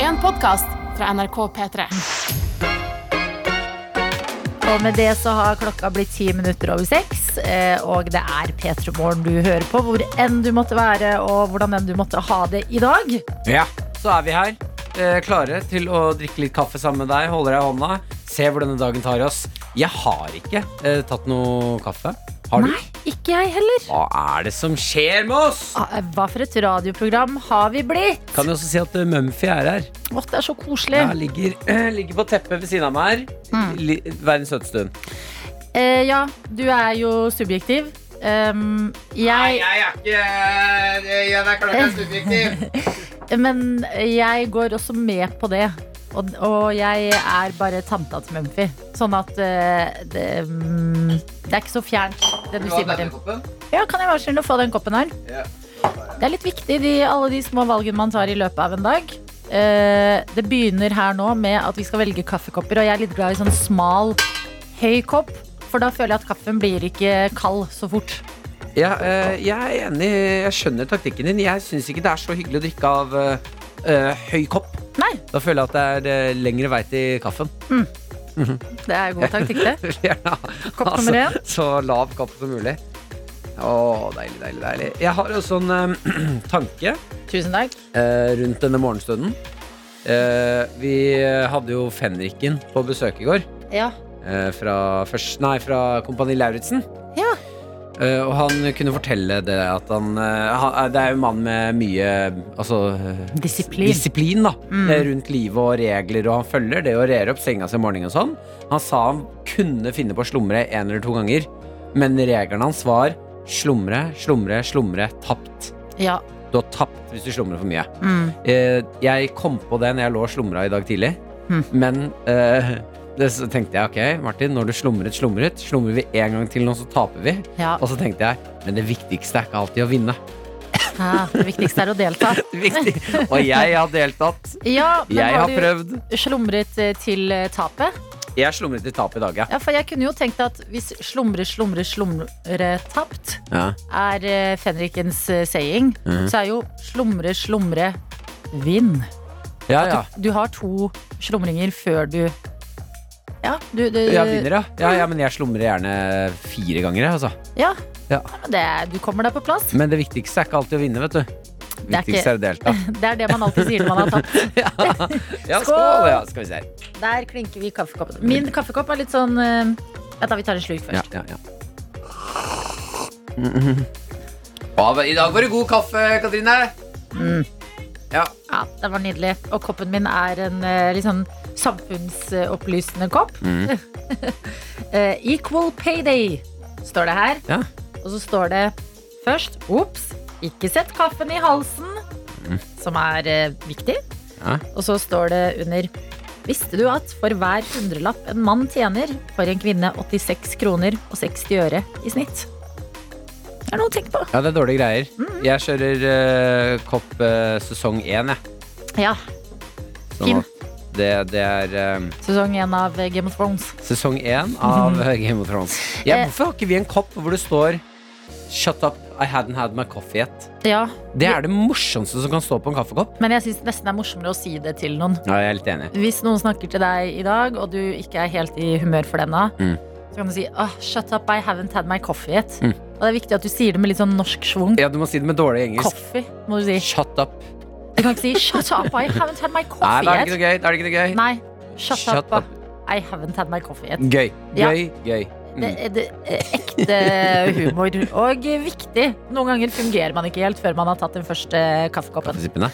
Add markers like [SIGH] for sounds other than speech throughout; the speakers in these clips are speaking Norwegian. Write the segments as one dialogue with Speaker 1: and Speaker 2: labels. Speaker 1: en podkast fra NRK P3.
Speaker 2: Og med det så har klokka blitt ti minutter over seks, eh, og det er P3 Morgen du hører på, hvor enn du måtte være, og hvordan enn du måtte ha det i dag.
Speaker 3: Ja, så er vi her. eh, klare til å drikke litt kaffe sammen med deg. Holder deg i hånda. Se hvor denne dagen tar oss. Jeg har ikke eh, tatt noe kaffe. Har du?
Speaker 2: Nei, ikke jeg heller.
Speaker 3: Hva er det som skjer med oss?
Speaker 2: Ah, Hva for et radioprogram har vi blitt?
Speaker 3: Kan jo også si at eh, Mumphy er her.
Speaker 2: Åh, det er så koselig.
Speaker 3: Ja, ligger, [CLEARS THROAT] ligger på teppet ved siden av meg her. Li, verdens søteste hund.
Speaker 2: Eh, ja, du er jo subjektiv. Um, jeg,
Speaker 3: er ikke Jeg er klart
Speaker 2: jeg er
Speaker 3: subjektiv.
Speaker 2: men jeg går også med på det. Og, og jeg er bare tanta til Mumphy. Sånn at eh, det, mm, det er ikke så fjernt, det du sier, Martin. Ja, kan jeg være snill å få den koppen her?
Speaker 3: Ja.
Speaker 2: Det er litt viktig, de, alle de små valgene man tar i løpet av en dag. Eh, det begynner her nå med at vi skal velge kaffekopper, og jeg er litt glad i sånn smal, høy kopp. For da føler jeg at kaffen blir ikke kald så fort.
Speaker 3: Ja, eh, jeg er enig. Jeg skjønner taktikken din. Jeg syns ikke det er så hyggelig å drikke av eh, eh, høy kopp.
Speaker 2: Nei,
Speaker 3: Da føler jeg at det er eh, lengre vei til kaffen.
Speaker 2: det er god taktikk,
Speaker 3: [LAUGHS]
Speaker 2: det.
Speaker 3: Vil gjerne ha- Altså,
Speaker 2: Kopp nummer én.
Speaker 3: Så lav kopp som mulig. Å, deilig, deilig, deilig. Jeg har også en eh, [CLEARS THROAT] tanke
Speaker 2: Tusen takk.
Speaker 3: eh, rundt denne morgenstunden. Eh, vi hadde jo fenriken på besøk i går.
Speaker 2: Ja.
Speaker 3: eh, fra, først, nei, fra Kompani Lauritzen.
Speaker 2: Ja.
Speaker 3: Eh, og han kunne fortelle det at han, eh, han eh, Det er jo en mann med mye altså, eh,
Speaker 2: Disiplin.
Speaker 3: disiplin da,
Speaker 2: Mm.
Speaker 3: eh, rundt livet og regler, og han følger det og rer opp senga si om morgenen og sånn. Han sa han kunne finne på å slumre en eller to ganger, men regelen hans var slumre, slumre, slumre, tapt.
Speaker 2: Ja.
Speaker 3: Du har tapt hvis du slumrer for mye.
Speaker 2: Mm.
Speaker 3: Eh, jeg kom på det når jeg lå og slumra i dag tidlig.
Speaker 2: Hmm.
Speaker 3: Men eh, det, så tenkte jeg ok, Martin, når du slumret, slumret. Slumrer vi en gang til nå, så taper vi.
Speaker 2: ja.
Speaker 3: Og så tenkte jeg, men det viktigste er ikke alltid å vinne.
Speaker 2: ja. Det viktigste er å delta.
Speaker 3: Det viktig-
Speaker 2: [LAUGHS]
Speaker 3: Og jeg har deltatt.
Speaker 2: Ja, men
Speaker 3: Jeg
Speaker 2: har
Speaker 3: har
Speaker 2: du
Speaker 3: prøvd.
Speaker 2: slumret eh, til eh, tapet?
Speaker 3: Jeg slumret i tap i dag, ja.
Speaker 2: Ja, for jeg kunne jo tenkt at hvis slumre, slumre, slumre tapt
Speaker 3: ja.
Speaker 2: er eh, Fenrikens eh, saying,
Speaker 3: Mhm.
Speaker 2: så er jo slumre, slumre, vinn.
Speaker 3: Ja, ja.
Speaker 2: Du har to slumringer før du Ja, du, du
Speaker 3: Jeg vinner, ja. ja. Ja, men jeg slumrer gjerne fire ganger, jeg, altså.
Speaker 2: Ja.
Speaker 3: Ja.
Speaker 2: men Det, er- du kommer deg på plass. [LAUGHS]
Speaker 3: Men det viktigste er ikke alltid å vinne, vet du. Det
Speaker 2: er ikke-
Speaker 3: viktigste er å
Speaker 2: [LAUGHS]
Speaker 3: delta.
Speaker 2: Det er det man alltid sier når man har tapt.
Speaker 3: [LAUGHS] Ja,
Speaker 2: Skål!
Speaker 3: skål! Ja, skal vi se her.
Speaker 2: Der klinker vi kaffekoppen. Min kaffekopp er litt sånn eh, Vent, da, vi tar en slurk
Speaker 3: Ja,
Speaker 2: først.
Speaker 3: ja, ja. Ja, I dag var det god kaffe, Katrine.
Speaker 2: Mm.
Speaker 3: Ja.
Speaker 2: Ja. Den var nydelig. Og koppen min er en eh, litt sånn samfunnsopplysende kopp.
Speaker 3: Mm.
Speaker 2: [LAUGHS] Eh, equal payday står det her.
Speaker 3: Ja.
Speaker 2: Og så står det først Ops, ikke sett kaffen i halsen, som er eh, viktig.
Speaker 3: Mm. Ja.
Speaker 2: Og så står det under Visste du at for hver hundrelapp en mann tjener, får en kvinne 86 kroner og 60 øre i snitt? Det er noe å tenke på.
Speaker 3: det er dårlige greier.
Speaker 2: Mm.
Speaker 3: Jeg kjører eh, kopp eh, sesong én, jeg.
Speaker 2: Ja, Fin.
Speaker 3: Sånn at det, det er eh,
Speaker 2: Sesong én av Game of Thrones.
Speaker 3: sesong én av Game of Thrones. Ja,
Speaker 2: Eh.
Speaker 3: hvorfor har ikke vi en kopp hvor det står 'Shut up, I hadn't had my coffee yet'?
Speaker 2: Ja,
Speaker 3: Det er det morsomste som kan stå på en kaffekopp.
Speaker 2: Men jeg syns nesten det er morsommere å si det til noen.
Speaker 3: Ja, jeg er litt enig.
Speaker 2: Hvis noen snakker til deg i dag, og du ikke er helt i humør for det ennå,
Speaker 3: Mm.
Speaker 2: så kan du si «Åh, 'shut up, I haven't had my coffee yet'.
Speaker 3: Mm.
Speaker 2: Og det er viktig at du sier det med litt sånn norsk schwung.
Speaker 3: Ja, du må si det med dårlig engelsk.
Speaker 2: Coffee, må du si.
Speaker 3: Shut up.
Speaker 2: Du kan ikke si 'shut up, I haven't had my
Speaker 3: Nei, da er det
Speaker 2: coffee yet'.
Speaker 3: ikke noe gøy. Da er det ikke noe gøy.
Speaker 2: Nei, shut,
Speaker 3: Shut
Speaker 2: up,
Speaker 3: up.
Speaker 2: I haven't had my coffee yet.
Speaker 3: Gøy.
Speaker 2: Ja.
Speaker 3: Gøy, gøy. Mm.
Speaker 2: Det, er- det er ekte humor, og viktig. Noen ganger fungerer man ikke helt før man har tatt den første kaffekoppen.
Speaker 3: Prinsippene.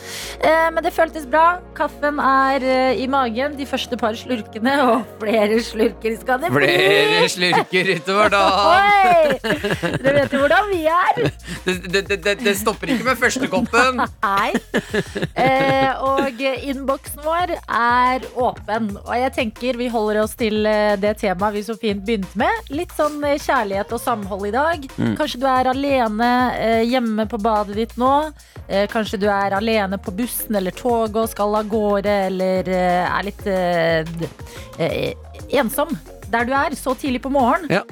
Speaker 2: Eh, Men det føltes bra. Kaffen er eh, i magen, de første par slurkene, [LAUGHS] og flere slurker skal det bli.
Speaker 3: Flere slurker utover dagen.
Speaker 2: Oi! Dere vet jo hvordan vi er.
Speaker 3: Det, det, det- det, det stopper ikke med første koppen.
Speaker 2: Nei. Eh, og innboksen vår er åpen. Og jeg tenker vi holder oss til eh, det temaet vi så fint begynte med. Litt sånn eh, kjærlighet og samhold i dag.
Speaker 3: Mm.
Speaker 2: Kanskje du er alene eh, hjemme på badet ditt nå. Eh, kanskje du er alene på bussen eller toget og skal av gårde, eller eh, er litt eh, d- eh, ensom der du er så tidlig på morgenen.
Speaker 3: Ja.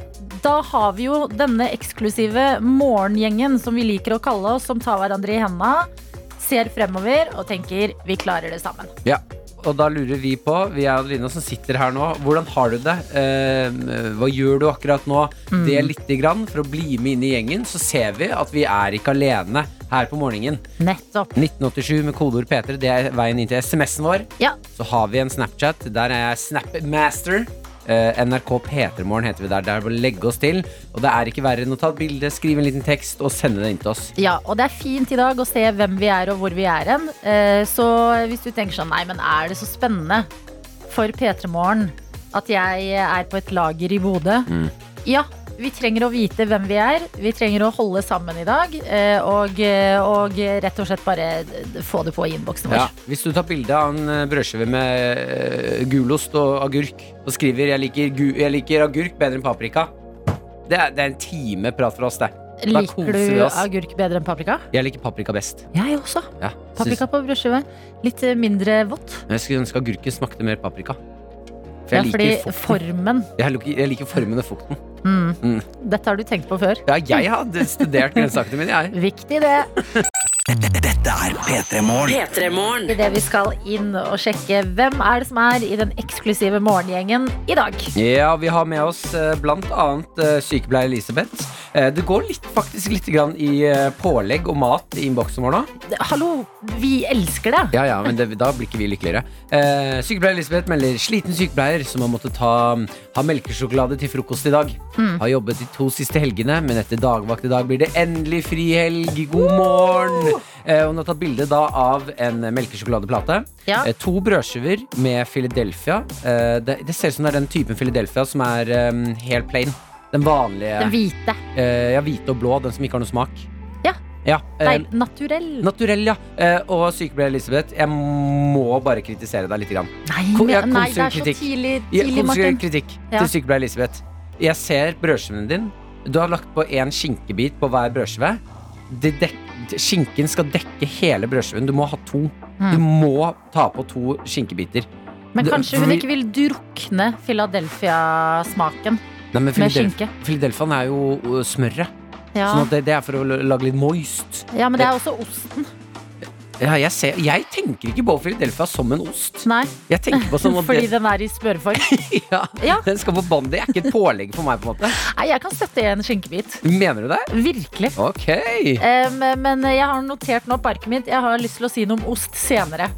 Speaker 2: Da har vi jo denne eksklusive morgengjengen som vi liker å kalle oss, som tar hverandre i henda, ser fremover og tenker vi klarer det sammen.
Speaker 3: Ja. og da lurer vi på, vi er Adelina som sitter her nå, hvordan har du det? Eh, hva gjør du akkurat nå? Det lite grann, for å bli med inn i gjengen, så ser vi at vi er ikke alene her på morgenen.
Speaker 2: Nettopp.
Speaker 3: 1987 med kodeord P3, det er veien inn til SMS-en vår.
Speaker 2: Ja.
Speaker 3: Så har vi en Snapchat. Der er jeg Snapmaster. Eh, NRK P3morgen heter vi der. Der vil vi legge oss til. Og det er ikke verre enn å ta et bilde, skrive en liten tekst og sende det inn til oss.
Speaker 2: Ja, og det er fint i dag å se hvem vi er og hvor vi er hen. Eh, Så hvis du tenker sånn, nei, men er det så spennende for P3 Morgen at jeg er på et lager i Bodø?
Speaker 3: Mm.
Speaker 2: Ja, vi trenger å vite hvem vi er. Vi trenger å holde sammen i dag. eh, Og, og rett og slett bare få det på i innboksen vår.
Speaker 3: Ja. Hvis du tar bilde av en eh, brødskive med eh, gulost og agurk og skriver jeg liker, gu 'Jeg liker agurk bedre enn paprika', det er, det er en time prat fra oss, det. Da
Speaker 2: Liker
Speaker 3: koser vi
Speaker 2: du
Speaker 3: oss.
Speaker 2: agurk bedre enn paprika?
Speaker 3: Jeg liker paprika best.
Speaker 2: Jeg også.
Speaker 3: Ja.
Speaker 2: Paprika
Speaker 3: Syns-
Speaker 2: på brødskive. Litt eh, mindre vått.
Speaker 3: Men Jeg skulle ønske agurken smakte mer paprika. For
Speaker 2: Ja,
Speaker 3: jeg,
Speaker 2: fordi
Speaker 3: liker fukten.
Speaker 2: formen
Speaker 3: jeg, liker, jeg liker formen og fukten.
Speaker 2: Mm.
Speaker 3: Mm.
Speaker 2: Dette har du tenkt på før.
Speaker 3: Ja, jeg hadde studert grønnsakene mine, jeg.
Speaker 2: Viktig, det.
Speaker 4: P3morgen.
Speaker 2: I det vi skal inn og sjekke hvem er det som er i den eksklusive morgengjengen i dag.
Speaker 3: Ja, vi har med oss eh, blant annet eh, sykepleier Elisabeth. Eh, Det går litt, faktisk litt grann i eh, pålegg og mat i innboksen vår nå.
Speaker 2: Hallo, vi elsker det!
Speaker 3: Ja, ja, men det, da blir ikke vi lykkeligere. Eh, sykepleier Elisabeth melder sliten sykepleier som har måttet ta, ha melkesjokolade til frokost i dag.
Speaker 2: Hmm.
Speaker 3: Har jobbet de to siste helgene, men etter dagvakt i dag blir det endelig frihelg. God morgen! Eh, hun har tatt bilde da av en melkesjokoladeplate.
Speaker 2: Ja.
Speaker 3: Eh, to brødskiver med Philadelphia. Eh, det, det ser ut som det er den typen Philadelphia som er eh, helt plain. Den vanlige.
Speaker 2: Den hvite.
Speaker 3: eh, ja, hvite og blå, den som ikke har noe smak.
Speaker 2: Ja.
Speaker 3: ja eh,
Speaker 2: Nei, naturell.
Speaker 3: Naturell, ja. Eh, og sykepleier Elisabeth, jeg må bare kritisere deg litt. Grann.
Speaker 2: Nei,
Speaker 3: Ko-
Speaker 2: nei,
Speaker 3: ja,
Speaker 2: det er så
Speaker 3: konstruktiv kritikk.
Speaker 2: tidlig,
Speaker 3: Jeg,
Speaker 2: tidlig
Speaker 3: konstruktiv
Speaker 2: Martin.
Speaker 3: kritikk
Speaker 2: Ja.
Speaker 3: til sykepleier Elisabeth. Jeg ser brødskiven din. Du har lagt på én skinkebit på hver brødskive. Det dek skinken skal dekke hele brødskiven. Du må ha to.
Speaker 2: Mm.
Speaker 3: Du må ta på to skinkebiter.
Speaker 2: Men
Speaker 3: Det-
Speaker 2: kanskje hun
Speaker 3: vi-
Speaker 2: ikke vil drukne Philadelphia-smaken
Speaker 3: Nei, men
Speaker 2: med
Speaker 3: Philadelphia,
Speaker 2: skinke.
Speaker 3: Philadelphiaen er jo ø, smøret.
Speaker 2: Ja.
Speaker 3: Sånn at det, det er for å l- lage litt moist.
Speaker 2: ja, men det er også osten.
Speaker 3: Ja, jeg, ser, jeg tenker ikke på Philadelphia som en ost.
Speaker 2: Nei,
Speaker 3: Jeg tenker på som Sånn at
Speaker 2: [LAUGHS] fordi
Speaker 3: det,
Speaker 2: den er i
Speaker 3: [LAUGHS]
Speaker 2: smørform.
Speaker 3: ja,
Speaker 2: Ja.
Speaker 3: den skal på bånd. Det er ikke et pålegg for meg. på en måte
Speaker 2: Nei, jeg kan støtte en skinkebit.
Speaker 3: Mener du det?
Speaker 2: Virkelig. [LAUGHS]
Speaker 3: Ok.
Speaker 2: Um, men jeg har notert nå parket mitt. Jeg har lyst til å si noe om ost senere.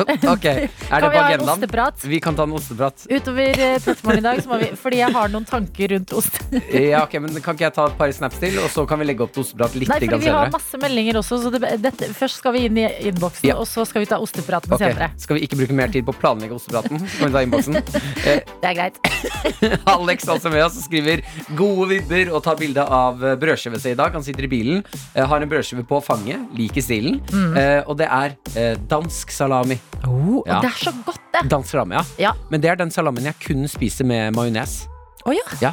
Speaker 3: Ok, Er det på
Speaker 2: Kan vi ha en
Speaker 3: agendaen?
Speaker 2: osteprat?
Speaker 3: Vi kan ta en osteprat.
Speaker 2: Utover eh, Petermorgen i dag, så må vi, fordi jeg har noen tanker rundt ost.
Speaker 3: Ja, ok, men Kan ikke jeg ta et par snaps til, og så kan vi legge opp til osteprat litt
Speaker 2: Nei, fordi
Speaker 3: grann
Speaker 2: vi har
Speaker 3: senere?
Speaker 2: masse meldinger også, så det, dette, først skal vi inn i innboksen,
Speaker 3: Ja.
Speaker 2: og så skal vi ta ostepraten
Speaker 3: Ok,
Speaker 2: senere.
Speaker 3: Skal vi ikke bruke mer tid på å planlegge ostepraten? Skal vi ta
Speaker 2: [LAUGHS]
Speaker 3: innboksen? Eh,
Speaker 2: Det er greit.
Speaker 3: Alex altså med oss skriver 'gode vibber' og tar bilde av eh, brødskive seg i dag. Han sitter i bilen, eh, har en brødskive på fanget, liker stilen.
Speaker 2: Mm.
Speaker 3: Eh, Og det er eh, dansk salami.
Speaker 2: Oh,
Speaker 3: Ja.
Speaker 2: Og det er så godt, det!
Speaker 3: Dansk salami, ja.
Speaker 2: Ja.
Speaker 3: Men det er den salamen jeg kun spiser med majones.
Speaker 2: Å ja.
Speaker 3: Ja.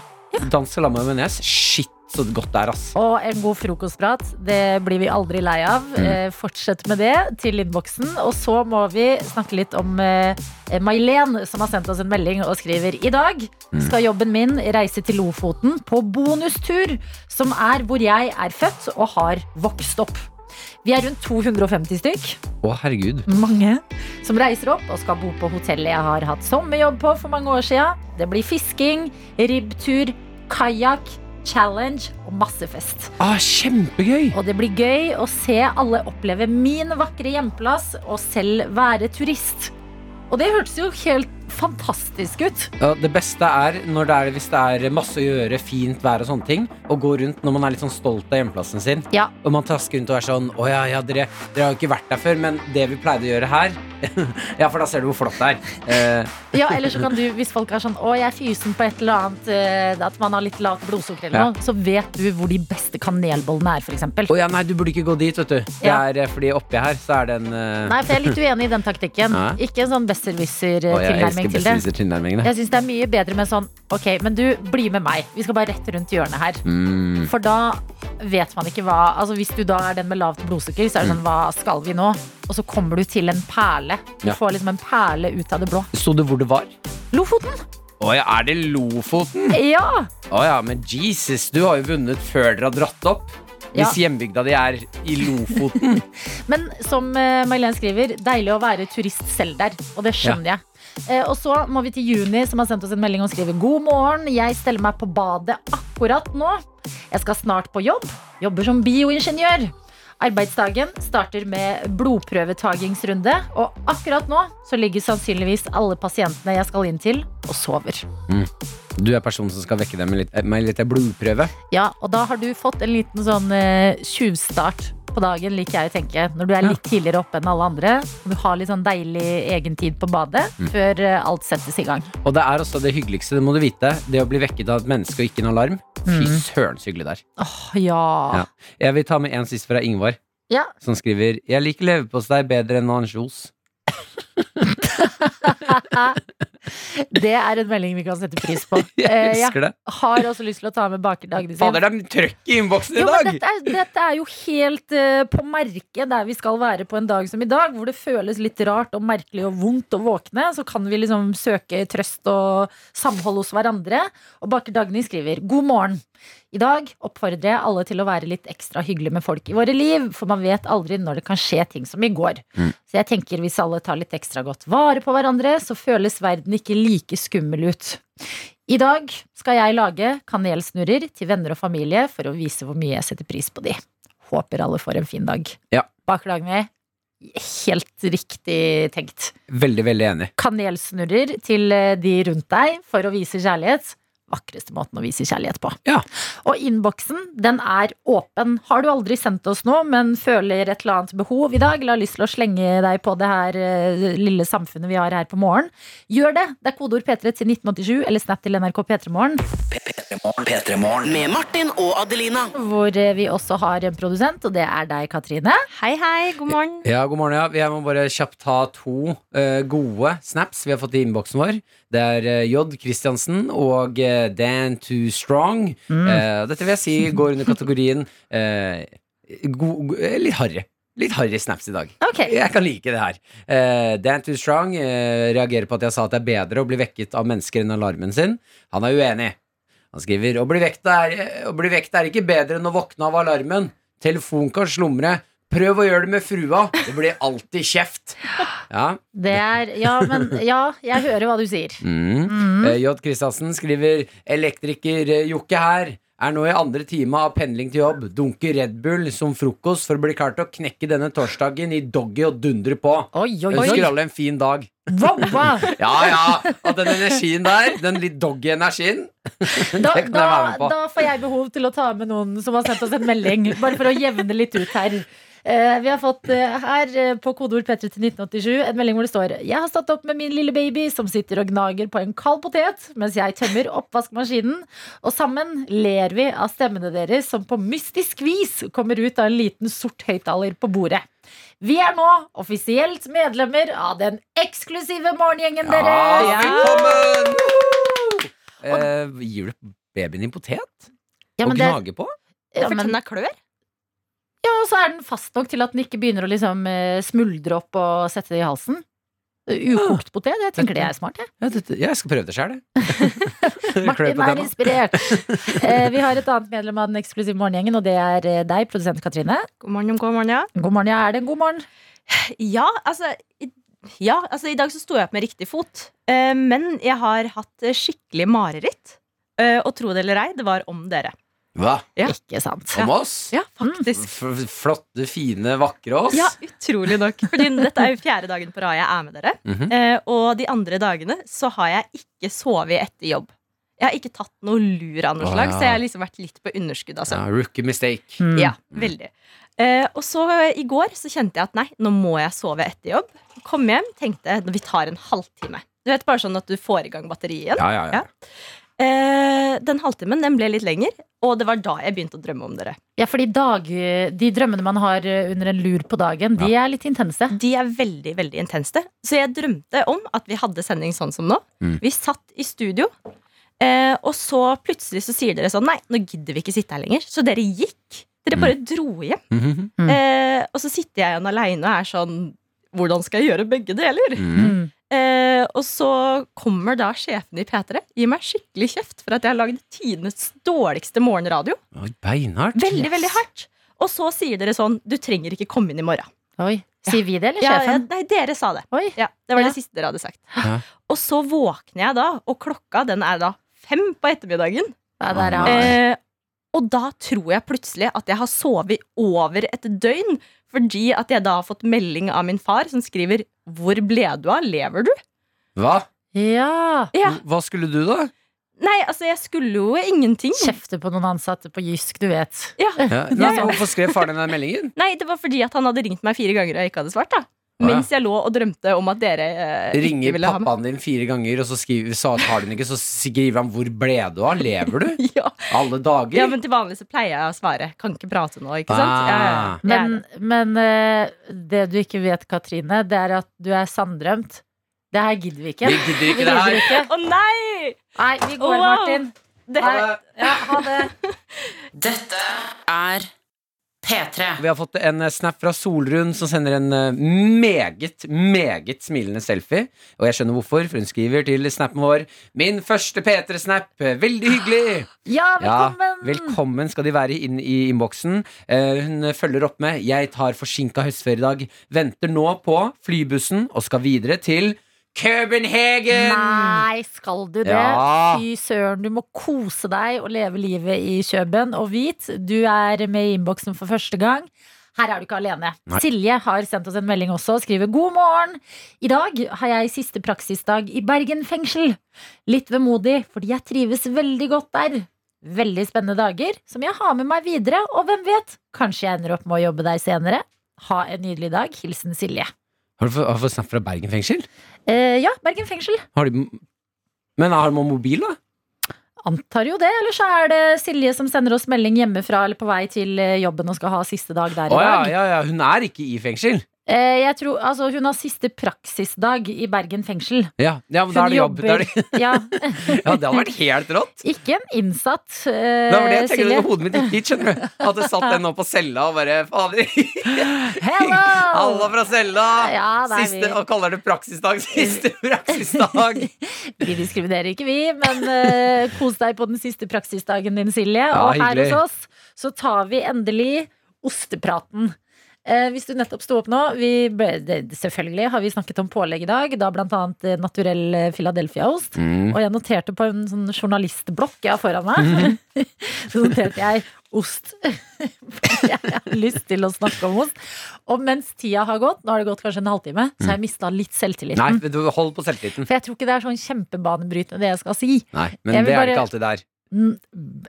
Speaker 3: Dansk salami og majones. Shit, så godt det er, ass.
Speaker 2: Og en god frokostprat. Det blir vi aldri lei av. Eh, fortsett med det til innboksen. Og så må vi snakke litt om eh, Mailen, som har sendt oss en melding og skriver I dag skal jobben min reise til Lofoten på bonustur, som er hvor jeg er født og har vokst opp. Vi er rundt 250 stykk,
Speaker 3: Å, herregud.
Speaker 2: mange, som reiser opp og skal bo på hotellet jeg har hatt sommerjobb på for mange år siden. Det blir fisking, ribbtur, kajakk, challenge og masse fest.
Speaker 3: Ah, kjempegøy!
Speaker 2: Og det blir gøy å se alle oppleve min vakre hjemplass og selv være turist. Og det hørtes jo helt fantastisk ut.
Speaker 3: Ja, det beste er, når det er hvis det er masse å gjøre, fint vær og sånne ting, og gå rundt når man er litt sånn stolt av hjemplassen sin,
Speaker 2: Ja.
Speaker 3: og man trasker rundt og er sånn Å ja, ja, dere, dere har jo ikke vært der før, men det vi pleide å gjøre her [LAUGHS] Ja, for da ser du hvor flott det er. Eh,
Speaker 2: ja, eller så kan du, hvis folk er sånn 'Å, jeg er fysen på et eller annet', eh, at man har litt lavt blodsukker eller
Speaker 3: Ja.
Speaker 2: noe, så vet du hvor de beste kanelbollene er, f.eks.
Speaker 3: Å ja, nei, du burde ikke gå dit, vet du. Det
Speaker 2: Ja.
Speaker 3: er eh, fordi oppi her så er det en eh,
Speaker 2: Nei, for jeg er litt uenig i den taktikken.
Speaker 3: Nei.
Speaker 2: Ikke en sånn
Speaker 3: Å, jeg
Speaker 2: besserwisser-tilnærming
Speaker 3: elsker
Speaker 2: til det.
Speaker 3: besserwisser-tilnærmingene.
Speaker 2: Jeg syns det er mye bedre med sånn OK, men du, bli med meg. Vi skal bare rett rundt hjørnet her.
Speaker 3: Mm.
Speaker 2: For da vet man ikke hva altså Hvis du da er den med lavt blodsukker, så er det sånn Hva skal vi nå? Og så kommer du til en perle. Du
Speaker 3: Ja.
Speaker 2: får liksom en perle ut av det blå.
Speaker 3: Sto det hvor det var?
Speaker 2: Lofoten!
Speaker 3: Å ja, er det Lofoten?
Speaker 2: Ja!
Speaker 3: Å ja, men Jesus, du har jo vunnet før dere har dratt opp.
Speaker 2: Ja.
Speaker 3: Hvis hjembygda di er i Lofoten.
Speaker 2: Men som eh, Mailene skriver, deilig å være turist selv der. Og det skjønner jeg. Eh, og så må vi til Juni, som har sendt oss en melding og skriver God morgen, jeg steller meg på badet akkurat nå. Jeg skal snart på jobb. Jobber som bioingeniør. Arbeidsdagen starter med blodprøvetagingsrunde, og akkurat nå så ligger sannsynligvis alle pasientene jeg skal inn til, og sover.
Speaker 3: [LAUGHS] Du er personen som skal vekke deg med litt, med litt blodprøve.
Speaker 2: Ja, og da har du fått en liten sånn eh, tjuvstart på dagen, liker jeg å tenke. Når du er litt tidligere oppe enn alle andre. og Du har litt sånn deilig egentid på badet
Speaker 3: Mm.
Speaker 2: før eh, alt settes i gang.
Speaker 3: Og det er også det hyggeligste, det må du vite. Det å bli vekket av et menneske og ikke en alarm. Fy
Speaker 2: Mm.
Speaker 3: søren så hyggelig det er.
Speaker 2: Åh, ja.
Speaker 3: Ja. Jeg vil ta med en sist fra Ingvar,
Speaker 2: Ja.
Speaker 3: som skriver Jeg liker leverpostei bedre enn ansjos.
Speaker 2: Det er en melding vi kan sette pris på.
Speaker 3: [LAUGHS] Jeg
Speaker 2: Eh, jeg
Speaker 3: elsker det.
Speaker 2: har også lyst til å ta med bakerdagen sin.
Speaker 3: Fader, det er trøkk i innboksen i
Speaker 2: Jo, men
Speaker 3: dag!
Speaker 2: dette, er, dette er jo helt eh, på merket der vi skal være på en dag som i dag, hvor det føles litt rart og merkelig og vondt å våkne. Så kan vi liksom søke trøst og samhold hos hverandre. Og Baker Dagny skriver god morgen. I dag oppfordrer jeg alle til å være litt ekstra hyggelig med folk i våre liv, for man vet aldri når det kan skje ting som i går.
Speaker 3: Mm.
Speaker 2: Så jeg tenker hvis alle tar litt ekstra godt vare på hverandre, så føles verden ikke like skummel ut. I dag skal jeg lage kanelsnurrer til venner og familie for å vise hvor mye jeg setter pris på de. Håper alle får en fin dag.
Speaker 3: Ja.
Speaker 2: Baklagene, helt riktig tenkt.
Speaker 3: Veldig, veldig enig.
Speaker 2: Kanelsnurrer til eh, de rundt deg for å vise kjærlighet. Vakreste måten å vise kjærlighet på.
Speaker 3: Ja.
Speaker 2: Og innboksen, den er åpen. Har du aldri sendt oss noe, men føler et eller annet behov i dag, eller har lyst til å slenge deg på det her eh, lille samfunnet vi har her på morgen, gjør det. Det er kodeord P3 til 1987 eller snap til NRK P3morgen.
Speaker 4: Med Martin og Adelina.
Speaker 2: hvor eh, vi også har en produsent, og det er deg, Katrine.
Speaker 5: Hei, hei, god morgen.
Speaker 3: Ja, god morgen, ja. Jeg må bare kjapt ta to eh, gode snaps vi har fått i innboksen vår. Det er eh, J. Christiansen og eh, Dan Too Strong. Eh, dette vil jeg si går under kategorien eh, go- go- eh, litt harry. Litt harry snaps i dag.
Speaker 2: Ok.
Speaker 3: [LAUGHS] Jeg kan like det her. Eh, Dan Too Strong eh, reagerer på at jeg sa at det er bedre å bli vekket av mennesker enn alarmen sin. Han er uenig. Han skriver å bli vekt er, eh, å bli vekt er ikke bedre enn å våkne av alarmen. Telefon kan slumre. Prøv å gjøre det med frua. Det blir alltid kjeft. Ja.
Speaker 2: Det er Ja, men ja, jeg hører hva du sier.
Speaker 3: Mm. Eh, J. Kristiansen skriver Elektriker eh, Jokke her Er nå i andre time av pendling til jobb Dunker Red Bull som frokost For å bli klar til å knekke denne torsdagen I doggy og dundre på
Speaker 2: Oi, oi,
Speaker 3: Jeg
Speaker 2: oi.
Speaker 3: ønsker alle en fin dag
Speaker 2: Wow, wow.
Speaker 3: Ja, ja, at den energien der Den litt doggy energien
Speaker 2: Da,
Speaker 3: Det kan jeg
Speaker 2: da,
Speaker 3: være med på.
Speaker 2: da får jeg behov til å ta med noen som har sendt oss en melding, bare for å jevne litt ut her. Eh, vi har fått eh, her eh, på kodeord P3 til 1987 en melding hvor det står Jeg har stått opp med min lille baby som sitter og gnager på en kald potet mens jeg tømmer oppvaskmaskinen, og sammen ler vi av stemmene deres som på mystisk vis kommer ut av en liten sort høyttaler på bordet. Vi er nå offisielt medlemmer av den eksklusive morgengjengen deres!
Speaker 3: Ja, velkommen eh, Gir du babyen din potet?
Speaker 2: Ja,
Speaker 3: og
Speaker 2: men det,
Speaker 3: gnager på?
Speaker 2: ja,
Speaker 5: for
Speaker 2: men,
Speaker 5: tenna klør.
Speaker 2: Ja, og så er den fast nok til at den ikke begynner å liksom eh, smuldre opp og sette det i halsen.
Speaker 5: Ah.
Speaker 2: Ukokt potet, jeg tenker det er smart. Jeg.
Speaker 3: Ja, dette, jeg skal prøve det selv jeg. Klør
Speaker 2: Martin
Speaker 3: på
Speaker 2: er
Speaker 3: tenna.
Speaker 2: inspirert.
Speaker 3: [LAUGHS]
Speaker 2: Eh, vi har et annet medlem av den eksklusive morgengjengen, og det er eh, deg, produsent Katrine.
Speaker 5: God morgen, god morgen, ja.
Speaker 2: God morgen, ja, er det en god morgen?
Speaker 5: Ja, altså i, ja, altså, i dag så sto jeg opp med riktig fot. Eh, men jeg har hatt eh, skikkelig mareritt. Eh, og tro det eller ei, det var om dere.
Speaker 3: Hva?
Speaker 5: Ja.
Speaker 2: Ikke sant.
Speaker 3: Om oss?
Speaker 5: Ja, faktisk.
Speaker 3: F flotte, fine, vakre oss.
Speaker 5: Ja, utrolig nok. [LAUGHS] Fordi dette er jo fjerde dagen på rad jeg er med dere.
Speaker 3: Mhm.
Speaker 5: Eh, og de andre dagene så har jeg ikke sovet etter jobb. Jeg har ikke tatt noe lur av noe
Speaker 3: Å,
Speaker 5: slag,
Speaker 3: ja.
Speaker 5: så jeg har liksom vært litt på underskudd. Altså.
Speaker 3: Ja, rookie mistake.
Speaker 2: Mm.
Speaker 5: Ja, veldig. Eh, og så eh, i går så kjente jeg at nei, nå må jeg sove etter jobb. Kom hjem, tenkte vi tar en halvtime. Du vet bare sånn at du får i gang batteriet igjen.
Speaker 3: Ja, ja, ja.
Speaker 5: Ja. Eh, den halvtimen den ble litt lenger, og det var da jeg begynte å drømme om dere.
Speaker 2: Ja, fordi dag, de drømmene man har eh, under en lur på dagen, de er litt intense.
Speaker 5: De er veldig, veldig intense. Så jeg drømte om at vi hadde sending sånn som nå.
Speaker 3: Mm.
Speaker 5: Vi satt i studio, eh, og så plutselig så sier dere sånn Nei, nå gidder vi ikke sitte her lenger. Så dere gikk.
Speaker 3: Mm.
Speaker 5: Dere bare dro hjem.
Speaker 3: Mhm.
Speaker 2: Mm.
Speaker 5: Eh, og så sitter jeg igjen aleine og er sånn Hvordan skal jeg gjøre begge deler?
Speaker 3: Mhm.
Speaker 2: Mm.
Speaker 5: Eh, og så kommer da sjefen i P3 gir meg skikkelig kjeft for at jeg har lagd tidenes dårligste morgenradio.
Speaker 3: Oi, Beinhardt.
Speaker 5: Veldig, veldig hardt. Og så sier dere sånn Du trenger ikke komme inn i morgen.
Speaker 2: Oi. Sier vi det, eller
Speaker 5: Ja, ja,
Speaker 2: sjefen?
Speaker 5: nei, dere sa det.
Speaker 2: Oi.
Speaker 5: Ja, det var
Speaker 2: Ja.
Speaker 5: det siste dere hadde sagt.
Speaker 3: Ja.
Speaker 5: Og så våkner jeg da, og klokka den er da fem på ettermiddagen.
Speaker 2: Ja, der er han.
Speaker 5: Eh, og da tror jeg plutselig at jeg har sovet over et døgn, fordi at jeg da har fått melding av min far som skriver 'Hvor ble du av? Lever du?'
Speaker 3: Hva?
Speaker 2: Ja.
Speaker 5: Ja.
Speaker 3: Hva skulle du, da?
Speaker 5: Nei, altså, jeg skulle jo ingenting.
Speaker 2: Kjefte på noen ansatte på Jysk, du vet.
Speaker 5: Ja.
Speaker 3: Ja, nei, Hvorfor skrev faren din den meldingen?
Speaker 5: Nei, det var fordi at han hadde ringt meg fire ganger og jeg ikke hadde svart. da
Speaker 3: Å, ja.
Speaker 5: Mens jeg lå og drømte om at dere eh, ikke
Speaker 3: Ringer
Speaker 5: ville ha meg.
Speaker 3: pappaen din fire ganger, og så skriver, sa, tar du den ikke, så skriver han 'Hvor ble du av? Lever du?'
Speaker 5: [LAUGHS] Ja.
Speaker 3: Alle dager.
Speaker 5: ja, men til vanlig så pleier jeg å svare 'kan ikke prate nå', ikke sant?
Speaker 3: Ah.
Speaker 5: Ja, ja, ja. Det er det.
Speaker 2: Men, men eh, det du ikke vet, Katrine, det er at du er sanndrømt. Det her gidder vi ikke.
Speaker 3: Vi
Speaker 2: Vi
Speaker 3: gidder ikke det
Speaker 2: gidder
Speaker 3: her.
Speaker 2: ikke.
Speaker 5: Å nei!
Speaker 2: Nei, vi går,
Speaker 5: Wow.
Speaker 2: Martin.
Speaker 5: Det,
Speaker 2: Nei. Ja, ha det.
Speaker 4: Dette er P3.
Speaker 3: Vi har fått en eh, snap fra Solrun som sender en eh, meget, meget smilende selfie. Og jeg skjønner hvorfor, for hun skriver til snappen vår Min første P3-snap. Veldig hyggelig!
Speaker 2: Ja, velkommen.
Speaker 3: Ja, velkommen skal de være inn i innboksen. Eh, hun følger opp med 'Jeg tar forsinka høstferiedag'. Venter nå på flybussen og skal videre til Københagen!
Speaker 2: Nei, skal du det?
Speaker 3: Ja.
Speaker 2: Fy søren, du må kose deg og leve livet i Kjøben. Og vit, du er med i innboksen for første gang. Her er du ikke alene.
Speaker 3: Nei.
Speaker 2: Silje har sendt oss en melding også og skriver god morgen. I dag har jeg siste praksisdag i Bergen fengsel. Litt vemodig, fordi jeg trives veldig godt der. Veldig spennende dager som jeg har med meg videre, og hvem vet, kanskje jeg ender opp med å jobbe der senere. Ha en nydelig dag. Hilsen Silje.
Speaker 3: Har du fått- har du fått snap fra Bergen fengsel?
Speaker 2: Eh, ja, Bergen fengsel.
Speaker 3: Har de, men har de mobil, da?
Speaker 2: Antar jo det, eller så er det Silje som sender oss melding hjemmefra eller på vei til eh, jobben og skal ha siste dag der i
Speaker 3: Å ja,
Speaker 2: dag.
Speaker 3: ja, ja, hun er ikke i fengsel.
Speaker 2: Eh, Jeg tror, altså, hun har siste praksisdag i Bergen fengsel.
Speaker 3: Ja, ja men
Speaker 2: Hun
Speaker 3: da er det jobb. Da er det,
Speaker 2: ja,
Speaker 3: [LAUGHS]
Speaker 2: [LAUGHS]
Speaker 3: ja, det hadde vært helt rått!
Speaker 2: ikke en innsatt,
Speaker 3: Det var det
Speaker 2: eh,
Speaker 3: jeg tenkte
Speaker 2: Silje.
Speaker 3: [LAUGHS] at hodet mitt gikk dit, skjønner du. At jeg satt den nå på cella og bare Fader!
Speaker 2: Hello!
Speaker 3: [LAUGHS] Alle fra cella!
Speaker 2: Ja, det er
Speaker 3: Siste,
Speaker 2: vi.
Speaker 3: og kaller det praksisdag. [LAUGHS] Siste praksisdag!
Speaker 2: [LAUGHS] Vi diskriminerer ikke, vi, men eh, kos deg på den siste praksisdagen din, Silje.
Speaker 3: Ja,
Speaker 2: og her
Speaker 3: hyggelig.
Speaker 2: hos oss så tar vi endelig ostepraten. Eh, hvis du nettopp sto opp nå vi, ble- det, Selvfølgelig har vi snakket om pålegg i dag, da blant annet eh, naturell Philadelphia-ost.
Speaker 3: Mm.
Speaker 2: Og jeg noterte på en sånn journalistblokk jeg har foran meg,
Speaker 3: Mm.
Speaker 2: [LAUGHS] så noterte jeg ost. [LAUGHS] For jeg har lyst til å snakke om ost. Og mens tida har gått, nå har det gått kanskje en halvtime, så har jeg mista litt selvtilliten.
Speaker 3: Nei, vet du, hold på selvtilliten.
Speaker 2: For jeg tror ikke det er sånn kjempebanebrytende det jeg skal si.
Speaker 3: Nei,
Speaker 2: Jeg vil
Speaker 3: men det er det
Speaker 2: bare-
Speaker 3: ikke alltid det er.
Speaker 2: Mm,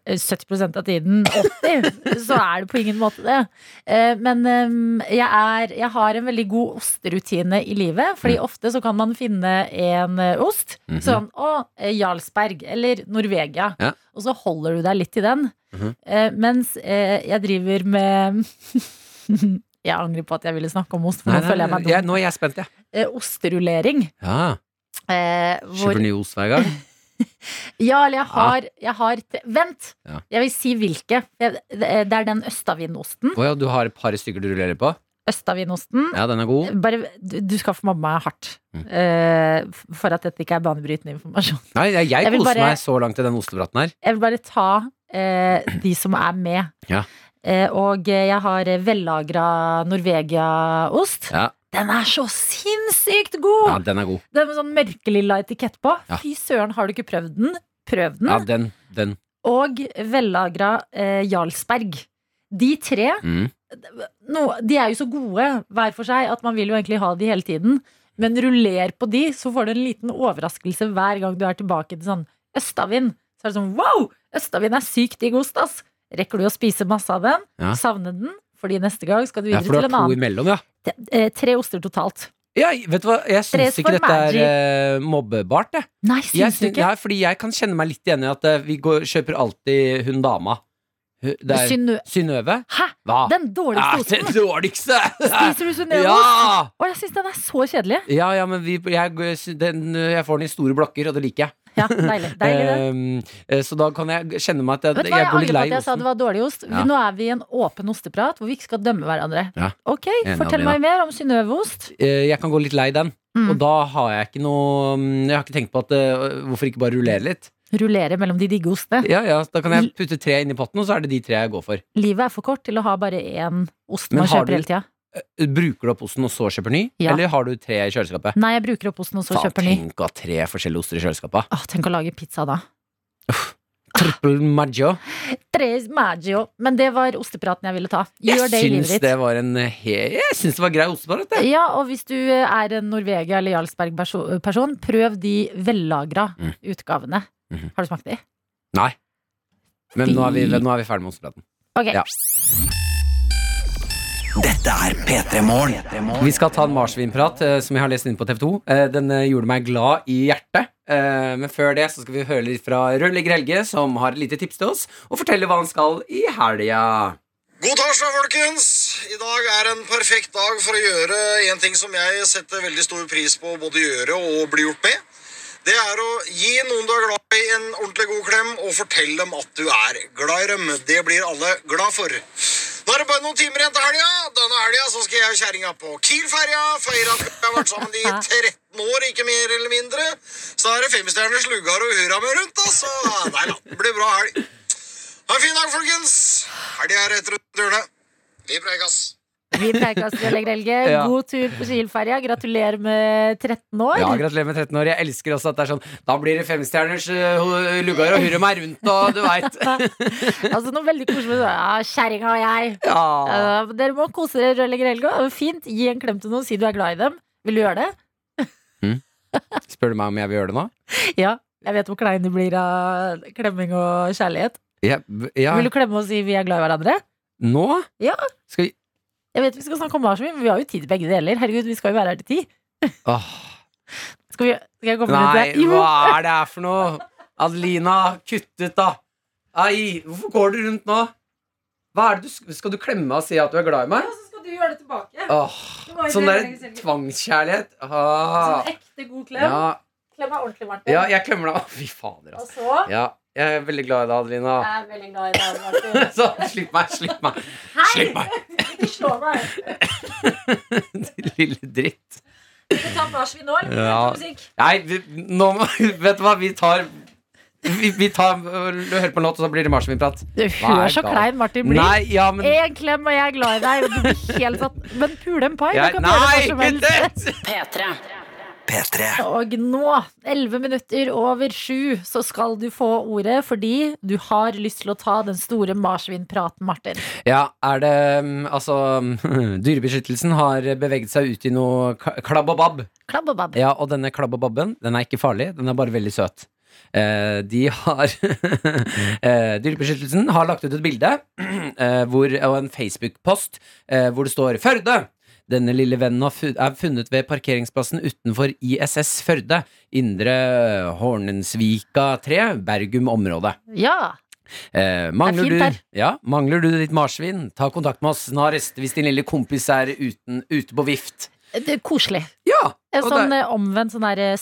Speaker 2: 70 av tiden, 80, så er det på ingen måte det. Eh, Men eh, jeg, er, jeg har en veldig god osterutine i livet, fordi ofte så kan man finne en eh, ost.
Speaker 3: Mm. Mhm.
Speaker 2: Sånn, å, eh, Jarlsberg eller Norvegia.
Speaker 3: Ja.
Speaker 2: Og så holder du deg litt til den.
Speaker 3: Mhm.
Speaker 2: Eh, Mens eh, jeg driver med [LAUGHS] Jeg angrer på at jeg ville snakke om ost, for
Speaker 3: Nei,
Speaker 2: nå
Speaker 3: nei,
Speaker 2: føler jeg
Speaker 3: nei,
Speaker 2: meg
Speaker 3: jeg,
Speaker 2: dum.
Speaker 3: nå er jeg spent, jeg.
Speaker 2: Eh, Osterullering.
Speaker 3: Ja.
Speaker 2: eh, hvor-
Speaker 3: Kjøper ny ost hver gang.
Speaker 2: Ja, eller jeg har, jeg har tre- Vent!
Speaker 3: Ja.
Speaker 2: Jeg vil si hvilke. Jeg- Det er den østavinosten.
Speaker 3: Å ja, du har et par stykker du rullerer på?
Speaker 2: Østavinosten.
Speaker 3: Ja, den er god.
Speaker 2: Bare, du, du skal få mobbe meg hardt
Speaker 3: Mm.
Speaker 2: eh, for at dette ikke er banebrytende informasjon. [LAUGHS]
Speaker 3: Nei, jeg, jeg
Speaker 2: Jeg vil
Speaker 3: koser
Speaker 2: bare-
Speaker 3: meg så langt i den ostepraten her.
Speaker 2: Jeg vil bare ta eh, de som er med.
Speaker 3: Ja.
Speaker 2: Eh, og jeg har vellagra Norvegia-ost.
Speaker 3: Ja,
Speaker 2: Den er så sinnssykt
Speaker 3: ja
Speaker 2: god!
Speaker 3: den er god.
Speaker 2: Den med sånn mørkelilla etikett på.
Speaker 3: Ja.
Speaker 2: Fy søren, har du ikke prøvd den? Prøv den.
Speaker 3: Ja, den, den.
Speaker 2: Og vellagra eh, Jarlsberg. De tre
Speaker 3: Mm.
Speaker 2: no, De er jo så gode hver for seg at man vil jo egentlig ha de hele tiden. Men ruller på de, så får du en liten overraskelse hver gang du er tilbake til sånn Østavind. Så er det sånn wow! Østavind er sykt digg ost, ass! Rekker du å spise masse av den?
Speaker 3: Ja.
Speaker 2: Savne den? Fordi neste gang skal du
Speaker 3: Ja,
Speaker 2: videre
Speaker 3: for du
Speaker 2: til
Speaker 3: har
Speaker 2: en
Speaker 3: to
Speaker 2: annen.
Speaker 3: imellom, ja.
Speaker 2: Te- eh, tre oster totalt.
Speaker 3: Ja, vet du hva, jeg
Speaker 2: Tres
Speaker 3: syns ikke
Speaker 2: for
Speaker 3: dette er eh, mobbebart, jeg.
Speaker 2: Nei,
Speaker 3: jeg
Speaker 2: syns du
Speaker 3: syns-
Speaker 2: ikke?
Speaker 3: ja, fordi jeg kan kjenne meg litt igjen i at eh, vi går, kjøper alltid hun dama. Hun- Det er
Speaker 2: Synnø...
Speaker 3: Synnøve.
Speaker 2: Hæ!
Speaker 3: Hva?
Speaker 2: Den
Speaker 3: er [LAUGHS]
Speaker 2: dårligste
Speaker 3: det
Speaker 2: osten!
Speaker 3: dårligste!
Speaker 2: Spiser du Synnøve? ost?
Speaker 3: Ja!
Speaker 2: Å, jeg syns den er så kjedelig.
Speaker 3: Ja, ja, men vi, jeg, den, jeg får den i store blokker, og det liker jeg.
Speaker 2: Ja, deilig. deilig det.
Speaker 3: Ehm, [LAUGHS] eh, så da kan jeg kjenne meg at
Speaker 2: Vet du
Speaker 3: jeg,
Speaker 2: hva,
Speaker 3: jeg
Speaker 2: Jeg
Speaker 3: går
Speaker 2: angrer
Speaker 3: litt
Speaker 2: på
Speaker 3: lei
Speaker 2: at jeg sa det var dårlig ost.
Speaker 3: Ja.
Speaker 2: Nå er vi i en åpen osteprat hvor vi ikke skal dømme hverandre.
Speaker 3: Ja.
Speaker 2: Ok,
Speaker 3: Enig,
Speaker 2: Fortell
Speaker 3: Adelina.
Speaker 2: meg mer om Synnøve-ost.
Speaker 3: Eh, jeg kan gå litt lei den.
Speaker 2: Mm.
Speaker 3: mm, Og da har jeg ikke noe Jeg har ikke tenkt på at eh, hvorfor ikke bare rullere litt?
Speaker 2: Rullere mellom de digge ostene.
Speaker 3: Ja, ja, Da kan jeg putte tre inn i potten, og så er det de tre jeg går for.
Speaker 2: Livet er for kort til å ha bare én ost
Speaker 3: Men
Speaker 2: man
Speaker 3: har
Speaker 2: kjøper
Speaker 3: du-
Speaker 2: hele tida.
Speaker 3: Bruker du opp osten og så kjøper ny,
Speaker 2: Ja.
Speaker 3: eller har du tre i kjøleskapet?
Speaker 2: Nei, jeg bruker opp osten og så
Speaker 3: Faen,
Speaker 2: kjøper ny.
Speaker 3: Tenk å ha tre forskjellige oster i kjøleskapet.
Speaker 2: Åh, tenk å lage pizza da.
Speaker 3: Triple Maggio.
Speaker 2: Tres Maggio. Men det var ostepraten jeg ville ta. [LAUGHS] Gjør
Speaker 3: Jeg
Speaker 2: det i
Speaker 3: syns
Speaker 2: livet
Speaker 3: det
Speaker 2: ditt.
Speaker 3: var en he... Jeg syns det var grei ostepar, dette.
Speaker 2: Ja, og hvis du er en Norvegia eller Jarlsberg-person, prøv de vellagra
Speaker 3: Mm.
Speaker 2: utgavene.
Speaker 3: Mhm.
Speaker 2: Har du smakt de?
Speaker 3: Nei. Men nå er vi,
Speaker 2: Fy.
Speaker 3: nå er vi ferdig med ostepraten.
Speaker 2: Ok.
Speaker 3: Ja. Vi skal ta en marsvinprat eh, som jeg har lest inn på TV 2. Eh, den eh, gjorde meg glad i hjertet. Eh, men før det så skal vi høre litt fra rørlegger Helge, som har et lite tips til oss, og fortelle hva han skal i helga.
Speaker 6: God torsdag, folkens! I dag er en perfekt dag for å gjøre en ting som jeg setter veldig stor pris på å både gjøre og bli gjort med. Det er å gi noen du er glad i, en ordentlig god klem, og fortell dem at du er glad i dem. Det blir alle glad for. Nå er det bare noen timer igjen til helga. Denne helga så skal jeg og kjerringa på Kiel-ferja. Feire at vi har vært sammen i 13 år, ikke mer eller mindre. Så er det femstjerners lugar og hurra med rundt, da. Så nei da, det blir bra helg. Ha en fin dag, folkens! Helga er rett rundt hjørnet. Vi preikes.
Speaker 2: Vi preikast Røllegger Helge.
Speaker 3: Ja.
Speaker 2: God tur på Kielferja. Gratulerer med 13 år.
Speaker 3: Ja, Gratulerer med 13 år. Jeg elsker også at det er sånn Da blir det femstjerners eh, lugar og hurre meg rundt, og du
Speaker 2: [LAUGHS]
Speaker 3: veit.
Speaker 2: Altså noe veldig koselig. Ja, Kjerringa og jeg.
Speaker 3: Ja.
Speaker 2: Eh, dere må kose dere, rørlegger Helge. Og Fint, gi en klem til noen, si du er glad i dem. Vil du gjøre det?
Speaker 3: Spør du meg om jeg vil gjøre det nå?
Speaker 2: Ja. Jeg vet hvor klein du blir av klemming og kjærlighet.
Speaker 3: Ja, ja.
Speaker 2: Vil du klemme og si vi er glad i hverandre?
Speaker 3: Nå?
Speaker 2: Ja.
Speaker 3: Skal vi
Speaker 2: Jeg vet vi skal snakke om marsvin, men vi har jo tid til begge deler. Herregud, vi skal jo være her til ti.
Speaker 3: Åh.
Speaker 2: Skal, vi, skal jeg komme
Speaker 3: Nei,
Speaker 2: med det? Jo.
Speaker 3: hva er det her for noe? Adelina, kutt ut, da. Ai, hvorfor går du rundt nå? Hva er det du, sk- skal du klemme og si at du er glad i meg?
Speaker 5: så skal du gjøre det tilbake.
Speaker 3: Åh,
Speaker 2: var jo
Speaker 3: sånn
Speaker 2: det
Speaker 3: der
Speaker 2: jeg tenkte.
Speaker 3: tvangskjærlighet. Ah.
Speaker 2: ekte god
Speaker 3: Ja,
Speaker 2: Klem er ordentlig varmt.
Speaker 3: ja, jeg klemmer deg. Å, Fy fader, altså.
Speaker 2: så
Speaker 3: Ja, jeg er veldig glad i deg, Adelina.
Speaker 2: er jeg veldig glad i deg, Martin.
Speaker 3: [LAUGHS] Så, slipp meg, slipp meg. Slipp meg,
Speaker 2: [LAUGHS] Ikke slå meg.
Speaker 3: din [LAUGHS] lille dritt.
Speaker 2: Skal vi ta marsvin nå, eller?
Speaker 3: Ja. Nei, vi, nå må [LAUGHS] Vet du hva, vi tar Vi, vi tar Hør på en låt, og så blir det marsvinprat.
Speaker 2: Du
Speaker 3: Hva er
Speaker 2: hør så
Speaker 3: galt?
Speaker 2: klein Martin blir.
Speaker 3: Nei, ja, men
Speaker 2: En klem, og jeg er glad i deg. og Du blir helt satt. Men pule en pai. Du
Speaker 3: Jeg-
Speaker 2: kan gjøre det
Speaker 3: Nei,
Speaker 2: når som helst.
Speaker 3: kutt
Speaker 2: [LAUGHS]
Speaker 3: ut!
Speaker 4: P3.
Speaker 2: Og nå, 11 minutter over sju, så skal du få ordet fordi du har lyst til å ta den store marsvinpraten, Martin.
Speaker 3: Ja, er det mm, Altså, [LAUGHS] Dyrebeskyttelsen har beveget seg ut i noe ka- klabb og babb.
Speaker 2: Klabb og babb.
Speaker 3: Ja, og denne klabb og babben, den er ikke farlig, den er bare veldig søt. Eh, de har [LAUGHS] eh, Dyrebeskyttelsen har lagt ut et bilde [CLEARS THROAT] eh, hvor, og en Facebook-post eh, hvor det står Førde! Denne lille vennen har fu- er funnet ved parkeringsplassen utenfor ISS Førde, Indre Hornensvika 3, Bergum område.
Speaker 2: Ja.
Speaker 3: Eh,
Speaker 2: Det er fint
Speaker 3: mangler, du,
Speaker 2: her.
Speaker 3: ja, mangler du ditt marsvin, ta kontakt med oss snarest hvis din lille kompis er uten, ute på vift.
Speaker 2: Det er koselig.
Speaker 3: Ja,
Speaker 2: En
Speaker 3: og
Speaker 2: sånn
Speaker 3: det-
Speaker 2: eh, omvendt sånn der eh,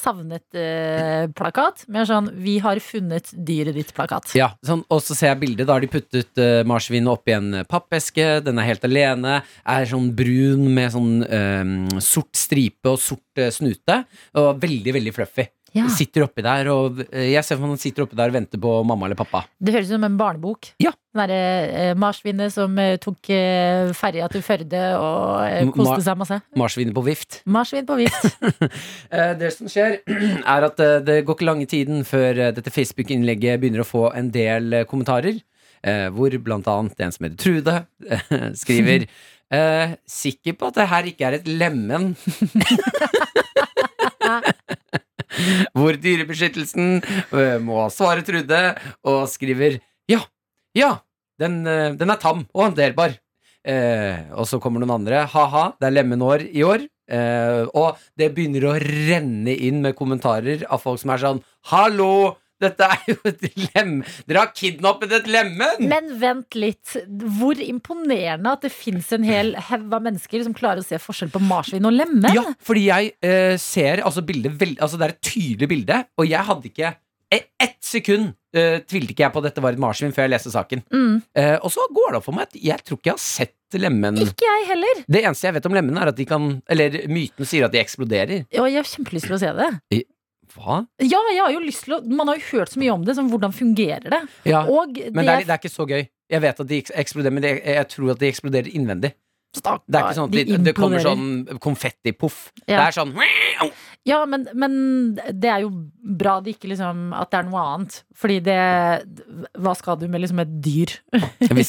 Speaker 2: savnet-plakat. Mer sånn 'Vi har funnet dyret ditt'-plakat.
Speaker 3: ja, sånn, og så ser jeg bildet. Da har de puttet eh, marsvinet oppi en eh, pappeske. Den er helt alene. Er sånn brun med sånn eh, sort stripe og sort eh, snute. Og veldig, veldig fluffy.
Speaker 2: Ja.
Speaker 3: Sitter oppi der og eh, Jeg ser for meg han sitter oppi der og venter på mamma eller pappa.
Speaker 2: Det høres ut som en barnebok.
Speaker 3: Ja.
Speaker 2: Den derre eh, marsvinet som eh, tok eh, ferja til Førde og eh,
Speaker 3: M-
Speaker 2: koste
Speaker 3: mar-
Speaker 2: seg masse.
Speaker 3: Marsvinet på vift.
Speaker 2: Marsvin på vift.
Speaker 3: Eh, Det som skjer, [CLEARS THROAT] er at eh, det går ikke lange tiden før eh, dette Facebook-innlegget begynner å få en del eh, kommentarer. eh, Hvor blant annet en som heter Trude, [LAUGHS] eh, skriver eh, Sikker på at det her ikke er et lemen. Hvor Dyrebeskyttelsen eh, må svare Trude og skriver Ja, ja, den, eh, den er tam og håndterbar. Eh, og så kommer noen andre. Ha-ha, det er lemenår i år. Eh, og det begynner å renne inn med kommentarer av folk som er sånn Hallo! Dette er jo et lem... Dere har kidnappet et lemen!
Speaker 2: Men vent litt. Hvor imponerende at det fins en hel haug av mennesker som klarer å se forskjell på marsvin og lemen.
Speaker 3: Ja, fordi jeg eh, ser altså bildet veld, Altså det er et tydelig bilde, og jeg hadde ikke e- Ett sekund eh, tvilte ikke jeg på at dette var et marsvin før jeg leste saken.
Speaker 2: Mm.
Speaker 3: Eh, og så går det opp for meg at jeg tror ikke jeg har sett lemen.
Speaker 2: Ikke jeg heller.
Speaker 3: Det eneste jeg vet om lemen, er at de kan Eller myten sier at de eksploderer.
Speaker 2: Og jeg har kjempelyst til å se det.
Speaker 3: Hva?
Speaker 2: Ja, jeg har jo lyst til å Man har jo hørt så mye om det, som hvordan fungerer det?
Speaker 3: Ja,
Speaker 2: Og det,
Speaker 3: men det er, det er ikke så gøy. Jeg vet at de eks- eksploderer, men det, jeg tror at de eksploderer innvendig. Det er ikke sånn at de, det kommer
Speaker 2: imploderer.
Speaker 3: sånn konfettipoff. Det
Speaker 2: Ja.
Speaker 3: er sånn
Speaker 2: Ja, men, men det er jo bra det ikke liksom At det er noe annet. Fordi det Hva skal du med liksom et dyr
Speaker 3: Hvis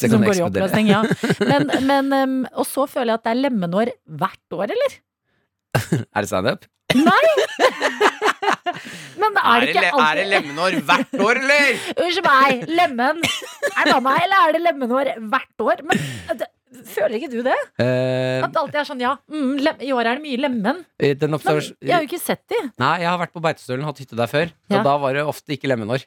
Speaker 2: [LAUGHS]
Speaker 3: det
Speaker 2: som
Speaker 3: kan
Speaker 2: går i
Speaker 3: eksplodere.
Speaker 2: oppløsning? Ja. Men, men em, Og så føler jeg at det er lemenår hvert år, eller?
Speaker 3: Er det standup?
Speaker 2: Men er det ikke
Speaker 3: le- er det
Speaker 2: alltid
Speaker 3: lemenår hvert år, eller?
Speaker 2: Unnskyld meg, lemen Er det bare meg, eller er det lemenår hvert år? Men eh, det, Føler ikke du det?
Speaker 3: Eh,
Speaker 2: At det alltid er sånn, ja, mm, lem, i år er det mye lemen.
Speaker 3: den
Speaker 2: Men
Speaker 3: observas-
Speaker 2: jeg har jo ikke sett de.
Speaker 3: Nei, jeg har vært på Beitostølen, hatt hytte der før.
Speaker 2: Ja.
Speaker 3: Og da var det ofte ikke
Speaker 2: [LAUGHS]
Speaker 3: lemenår.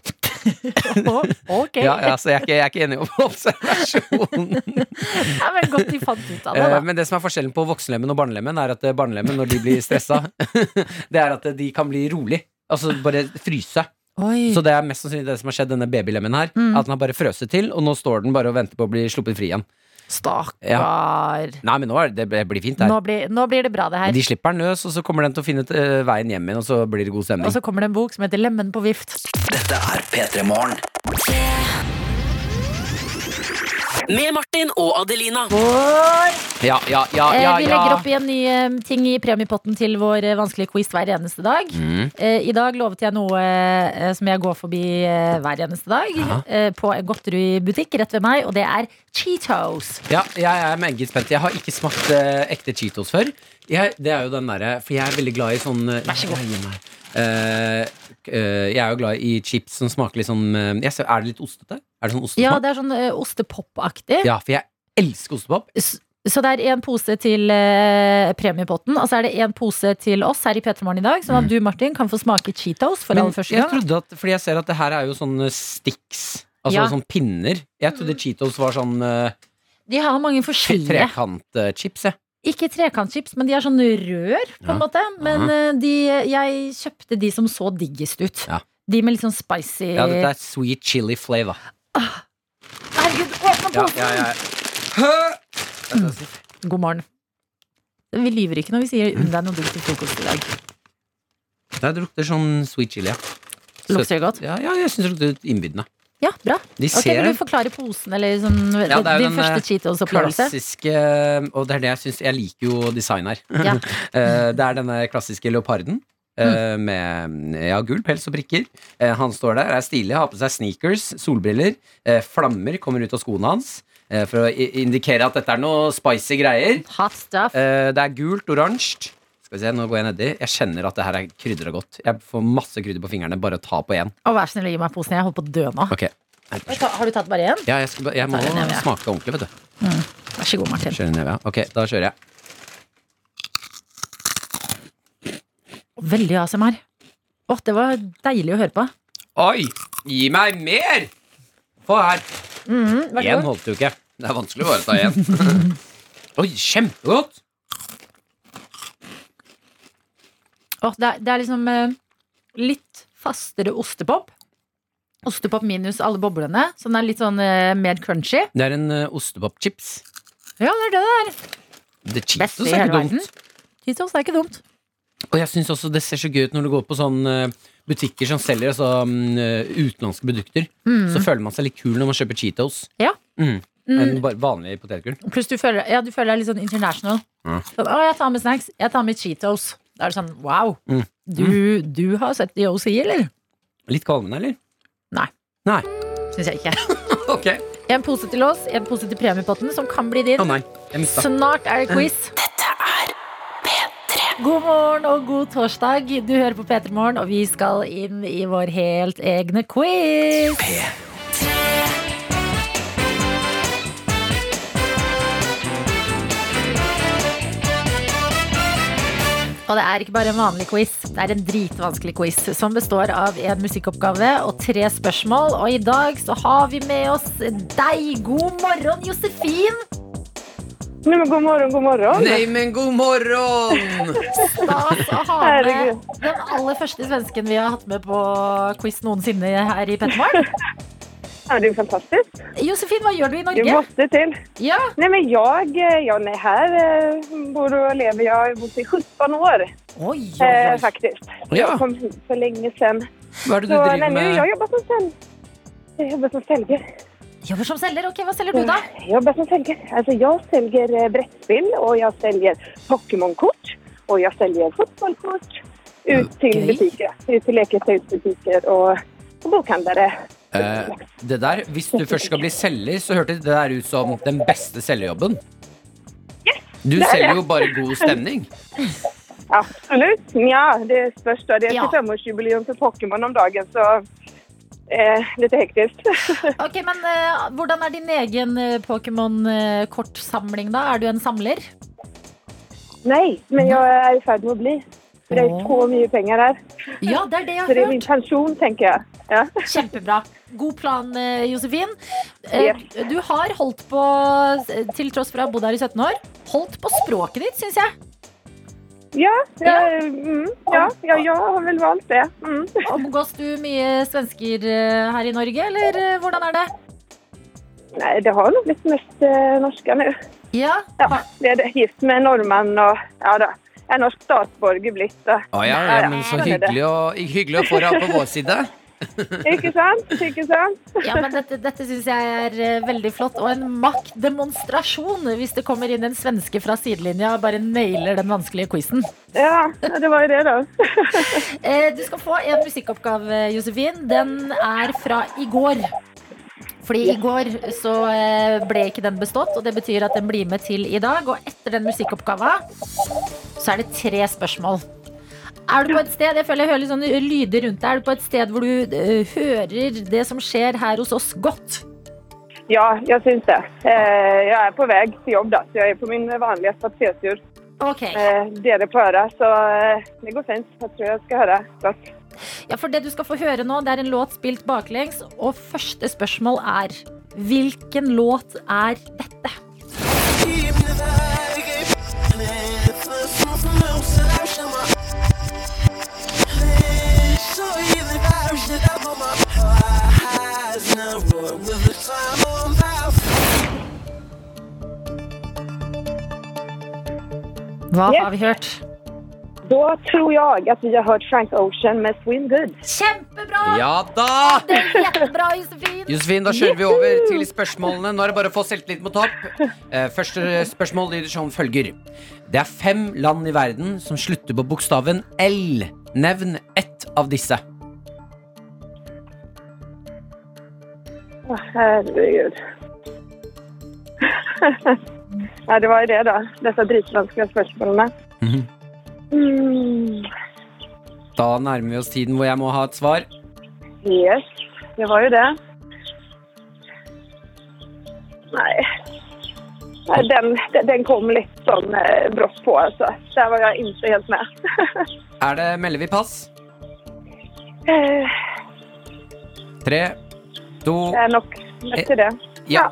Speaker 2: Å, ok.
Speaker 3: Ja, ja, så jeg er ikke, jeg er ikke enig om
Speaker 2: [LAUGHS]
Speaker 3: [LAUGHS] observasjonen.
Speaker 2: Det er vel godt de fant ut av det,
Speaker 3: Eh,
Speaker 2: da.
Speaker 3: Men det som er forskjellen på voksenlemmen og barnelemmen, er at eh, barnelemmen, når de blir stressa, [LAUGHS] det er at eh, de kan bli rolig. Altså bare fryse.
Speaker 2: Oi.
Speaker 3: Så det er mest sannsynlig det som har skjedd denne babylemmen her.
Speaker 2: Mm.
Speaker 3: At den har bare frøset til, og nå står den bare og venter på å bli sluppet fri igjen.
Speaker 2: Stakkar.
Speaker 3: Nei, men nå er det, det blir fint
Speaker 2: Nå,
Speaker 3: her.
Speaker 2: blir, nå blir det bra, det her.
Speaker 3: De slipper den løs, og så kommer den til å finne eh, veien hjem igjen, og så blir det god
Speaker 2: Og
Speaker 3: stemning.
Speaker 2: så kommer det en bok som heter 'Lemen på vift'.
Speaker 4: Med Martin og Adelina.
Speaker 2: Vår,
Speaker 3: Ja, ja, ja,
Speaker 2: eh,
Speaker 3: ja,
Speaker 2: vi
Speaker 3: ja.
Speaker 2: legger opp igjen nye eh, ting i premiepotten til vår eh, vanskelige quiz hver eneste dag.
Speaker 3: Mm.
Speaker 2: Eh, I dag lovet jeg noe eh, som jeg går forbi eh, hver eneste dag.
Speaker 3: Jaha.
Speaker 2: Eh, på en godteributikk rett ved meg, og det er Cheetos.
Speaker 3: Ja, jeg er meget spent. Jeg har ikke smakt eh, ekte Cheetos før. Jeg, det er jo den derre For jeg er veldig glad i sånn Vær så god. Eh, jeg er jo glad i chips som smaker litt sånn eh, jeg ser, Er det litt ostete? Er det sånn
Speaker 2: Ja,
Speaker 3: ostepop?
Speaker 2: det er sånn eh, ostepop-aktig.
Speaker 3: Ja, for jeg elsker ostepop.
Speaker 2: Så det er én pose til eh, premiepotten, og så er det én pose til oss her i P3morgen i dag, sånn at du, Martin, kan få smake Cheetos for
Speaker 3: Mm. Men
Speaker 2: aller første
Speaker 3: jeg
Speaker 2: gang.
Speaker 3: trodde at Fordi jeg ser at det her er jo sånne sticks. Altså
Speaker 2: Ja.
Speaker 3: sånn pinner. Jeg trodde Cheetos var sånn eh,
Speaker 2: De har mange
Speaker 3: tre-
Speaker 2: forskjellige.
Speaker 3: trekantchips, jeg.
Speaker 2: Ikke trekantchips, men de er sånne rør, på en
Speaker 3: Ja.
Speaker 2: måte. Men eh, de, jeg kjøpte de som så diggest ut.
Speaker 3: Ja.
Speaker 2: De med litt sånn spicy
Speaker 3: Ja, dette er sweet chili flavor.
Speaker 2: Herregud, åpne
Speaker 3: Ja,
Speaker 2: posen!
Speaker 3: ja, ja.
Speaker 2: God morgen. Vi lyver ikke når vi sier unn deg noe digg til frokost i dag.
Speaker 3: Nei, det lukter sånn sweet chili. Ja,
Speaker 2: Lukter det godt?
Speaker 3: ja, ja jeg syns det lukter innbydende.
Speaker 2: Ja, bra.
Speaker 3: De
Speaker 2: Ok,
Speaker 3: ser
Speaker 2: Vil du forklare posen, eller sånn,
Speaker 3: Ja, det er jo
Speaker 2: din
Speaker 3: den, eh,
Speaker 2: første Cheetos-opplevelse?
Speaker 3: klassiske Og det er det jeg syns Jeg liker jo design her.
Speaker 2: Ja.
Speaker 3: [LAUGHS] Eh, det er denne klassiske leoparden. eh,
Speaker 2: Mm.
Speaker 3: Med ja, gul pels og prikker. Eh, Han står der, er stilig, har på seg sneakers, solbriller. eh, Flammer kommer ut av skoene hans eh, for å i- indikere at dette er noe spicy greier.
Speaker 2: Hot stuff.
Speaker 3: Eh, Det er gult, oransje. Skal vi se, nå går Jeg nedi Jeg kjenner at det her er krydra godt. Jeg får masse krydder på fingrene bare å ta på én.
Speaker 2: Å, vær så snill, gi meg posen. Jeg holder på å dø nå.
Speaker 3: Ok.
Speaker 2: Ta- Har du tatt bare én?
Speaker 3: Ja, jeg, skal, ba- jeg må
Speaker 2: Ta den ned, ja.
Speaker 3: smake ordentlig, vet du.
Speaker 2: Vær så god, Martin.
Speaker 3: Kjøre ned, ja. Ok, da kjører jeg.
Speaker 2: Veldig ASMR. Å, det var deilig å høre på.
Speaker 3: Oi! Gi meg mer! Få her.
Speaker 2: Mm-hmm, Vær så
Speaker 3: Én
Speaker 2: god.
Speaker 3: holdt jo ikke. Det er vanskelig å bare ta én. [LAUGHS] Oi, kjempegodt!
Speaker 2: Å, det, er, det er liksom eh, litt fastere ostepop. Ostepop minus alle boblene, så den er litt sånn eh, mer crunchy.
Speaker 3: Det er en uh, ostepopchips.
Speaker 2: Ja, det er det det er.
Speaker 3: Det
Speaker 2: Beste
Speaker 3: Cheetos
Speaker 2: i
Speaker 3: er
Speaker 2: hele
Speaker 3: ikke
Speaker 2: verden.
Speaker 3: dumt.
Speaker 2: Cheetos, det er ikke dumt.
Speaker 3: Og jeg syns også det ser så gøy ut når du går på sånne eh, butikker som selger altså, mm, eh, utenlandske produkter. Så føler man seg litt kul når man kjøper Cheetos.
Speaker 2: Mm-hmm. Ja.
Speaker 3: Mm.
Speaker 2: Mm,
Speaker 3: En ba- vanlig potetgull.
Speaker 2: pluss du føler, ja, du føler deg litt sånn international.
Speaker 3: Ja.
Speaker 2: Sånn, å, jeg tar med snacks. Jeg tar med Cheetos. Da er det sånn wow.
Speaker 3: Mm.
Speaker 2: Du, du har sett DOC, eller?
Speaker 3: Litt kvalmende, eller?
Speaker 2: Nei.
Speaker 3: Nei.
Speaker 2: Syns jeg ikke.
Speaker 3: Ok.
Speaker 2: En pose til oss, en pose til premiepotten, som kan bli din.
Speaker 3: Å nei. Jeg mista.
Speaker 2: Snart er det quiz. Mm. Dette er P3. God morgen og god torsdag. Du hører på P3 Morgen, og vi skal inn i vår helt egne quiz. Og det er ikke bare en vanlig quiz, det er en dritvanskelig quiz som består av en musikkoppgave og tre spørsmål. Og i dag så har vi med oss deg. God morgen, Josefin!
Speaker 7: [LAUGHS] Nei, men god morgen, god morgen.
Speaker 3: Nei, men god morgen!
Speaker 2: Stas å ha med
Speaker 7: Herregud.
Speaker 2: den aller første svensken vi har hatt med på quiz noensinne her i Pettermorgen.
Speaker 7: Ja, det är ju fantastiskt.
Speaker 2: Josefin, vad gör du i
Speaker 7: Du
Speaker 2: Norge?
Speaker 7: måste till.
Speaker 2: Ja,
Speaker 7: Nej, men jag, eh, ja, nej, här eh, bor och lever. Jag har bott i 17 år
Speaker 2: oj, oj,
Speaker 7: eh,
Speaker 2: oj.
Speaker 7: faktiskt.
Speaker 3: Ja,
Speaker 7: Jag kom hit för länge sedan.
Speaker 3: hva er det du
Speaker 7: Så, nej,
Speaker 3: driver
Speaker 7: nu, jag
Speaker 3: med?
Speaker 7: jobbar som sälj. Jag jobbar som säljare.
Speaker 2: Jobbar som säljer, okej, vad säljer du da?
Speaker 7: Jag jobbar som säljare. Alltså, jag säljer eh, brettspel och jag säljer Pokémon-kort och jag säljer fotbollkort ut
Speaker 2: Okej.
Speaker 7: till butiker, ut till leketøysbutiker og, og bokhandlere.
Speaker 3: Eh, det der, Hvis du først skal bli selger, så hørtes det der ut som den beste selgerjobben. Du
Speaker 7: det er
Speaker 3: selger
Speaker 7: det.
Speaker 3: jo bare god stemning.
Speaker 7: Absolutt. Nja, det spørs. da. Det er
Speaker 2: Ja.
Speaker 7: 25-årsjubileum for Pokémon om dagen, så eh, litt hektisk. [LAUGHS]
Speaker 2: Ok, men eh, Hvordan er din egen eh, Pokémon-kortsamling, da? Er du en samler?
Speaker 7: Nei, men jeg er i ferd med å bli. For Det er
Speaker 2: Åh.
Speaker 7: så mye penger her.
Speaker 2: Ja, det er det jeg
Speaker 7: Så
Speaker 2: har
Speaker 7: det er
Speaker 2: hørt.
Speaker 7: min pensjon, tenker jeg. Ja.
Speaker 2: Kjempebra. God plan, eh, Josefin. Eh, Du har holdt på, eh, til tross for å ha bodd her i 17 år, holdt på språket ditt, syns jeg.
Speaker 7: Ja, ja,
Speaker 2: Ja.
Speaker 7: mm, ja, ja, jeg har vel valgt det. Mm.
Speaker 2: Omgås du mye svensker eh, her i Norge, eller eh, hvordan er det?
Speaker 7: Nei, det har nok blitt mest eh, norske nå.
Speaker 2: Ja,
Speaker 7: Ja, det er det. Gift med en nordmann og ja da. Jeg er norsk statsborger blitt. Da.
Speaker 3: Å ja, ja, men så hyggelig å, hyggelig å få deg på vår side.
Speaker 7: Ikke sant? Ikke sant?
Speaker 2: ja men dette, dette syns jeg er eh, veldig flott, og en maktdemonstrasjon hvis det kommer inn en svenske fra sidelinja og bare nailer den vanskelige quizen.
Speaker 7: Ja, det var jo det, da.
Speaker 2: Eh, Du skal få en musikkoppgave, Josefin. Den er fra i går. Fordi i går så eh, ble ikke den bestått, og det betyr at den blir med til i dag. Og etter den musikkoppgaven så er det tre spørsmål. Er du på et sted, jeg føler jeg hører litt sånne lyder rundt deg, er du på et sted hvor du eh, hører det som skjer her hos oss godt?
Speaker 7: Ja, jeg syns det. Eh, jeg er på vei til jobb, da, så jeg er på min vanlige spasertur.
Speaker 2: Ok,
Speaker 7: Eh, dere på øret, så eh, det går fint. Jeg tror jeg skal høre godt.
Speaker 2: ja, for det du skal få høre nå, det er en låt spilt baklengs, og første spørsmål er Hvilken låt er dette? Hva
Speaker 7: Yes.
Speaker 2: har vi hørt?
Speaker 7: Da tror jeg at vi har hørt Frank Ocean med Swim Good.
Speaker 2: Kjempebra!
Speaker 3: Ja da!
Speaker 2: Det er Kjempebra, Josefin!
Speaker 3: Josefin, da kjører vi over til spørsmålene. Nå er det bare å få selvtillit mot topp. Eh, Første spørsmål lyder som følger. Det er fem land i verden som slutter på bokstaven L. Nevn ett av disse.
Speaker 7: Å, herregud. [LAUGHS] ja, det var jo det, da. Disse dritvanskelige spørsmålene.
Speaker 3: Mhm.
Speaker 7: Mm,
Speaker 3: Da nærmer vi oss tiden hvor jeg må ha et svar.
Speaker 7: yes, det var jo det. Nei. Nei, den, den- den kom litt sånn eh, brått på, altså. Der var jeg ikke helt med. [LAUGHS]
Speaker 3: Er det melder vi pass?
Speaker 7: Eh,
Speaker 3: Tre, to
Speaker 7: Det er nok, nok til det.
Speaker 3: Ja.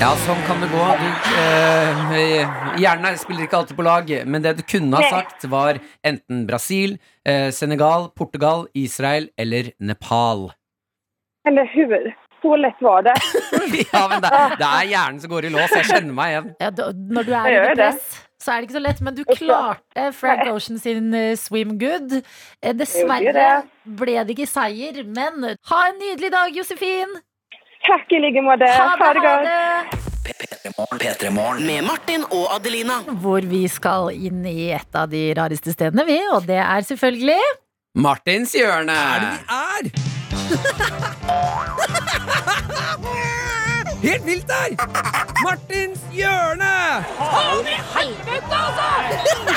Speaker 3: Ja, sånn kan det gå. Du, eh, hjernen her spiller ikke alltid på lag, men det du kunne ha
Speaker 7: Nei.
Speaker 3: sagt, var enten Brasil, eh, Senegal, Portugal, Israel eller Nepal. [LAUGHS]
Speaker 7: Eller hur? Så lett var det.
Speaker 3: Ja, men det, det er hjernen som går i lås. Jeg kjenner meg igjen.
Speaker 2: Ja, da, når du er
Speaker 7: Jeg
Speaker 2: under
Speaker 7: gjør det.
Speaker 2: press, så er det ikke så lett. Men du klarte Frank Ocean sin eh, Swim Good. Eh,
Speaker 7: Jeg
Speaker 2: Dessverre
Speaker 7: gjorde
Speaker 2: ble det ikke seier, men ha en nydelig dag, Josefin!
Speaker 7: Takk i like måte. Ha det godt.
Speaker 2: det!
Speaker 4: Med Martin og Adelina.
Speaker 2: Hvor vi skal inn i et av de rareste stedene, vi. Og det er selvfølgelig
Speaker 3: Martins hjørne. Er det vi er? [LAUGHS] Helt vilt der! Martins hjørne!
Speaker 2: [LAUGHS]
Speaker 3: Faen i helvete, altså!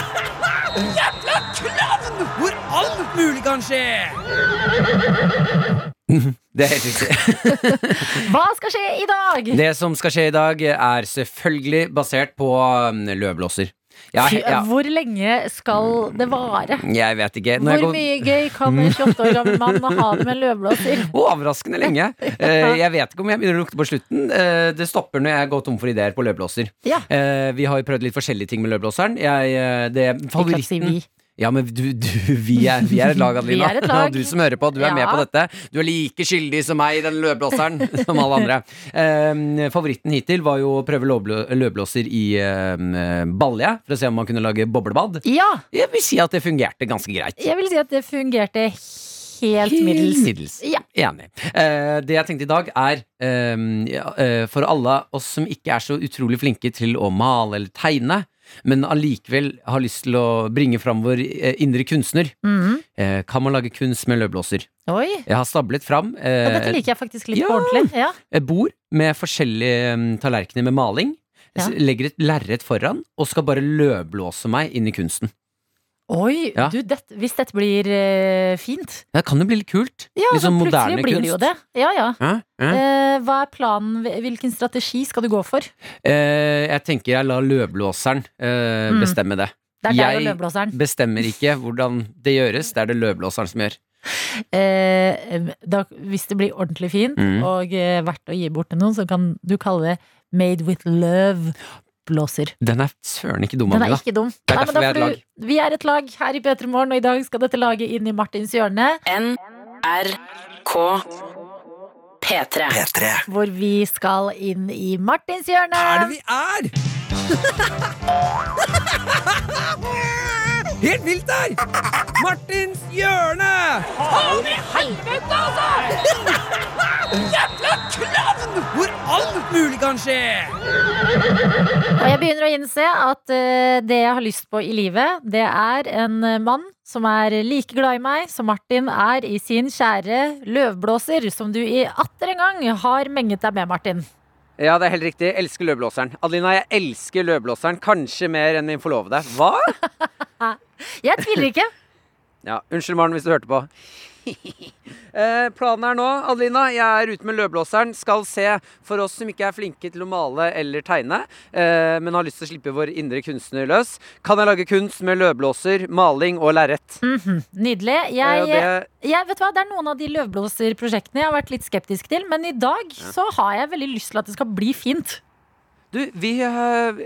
Speaker 3: Jævla klovn! Hvor alt mulig kan skje! [LAUGHS] Det er helt riktig. [LAUGHS]
Speaker 2: Hva skal skje i dag?
Speaker 3: Det som skal skje i dag, er selvfølgelig basert på um, løvblåser. Ja,
Speaker 2: Fy,
Speaker 3: ja,
Speaker 2: eh, Hvor lenge skal det vare?
Speaker 3: jeg vet ikke. Når jeg
Speaker 2: Hvor
Speaker 3: går-
Speaker 2: mye gøy kan en 28 år gammel mann ha det med en
Speaker 3: [LAUGHS]
Speaker 2: løvblåser?
Speaker 3: Og overraskende
Speaker 2: [LAUGHS]
Speaker 3: lenge. Eh, jeg vet ikke om jeg begynner å lukte på slutten. Eh, det stopper når jeg går tom for ideer på løvblåser.
Speaker 2: Ja.
Speaker 3: Eh, vi har jo prøvd litt forskjellige ting med løvblåseren. Jeg, eh, det,
Speaker 2: Ikke at si
Speaker 3: favoritten
Speaker 2: vi.
Speaker 3: Ja, men du, du, vi, er, vi er et lag, Adelina.
Speaker 2: [LAUGHS] Vi er et lag.
Speaker 3: [LAUGHS] Og du som hører på, du er med
Speaker 2: Ja.
Speaker 3: på dette. Du er like skyldig som meg i den løvblåseren [LAUGHS] som alle andre. Eh, favoritten hittil var jo å prøve lovblå- løvblåser i eh, Balje, for å se om man kunne lage boblebad.
Speaker 2: Ja,
Speaker 3: Jeg vil si at det fungerte ganske greit.
Speaker 2: jeg vil si at det fungerte helt middels.
Speaker 3: Middels.
Speaker 2: Ja.
Speaker 3: Enig. Eh, det jeg tenkte i dag, er ehm, ja, eh, for alle oss som ikke er så utrolig flinke til å male eller tegne, men allikevel har lyst til å bringe fram vår eh, indre kunstner.
Speaker 2: Mhm.
Speaker 3: Eh, kan man lage kunst med løvblåser?
Speaker 2: Oi.
Speaker 3: Jeg har stablet fram
Speaker 2: Ja,
Speaker 3: eh,
Speaker 2: dette liker jeg faktisk litt
Speaker 3: ja.
Speaker 2: på ordentlig. Ja.
Speaker 3: et bord med forskjellige mm, tallerkener med maling.
Speaker 2: Ja.
Speaker 3: S- Legger et lerret foran og skal bare løvblåse meg inn i kunsten.
Speaker 2: Oi,
Speaker 3: Ja.
Speaker 2: du, dette- hvis dette blir eh, fint
Speaker 3: Det kan jo bli litt kult.
Speaker 2: Ja,
Speaker 3: litt sånn
Speaker 2: så
Speaker 3: moderne
Speaker 2: plutselig blir det jo det. Ja, ja.
Speaker 3: Ja, ja.
Speaker 2: Eh, hva er planen? Hvilken strategi skal du gå for?
Speaker 3: Eh, jeg tenker jeg lar løvblåseren eh,
Speaker 2: Mm.
Speaker 3: bestemme det.
Speaker 2: Det er deg og
Speaker 3: Jeg-
Speaker 2: løvblåseren.
Speaker 3: Bestemmer ikke hvordan det gjøres, det er det løvblåseren som gjør.
Speaker 2: Eh, da, hvis det blir ordentlig fint
Speaker 3: Mm.
Speaker 2: og eh, verdt å gi bort til noen, så kan du kalle det Made with love-blåser.
Speaker 3: Den er søren ikke dum
Speaker 2: Den
Speaker 3: av
Speaker 2: er
Speaker 3: meg, da.
Speaker 2: ikke dum.
Speaker 3: Det er
Speaker 2: Nei, men da
Speaker 3: derfor vi er et
Speaker 2: får
Speaker 3: lag.
Speaker 2: du- vi er et lag her i P3 Morgen, og i dag skal dette laget inn i Martins hjørne.
Speaker 1: NRK P3.
Speaker 4: P3.
Speaker 2: Hvor vi skal inn i Martins hjørne.
Speaker 3: vi er?!
Speaker 2: [LAUGHS]
Speaker 3: Helt vilt der! Martins hjørne! Faen i helvete, altså! Jævla klovn! Hvor alt mulig kan skje!
Speaker 2: Og jeg begynner å innse at eh, det jeg har lyst på i livet, det er en eh, mann som er like glad i meg som Martin er i sin kjære løvblåser, som du i atter en gang har menget deg med, Martin.
Speaker 3: Ja, det er helt riktig. Jeg elsker løvblåseren. Adelina, jeg elsker løvblåseren. Kanskje mer enn min forlovede. Hva?
Speaker 2: Jeg tviler ikke.
Speaker 3: Ja, Unnskyld, Maren, hvis du hørte på. eh, planen er nå, Adelina, jeg er ute med løvblåseren. Skal se for oss som ikke er flinke til å male eller tegne, eh, men har lyst til å slippe vår indre kunstner løs. Kan jeg lage kunst med løvblåser, maling og lerret?
Speaker 2: Nydelig.
Speaker 3: Eh, og
Speaker 2: Jeg,
Speaker 3: det-
Speaker 2: jeg, vet du hva, det er noen av de løvblåserprosjektene jeg har vært litt skeptisk til, men i dag så har jeg veldig lyst til at det skal bli fint.
Speaker 3: Du, vi, eh,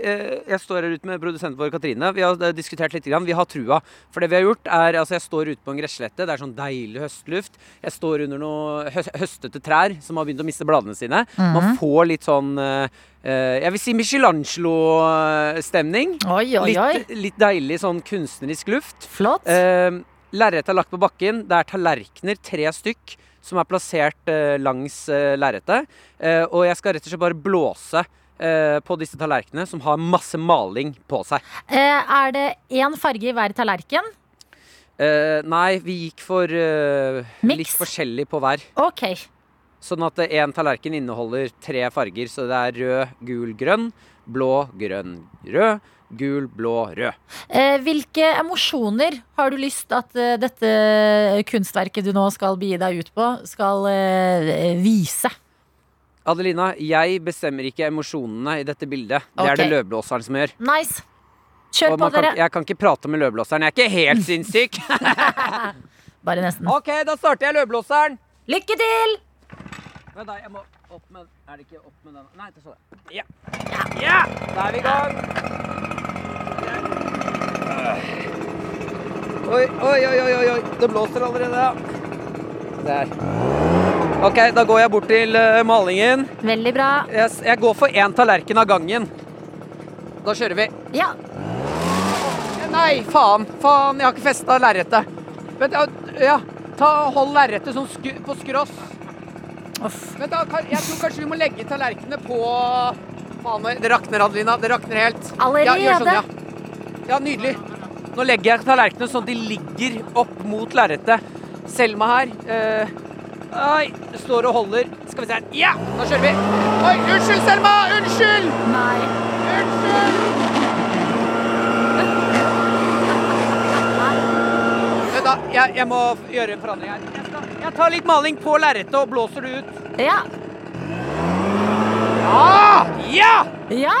Speaker 3: eh, jeg står her ute med produsenten vår, Katrine. Vi har eh, diskutert litt. Grann. Vi har trua. For det vi har gjort er, altså Jeg står ute på en gresslette. Det er sånn deilig høstluft. Jeg står under noen hø høstete trær som har begynt å miste bladene sine.
Speaker 2: Mhm.
Speaker 3: Man får litt sånn eh, eh, Jeg vil si Michelangelo-stemning.
Speaker 2: Oi, oi, oi.
Speaker 3: Litt, litt deilig sånn kunstnerisk luft.
Speaker 2: Flott.
Speaker 3: Eh, Lerretet er lagt på bakken. Det er tallerkener, tre stykk, som er plassert eh, langs eh, lerretet. Eh, og jeg skal rett og slett bare blåse eh, på disse tallerkenene, som har masse maling på seg.
Speaker 2: Eh, er det én farge i hver tallerken?
Speaker 3: Eh, nei, vi gikk for eh,
Speaker 2: Mix.
Speaker 3: litt forskjellig på hver.
Speaker 2: Ok.
Speaker 3: Sånn at én tallerken inneholder tre farger. Så det er rød, gul, grønn, blå, grønn, rød. Gul, blå, rød.
Speaker 2: Eh, hvilke emosjoner har du lyst at eh, dette kunstverket du nå skal begi deg ut på, skal eh, vise?
Speaker 3: Adelina, jeg bestemmer ikke emosjonene i dette bildet. Det er det
Speaker 2: Ok.
Speaker 3: løvblåseren som gjør.
Speaker 2: Nice! Kjør
Speaker 3: Og
Speaker 2: på,
Speaker 3: man kan,
Speaker 2: dere.
Speaker 3: ikke- jeg kan ikke prate med løvblåseren. Jeg er ikke
Speaker 2: [LAUGHS]
Speaker 3: helt sinnssyk. [LAUGHS]
Speaker 2: Bare nesten.
Speaker 3: OK, da starter jeg løvblåseren.
Speaker 2: Lykke til!
Speaker 3: Men nei, jeg må opp med Er det ikke opp med den? Nei, det står der. Ja. ja! Da er vi i gang. Oi, oi, oi, oi, oi, oi. Det blåser allerede, ja. Der. OK, da går jeg bort til eh, malingen.
Speaker 2: Veldig bra.
Speaker 3: Jeg, s- jeg går for én tallerken av gangen. Da kjører vi.
Speaker 2: Ja.
Speaker 3: Nei, faen. Faen, jeg har ikke festa lerretet. Vent, ja, ja. Ta, hold lerretet sånn sku, på skross.
Speaker 2: Uff.
Speaker 3: Vent, da. kan- Jeg tror kanskje vi må legge tallerkenene på Faen, det- det rakner, Adelina. Det rakner helt. Ja, gjør sånn, ja. ja, nydelig. Nå legger jeg tallerkenene sånn at de ligger opp mot lerretet. Selma her. eh, Oi, står og holder. Skal vi se her. Ja, da kjører vi. Oi, unnskyld, Selma! Unnskyld!
Speaker 2: Nei.
Speaker 3: Vent, da. Jeg, jeg må gjøre en forandring her. Jeg, skal, jeg tar litt maling på lerretet og blåser det ut.
Speaker 2: Ja.
Speaker 3: Ah, ja!
Speaker 2: ja.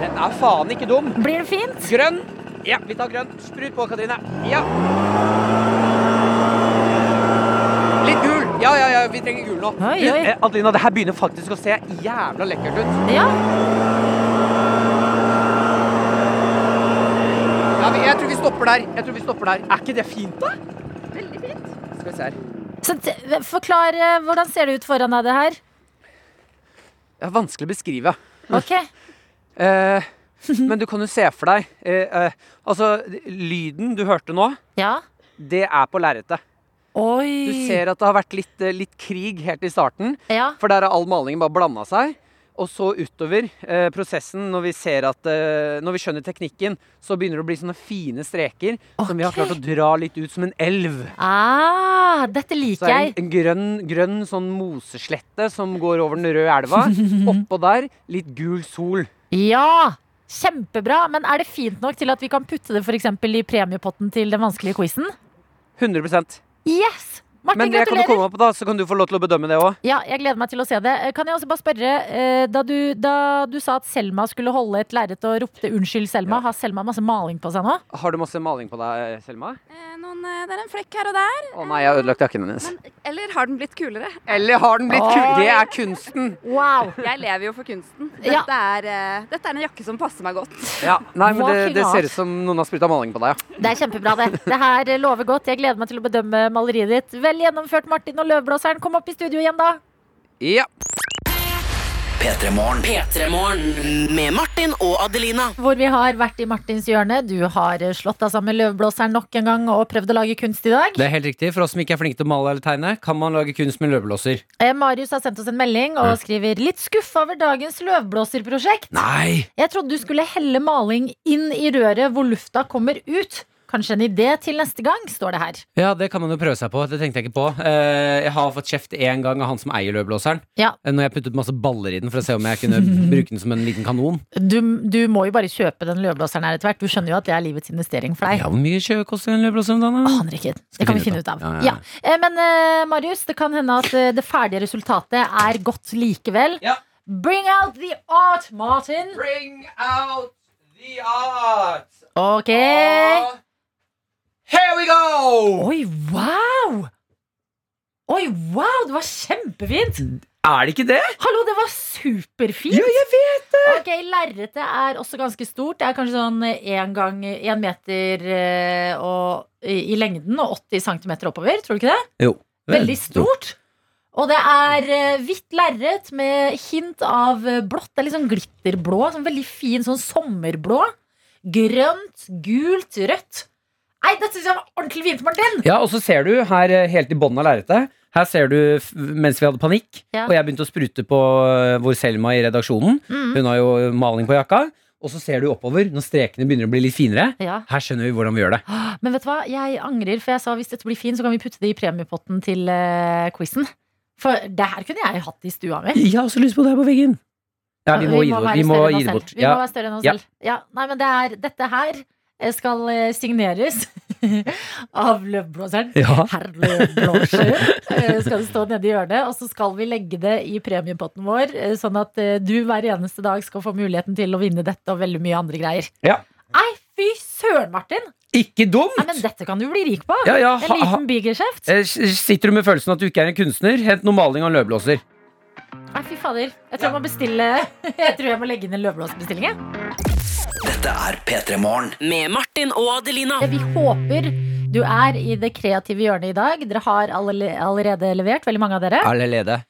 Speaker 3: Den er faen ikke dum.
Speaker 2: Blir det fint?
Speaker 3: Grønn. Ja, vi tar grønn. Sprut på, Katrine. Ja. Litt gul. Ja, ja, ja, vi trenger gul nå.
Speaker 2: Oi,
Speaker 3: Du,
Speaker 2: oi.
Speaker 3: eh, Adelina, det her begynner faktisk å se jævla lekkert ut.
Speaker 2: Ja.
Speaker 8: stopper der. Jeg tror vi stopper der. Er ikke det fint, da? Veldig fint. Skal vi se her.
Speaker 2: Så t forklar eh, hvordan ser det ut foran deg, det her.
Speaker 8: Det er vanskelig å beskrive.
Speaker 2: Ok,
Speaker 8: Eh,
Speaker 2: [LAUGHS]
Speaker 8: men du kan jo se for deg eh, eh, Altså, lyden du hørte nå,
Speaker 2: ja
Speaker 8: det er på lerretet. Du
Speaker 2: Oi
Speaker 8: ser at det har vært litt, eh, litt krig helt i starten.
Speaker 2: ja.
Speaker 8: For der har all malingen bare blanda seg. Og så utover eh, prosessen, når vi, ser at, eh, når vi skjønner teknikken, så begynner det å bli sånne fine streker som vi har
Speaker 2: Ok.
Speaker 8: klart å dra litt ut som en elv.
Speaker 2: Ah, dette
Speaker 8: Så er
Speaker 2: liker
Speaker 8: det
Speaker 2: jeg
Speaker 8: en, en grønn, grønn sånn moseslette som går over den røde elva.
Speaker 2: [LAUGHS]
Speaker 8: Oppå der litt gul sol.
Speaker 2: Ja, kjempebra Men er det fint nok til at vi kan putte det for eksempel i premiepotten til den vanskelige quizzen?
Speaker 8: 100
Speaker 2: Yes! Martin,
Speaker 8: Men det kan du
Speaker 2: gratulerer!
Speaker 8: komme opp på, da, så kan du få lov til å bedømme det òg.
Speaker 2: Ja, jeg gleder meg til å se det. Eh, Kan jeg også bare spørre, eh, da du, da du sa at Selma skulle holde et lerret og ropte 'unnskyld, Selma', har Selma masse maling på seg nå?
Speaker 8: Har du masse maling på deg, Selma?
Speaker 9: Eh, Noen, eh, det er en flekk her og der.
Speaker 8: Å nei, jeg har ødelagt jakken hennes.
Speaker 9: Eller har den blitt kulere?
Speaker 8: Eller har den blitt kul? Det er kunsten.
Speaker 2: Wow!
Speaker 9: Jeg lever jo for kunsten. [LAUGHS]
Speaker 2: Ja.
Speaker 9: Dette, er, eh, dette er en jakke som passer meg godt.
Speaker 8: Ja, nei, men det,
Speaker 2: Walking
Speaker 8: det
Speaker 2: out.
Speaker 8: ser ut som noen har spruta maling på deg, ja.
Speaker 2: Det er kjempebra, det. Det her lover godt. Jeg gleder meg til å bedømme maleriet ditt. Vel gjennomført, Martin og Løvblåseren. Kom opp i studio igjen, da.
Speaker 8: Ja.
Speaker 4: P3morgen. Med Martin og Adelina.
Speaker 2: Hvor vi har vært i Martins hjørne. Du har eh, slått deg sammen med Løvblåseren nok en gang og prøvd å lage kunst i dag.
Speaker 3: Det er helt riktig. For oss som ikke er flinke til å male eller tegne, kan man lage kunst med løvblåser.
Speaker 2: Eh, Marius har sendt oss en melding og skriver 'litt skuffa over dagens løvblåserprosjekt'.
Speaker 3: Nei!
Speaker 2: Jeg trodde du skulle helle maling inn i røret hvor lufta kommer ut. Kanskje en idé til neste gang, står det her.
Speaker 3: Ja, det kan man jo prøve seg på. Det tenkte jeg ikke på. Eh, jeg har fått kjeft én gang av han som eier løvblåseren.
Speaker 2: Ja.
Speaker 3: Eh, Når jeg puttet masse baller i den for å se om jeg
Speaker 2: [LAUGHS]
Speaker 3: kunne bruke den som en liten kanon.
Speaker 2: Du, du må jo bare kjøpe den løvblåseren her etter hvert. Du skjønner jo at det er livets investering for deg.
Speaker 3: Ja, hvor mye kjø koster en løvblåser om dagen? da?
Speaker 2: Aner ikke. Det kan vi finne ut av.
Speaker 3: Ja, ja,
Speaker 2: Ja.
Speaker 3: ja.
Speaker 2: Eh, Men eh, Marius, det kan hende at eh, det ferdige resultatet er godt likevel.
Speaker 8: Ja.
Speaker 2: Bring out the art, Martin!
Speaker 8: Bring out the art!
Speaker 2: Ok.
Speaker 8: Here we go!
Speaker 2: Oi, wow! Oi, wow! Det var kjempefint!
Speaker 8: Er det ikke det?
Speaker 2: Hallo, det var superfint!
Speaker 8: Ja, jeg vet!
Speaker 2: Ok, Lerretet er også ganske stort. Det er kanskje sånn én gang én meter eh, og, i, i lengden og 80 cm oppover. Tror du ikke det?
Speaker 3: Jo.
Speaker 2: Veldig stort. Og det er eh, hvitt lerret med hint av eh, blått. Det er litt sånn glitterblå. Sånn veldig fin sånn sommerblå. Grønt, gult, rødt. Nei, dette syns jeg var ordentlig fint, Martin!
Speaker 3: Ja, og så ser du her eh, helt i bånn av lerretet. Her ser du f- mens vi hadde panikk,
Speaker 2: Ja.
Speaker 3: og jeg begynte å sprute på eh, vår Selma i redaksjonen.
Speaker 2: Mm.
Speaker 3: Hun har jo maling på jakka. Og så ser du oppover når strekene begynner å bli litt finere.
Speaker 2: Ja.
Speaker 3: Her skjønner vi hvordan vi gjør det.
Speaker 2: Men vet du hva, jeg angrer, for jeg sa hvis dette blir fint, så kan vi putte det i premiepotten til uh, quizen. For det her kunne jeg hatt i stua mi.
Speaker 3: Jeg har også lyst på det her på veggen. Ja, vi må, gi det,
Speaker 2: være
Speaker 3: vi må
Speaker 2: større enn
Speaker 3: gi
Speaker 2: oss
Speaker 3: det
Speaker 2: selv.
Speaker 3: bort.
Speaker 2: Vi
Speaker 3: Ja.
Speaker 2: må være større enn oss
Speaker 3: Ja.
Speaker 2: selv. Ja, nei, men det er, dette her eh, skal eh, signeres [LAUGHS] av løvblåseren.
Speaker 3: Ja.
Speaker 2: Herr Løvblåser eh, skal det stå nede i hjørnet, og så skal vi legge det i premiepotten vår, eh, sånn at eh, du hver eneste dag skal få muligheten til å vinne dette og veldig mye andre greier.
Speaker 3: Ja.
Speaker 2: Nei, fy søren, Martin!
Speaker 3: Ikke
Speaker 2: Nei,
Speaker 3: dumt!
Speaker 2: men dette kan du bli rik på!
Speaker 3: Ja, ja,
Speaker 2: En
Speaker 3: ha, ha.
Speaker 2: liten bigeskjeft.
Speaker 3: Eh, s- Sitter du med følelsen at du ikke er en kunstner? Hent noe maling og en løvblåser.
Speaker 2: Nei, fy fader. Jeg tror jeg må bestille [LAUGHS] Jeg tror jeg må legge inn en løvblåsbestilling, jeg.
Speaker 4: Dette er P3morgen. Med Martin og Adelina.
Speaker 2: Vi håper du er i det kreative hjørnet i dag. Dere har alle, allerede levert, veldig mange av dere.
Speaker 3: Allerede.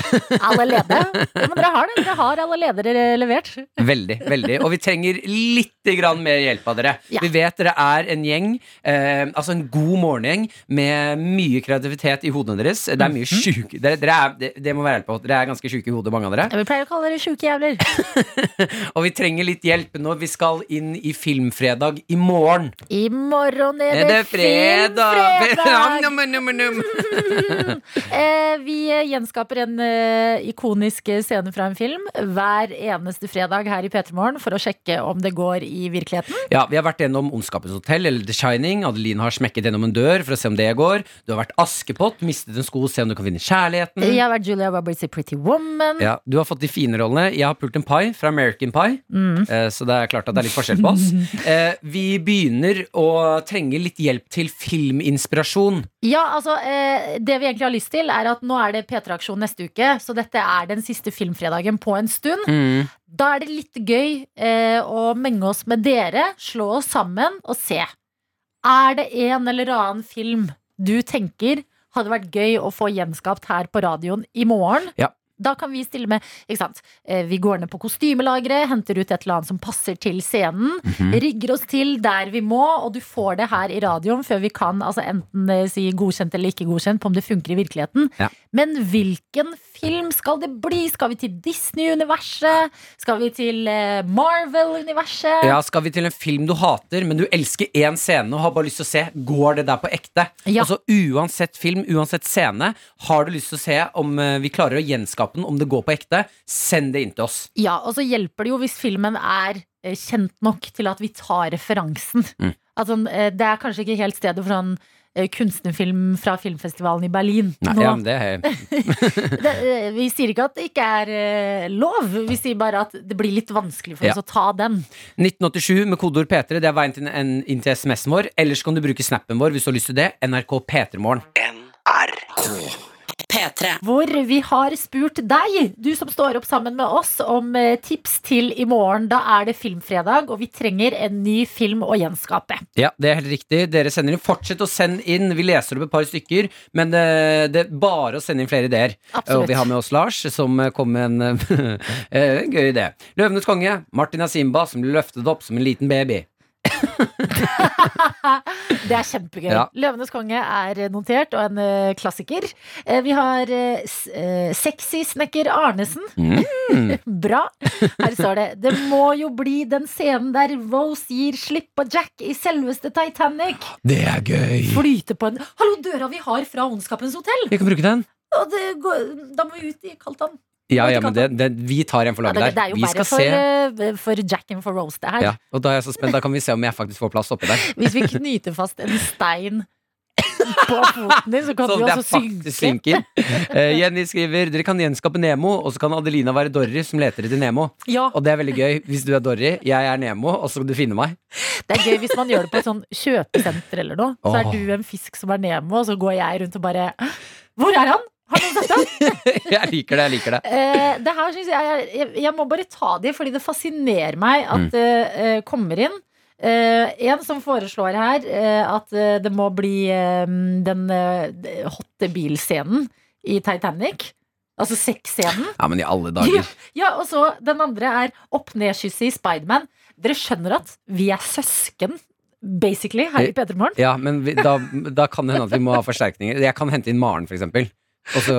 Speaker 3: [LAUGHS]
Speaker 2: Allerede. Ja, men dere har det. Dere har allerede levert.
Speaker 3: Veldig. veldig Og vi trenger litt grann mer hjelp av dere.
Speaker 2: Ja.
Speaker 3: Vi vet dere er en gjeng, eh, altså en god morgengjeng med mye kreativitet i hodene deres. Det er mye sjuke dere, dere er, det, det må være ærlig på. Dere er ganske sjuke i hodet, mange av dere.
Speaker 2: Vi pleier å kalle dere sjuke jævler.
Speaker 3: Og vi trenger litt hjelp når vi skal inn i Filmfredag i morgen.
Speaker 2: I morgen er
Speaker 3: Er
Speaker 2: det
Speaker 3: det fredag? [LAUGHS]
Speaker 2: filmfredag!
Speaker 3: Nam, nam, nam, nam.
Speaker 2: Eh, Vi gjenskaper en eh, ikonisk scene fra en film hver eneste fredag her i P3morgen for å sjekke om det går i virkeligheten.
Speaker 3: Ja, Vi har vært gjennom Ondskapens hotell eller The Shining. Adeline har smekket gjennom en dør for å se om det går. Du har vært Askepott, mistet en sko, se om du kan finne kjærligheten.
Speaker 2: Jeg har vært Julia Roberts i Pretty Woman.
Speaker 3: Ja, Du har fått de fine rollene. Jeg har pult en pai fra American Pie. Eh, Så det er klart at det er litt forskjell på oss. Eh, Vi begynner å trenge litt hjelp til filminspirasjon.
Speaker 2: Ja, altså, eh, det vi egentlig har lyst til er at nå er det P3-aksjon neste uke, så dette er den siste filmfredagen på en stund. Da er det litt gøy eh, å menge oss med dere, slå oss sammen og se. Er det en eller annen film du tenker hadde vært gøy å få gjenskapt her på radioen i morgen?
Speaker 3: Ja.
Speaker 2: Da kan vi stille med ikke sant? Eh, Vi går ned på kostymelageret, henter ut et eller annet som passer til scenen.
Speaker 3: Mhm.
Speaker 2: Rigger oss til der vi må, og du får det her i radioen før vi kan altså enten eh, si godkjent eller ikke godkjent på om det funker i virkeligheten.
Speaker 3: Ja.
Speaker 2: Men hvilken film skal det bli? Skal vi til Disney-universet? Skal vi til eh, Marvel-universet?
Speaker 3: Ja, Skal vi til en film du hater, men du elsker én scene og har bare lyst til å se? Går det der på ekte?
Speaker 2: Ja.
Speaker 3: Altså Uansett film, uansett scene, har du lyst til å se om eh, vi klarer å gjenskape den, om det går på ekte? Send det inn til oss.
Speaker 2: Ja, og så hjelper det jo hvis filmen er eh, kjent nok til at vi tar referansen.
Speaker 3: Mm.
Speaker 2: Altså, eh, det er kanskje ikke helt stedet for en kunstnerfilm fra filmfestivalen i Berlin.
Speaker 3: Nei,
Speaker 2: Nå.
Speaker 3: ja, men det er, [LAUGHS]
Speaker 2: det, eh, vi sier ikke at det ikke er eh, lov, vi sier bare at det blir litt vanskelig for
Speaker 3: Ja.
Speaker 2: oss å ta den.
Speaker 3: 1987 med kodeord P3, det er veien til, en, inn til SMS-en vår. Ellers kan du bruke snappen vår hvis du har lyst til det. NRK P3morgen.
Speaker 4: P3.
Speaker 2: Hvor vi har spurt deg, du som står opp sammen med oss, om eh, tips til i morgen. Da er det filmfredag, og vi trenger en ny film å gjenskape.
Speaker 3: Ja, det er helt riktig. Dere sender inn. Fortsett å sende inn. Vi leser opp et par stykker, men eh, det er bare å sende inn flere ideer.
Speaker 2: Absolutt.
Speaker 3: Og vi har med oss Lars, som eh, kom med en [LAUGHS] eh, en gøy idé. Løvenes konge. Martin er Simba, som ble løftet opp som en liten baby.
Speaker 2: Det er kjempegøy.
Speaker 3: Ja.
Speaker 2: Løvenes konge er notert, og en eh, klassiker. Eh, vi har eh, s- eh, sexy snekker Arnesen.
Speaker 3: Mm.
Speaker 2: [LAUGHS] Bra. Her står det Det må jo bli den scenen der Rose gir slipp på Jack i selveste Titanic.
Speaker 3: Det er gøy!
Speaker 2: Flyte på en Hallo, døra vi har fra Ondskapens hotell!
Speaker 3: Vi kan bruke den.
Speaker 2: Og det går, da må vi ut i kaldt vann.
Speaker 3: Ja,
Speaker 2: Vet
Speaker 3: ja,
Speaker 2: du
Speaker 3: men
Speaker 2: hva?
Speaker 3: det, det, vi tar en for
Speaker 2: Ja, det,
Speaker 3: laget
Speaker 2: det
Speaker 3: der.
Speaker 2: er jo
Speaker 3: Vi
Speaker 2: verre
Speaker 3: skal
Speaker 2: for,
Speaker 3: se.
Speaker 2: eh, for Jack and for Rose, det her.
Speaker 3: Ja, og da er jeg så spent. Da kan vi se om jeg faktisk får plass oppe der.
Speaker 2: Hvis vi knyter fast en stein på foten din, så [LAUGHS] kan
Speaker 3: Sånn
Speaker 2: du
Speaker 3: at jeg
Speaker 2: også
Speaker 3: faktisk
Speaker 2: synke.
Speaker 3: synker. Eh, Jenny skriver dere kan gjenskape Nemo, og så kan Adelina være Dorry som leter etter Nemo.
Speaker 2: Ja,
Speaker 3: Og det er veldig gøy hvis du er Dorry, jeg er Nemo, og så kan du finne meg. [LAUGHS]
Speaker 2: Det er gøy hvis man gjør det på et sånn kjøpesenter eller noe. Så er
Speaker 3: Åh.
Speaker 2: du en fisk som er Nemo, og så går jeg rundt og bare Hvor er han? Har noen sett ham?
Speaker 3: Jeg liker det, jeg liker det.
Speaker 2: Eh, det her synes jeg, er- jeg Jeg må bare ta de, fordi det fascinerer meg
Speaker 3: Mm.
Speaker 2: at det eh, kommer inn. Eh, en som foreslår her eh, at eh, det må bli eh, den eh, hotte bilscenen i Titanic. Altså sexscenen.
Speaker 3: Ja, men i alle dager.
Speaker 2: Ja, og så den andre er opp-ned-kysset i Spiderman. Dere skjønner at vi er søsken, basically,
Speaker 3: Eh,
Speaker 2: her i P3morgen.
Speaker 3: Ja, men vi, da, da kan det hende at vi må ha forsterkninger. Jeg kan hente inn Maren, for eksempel. Og [LAUGHS] så,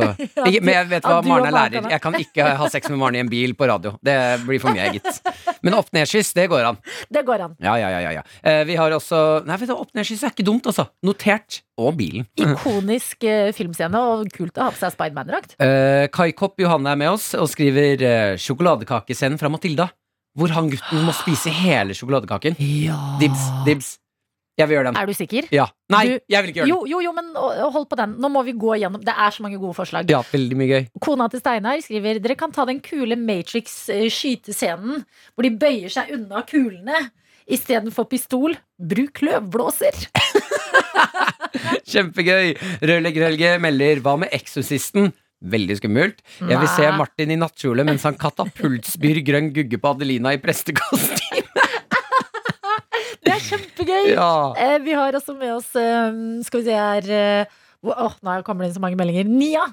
Speaker 3: ikke, men jeg vet
Speaker 2: ja,
Speaker 3: hva,
Speaker 2: du og
Speaker 3: Maren
Speaker 2: Maren
Speaker 3: er
Speaker 2: kan
Speaker 3: lærer.
Speaker 2: ha-
Speaker 3: Jeg kan ikke ha sex med Maren i en bil på radio. Det blir for mye, gitt. Men opp-ned-skyss, det går an.
Speaker 2: Det går an.
Speaker 3: Ja, ja, ja. ja, ja. Eh, Vi har også Nei, vet du, opp-ned-skyss er ikke dumt, altså. Notert. Og bilen.
Speaker 2: Ikonisk eh, filmscene, og kult å ha på seg Spiderman-drakt.
Speaker 3: Eh, Kai Kopp Johanne er med oss og skriver eh, sjokoladekakescenen fra Matilda. Hvor han gutten må spise hele sjokoladekaken. Dibs, dibs. Jeg vil gjøre den.
Speaker 2: Er du sikker?
Speaker 3: Ja. Nei,
Speaker 2: Du-
Speaker 3: jeg vil ikke gjøre den.
Speaker 2: Jo, jo, jo, men å- hold på den. Nå må vi gå gjennom. Det er så mange gode forslag.
Speaker 3: Ja, veldig mye gøy.
Speaker 2: Kona til Steinar skriver Dere kan ta den kule Matrix-skytescenen hvor de bøyer seg unna kulene. Istedenfor pistol, bruk løvblåser.
Speaker 3: Kjempegøy. Rødlegg-Rølge melder Hva med Eksorsisten? Veldig skummelt. Jeg vil se
Speaker 2: Nei.
Speaker 3: Martin i nattkjole mens han katapultspyr grønn gugge på Adelina i prestekostyme.
Speaker 2: Det er kjempegøy!
Speaker 3: [LAUGHS] Ja.
Speaker 2: Eh, vi har også med oss eh, Skal vi se her eh, hvor- Åh, nå kommer det inn så mange meldinger. Nia!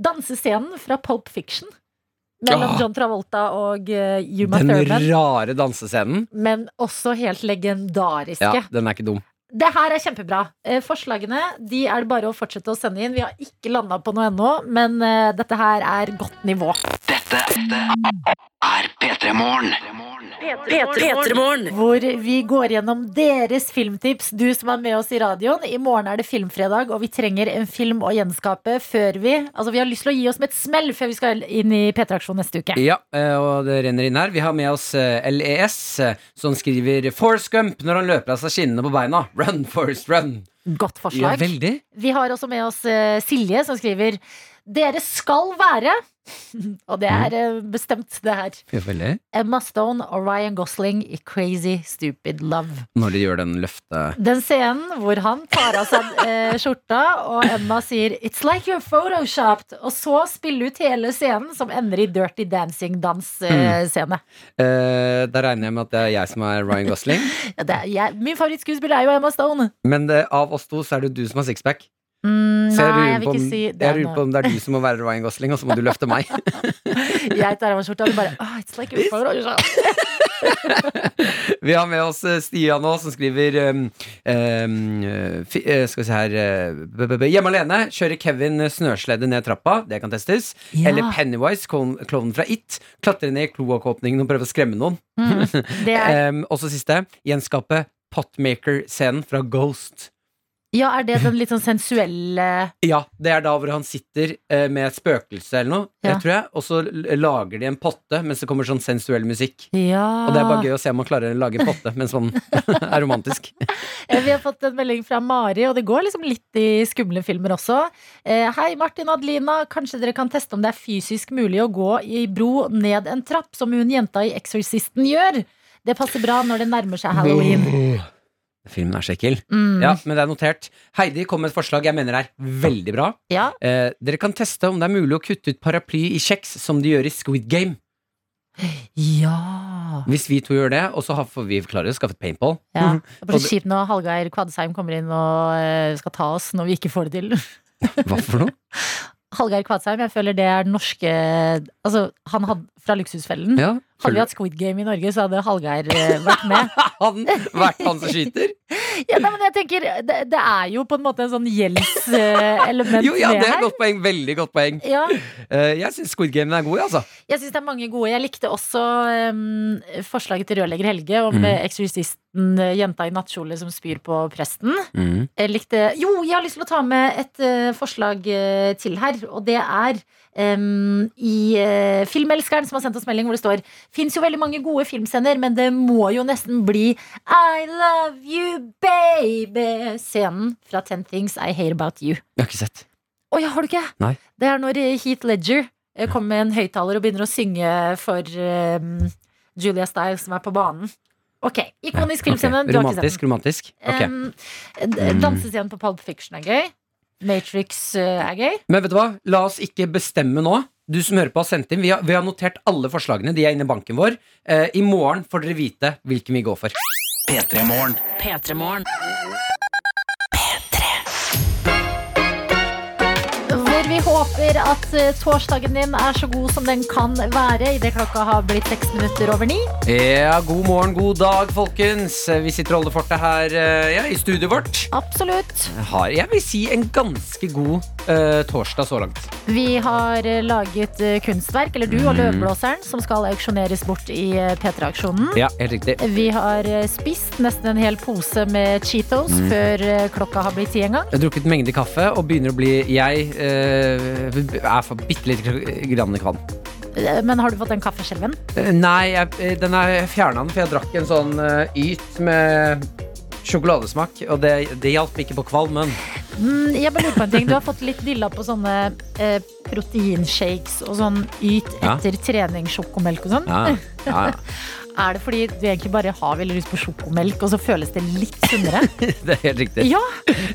Speaker 2: Dansescenen fra Pulp Fiction. Mellom
Speaker 3: Ja.
Speaker 2: John Travolta og eh, Uma
Speaker 3: Den
Speaker 2: Thurman.
Speaker 3: rare dansescenen.
Speaker 2: Men også helt legendariske.
Speaker 3: Ja, den er ikke dum.
Speaker 2: Det her er kjempebra. Eh, forslagene de er det bare å fortsette å sende inn. Vi har ikke landa på noe ennå, men eh, dette her er godt nivå.
Speaker 4: Er P3 Morgen.
Speaker 1: P3morgen.
Speaker 2: Hvor vi går gjennom deres filmtips, du som er med oss i radioen. I morgen er det filmfredag, og vi trenger en film å gjenskape før vi Altså, vi har lyst til å gi oss med et smell før vi skal inn i P3-aksjon neste uke.
Speaker 3: Ja, eh, og det renner inn her. Vi har med oss eh, LES, eh, som skriver Forrest Gump når han løper av seg skinnene på beina. Run, Forrest, run.
Speaker 2: Godt
Speaker 3: Ja,
Speaker 2: forslag.
Speaker 3: veldig.
Speaker 2: vi har også med oss eh, Silje, som skriver Dere skal være [LAUGHS] Og det er eh, bestemt, det her.
Speaker 3: Ja, veldig.
Speaker 2: Emma Stone og Ryan Gosling i Crazy Stupid Love.
Speaker 3: Når de gjør den løfte...
Speaker 2: Den scenen hvor han tar av seg eh, skjorta, og Emma sier 'It's like you're photoshopped', og så spille ut hele scenen, som ender i Dirty
Speaker 3: Mm.
Speaker 2: Dancing-dansscene.
Speaker 3: Eh, da regner jeg med at det er jeg som er Ryan Gosling.
Speaker 2: Ja, det er- jeg- min favorittskuespiller er jo Emma Stone.
Speaker 3: Men det, av oss to så er det du som har sixpack.
Speaker 2: Mm,
Speaker 3: Så jeg
Speaker 2: nei, jeg
Speaker 3: lurer, på
Speaker 2: vil
Speaker 3: om,
Speaker 2: ikke si det
Speaker 3: jeg lurer på
Speaker 2: nå.
Speaker 3: om det er du som må være Ryan Gosling, og så må du løfte
Speaker 2: [LAUGHS]
Speaker 3: meg. [LAUGHS]
Speaker 2: Jeg tar av meg skjorta og du bare «Ah, 'It's like you're photoshopped'.
Speaker 3: Vi har med oss eh, Stian nå, som skriver um, um, eh, fi- eh, Skal vi se her eh, b- b- b- Hjemme alene kjører Kevin snøslede ned trappa. Det kan testes.
Speaker 2: Ja.
Speaker 3: Eller Pennywise, klon- klovnen fra It. Klatrer ned i kloakkåpningen og prøver å skremme noen.
Speaker 2: mm. Det er,
Speaker 3: Um, og så siste. Gjenskape Potmaker-scenen fra Ghost.
Speaker 2: ja, er det den litt sånn sensuelle
Speaker 3: Ja, det er da hvor han sitter eh, med et spøkelse eller noe,
Speaker 2: Ja.
Speaker 3: jeg tror jeg, og så l- lager de en potte mens det kommer sånn sensuell musikk.
Speaker 2: Ja.
Speaker 3: Og det er bare gøy å se om man klarer å lage en potte mens man [LAUGHS] er romantisk.
Speaker 2: Eh, Vi har fått en melding fra Mari, og det går liksom litt i skumle filmer også. Eh, Hei, Martin og Adelina. Kanskje dere kan teste om det er fysisk mulig å gå i bro ned en trapp, som hun jenta i Exorcisten gjør. Det passer bra når det nærmer seg [LAUGHS] halloween.
Speaker 3: Filmen er så ekkel.
Speaker 2: Mm.
Speaker 3: Ja, men det er notert. Heidi kom med et forslag jeg mener er veldig bra.
Speaker 2: Ja.
Speaker 3: Eh, dere kan teste om det er mulig å kutte ut paraply i kjeks, som de gjør i Squid Game.
Speaker 2: Ja.
Speaker 3: Hvis vi to gjør det, og så har- får vi klarer å skaffe et paintball.
Speaker 2: ja. Det er
Speaker 3: Og
Speaker 2: bare
Speaker 3: det-
Speaker 2: så kjipt når Hallgeir Kvadsheim kommer inn og eh, skal ta oss når vi ikke får det til.
Speaker 3: [LAUGHS]
Speaker 2: [LAUGHS]
Speaker 3: Hva for noe?
Speaker 2: Hallgeir Kvadsheim, jeg føler det er den norske Altså, han hadde fra Luksusfellen.
Speaker 3: Ja,
Speaker 2: [LAUGHS] Hadde vi
Speaker 3: føler
Speaker 2: hatt Squid Game i Norge, så hadde Hallgeir eh, vært med.
Speaker 3: han vært han som
Speaker 2: [LAUGHS]
Speaker 3: skyter?
Speaker 2: Ja, nei, men jeg tenker, det, det er jo på en måte en sånn gjeldselement
Speaker 3: Jo, ja,
Speaker 2: med
Speaker 3: det er et
Speaker 2: her.
Speaker 3: godt poeng. Veldig godt poeng.
Speaker 2: Ja,
Speaker 3: Eh, jeg syns Squid Game er god, jeg, altså.
Speaker 2: jeg syns det er mange gode. Jeg likte også em, forslaget til rørlegger Helge om
Speaker 3: Mm.
Speaker 2: eh, eksorsisten, eh, jenta i nattkjole som spyr på presten. Jeg Eh, likte Jo, jeg har lyst til å ta med et eh, forslag eh, til her, og det er em, i eh, Filmelskeren som har sendt oss melding hvor det står Fins jo veldig mange gode filmscener, men det må jo nesten bli I love you, baby-scenen fra Ten Things I Hate About You.
Speaker 3: Jeg har ikke sett.
Speaker 2: Å ja, har du ikke?
Speaker 3: Nei.
Speaker 2: Det er når eh, Heath Ledger eh, kommer med en høyttaler og begynner å synge for eh, Julia Stiles som er på banen. Ok, Ikonisk filmscene.
Speaker 3: Ok,
Speaker 2: Du har ikke
Speaker 3: Romantisk,
Speaker 2: sett den.
Speaker 3: romantisk. Ok.
Speaker 2: Um, d- Dansescenen på Pulp Fiction er gøy. Matrix eh, er gøy.
Speaker 3: Men vet du hva? La oss ikke bestemme nå. Du som hører på har sendt inn. Vi har, vi har notert alle forslagene. De er inne i banken vår. Eh, I morgen får dere vite hvilken vi går for.
Speaker 10: P3 Morgen.
Speaker 11: P3 Morgen.
Speaker 2: Hvor vi håper at eh, torsdagen din er så god som den kan være idet klokka har blitt seks minutter over ni.
Speaker 3: Ja, god morgen, god dag, folkens. Eh, Vi sitter og holder fortet her eh, ja, i studioet vårt.
Speaker 2: Absolutt.
Speaker 3: Har, jeg vil si, en ganske god eh, torsdag så langt.
Speaker 2: Vi har eh, laget eh, kunstverk, eller du og Løvblåseren, som skal auksjoneres bort i eh, P3-aksjonen.
Speaker 3: Ja, helt riktig.
Speaker 2: Vi har eh, spist nesten en hel pose med Cheetos før eh, klokka har blitt ti en gang.
Speaker 3: Jeg har drukket mengde kaffe og begynner å bli Jeg eh, er for bitte lite grann kvalm.
Speaker 2: Eh, Men har du fått den kaffeskjelven?
Speaker 3: Eh, Nei, jeg, eh, den er jeg fjernet den, for jeg drakk en sånn eh, yt med sjokoladesmak, og det, det hjalp ikke på kvalmen.
Speaker 2: Mm, jeg bare lurer på en ting. Du har fått litt dilla på sånne eh, proteinshakes og sånn yt
Speaker 3: Ja.
Speaker 2: etter trening, sjokomelk og sånn.
Speaker 3: Ja, ja,
Speaker 2: Er det fordi du egentlig bare har veldig lyst på sjokomelk, og så føles det litt sunnere?
Speaker 3: [LAUGHS] det er helt riktig.
Speaker 2: ja,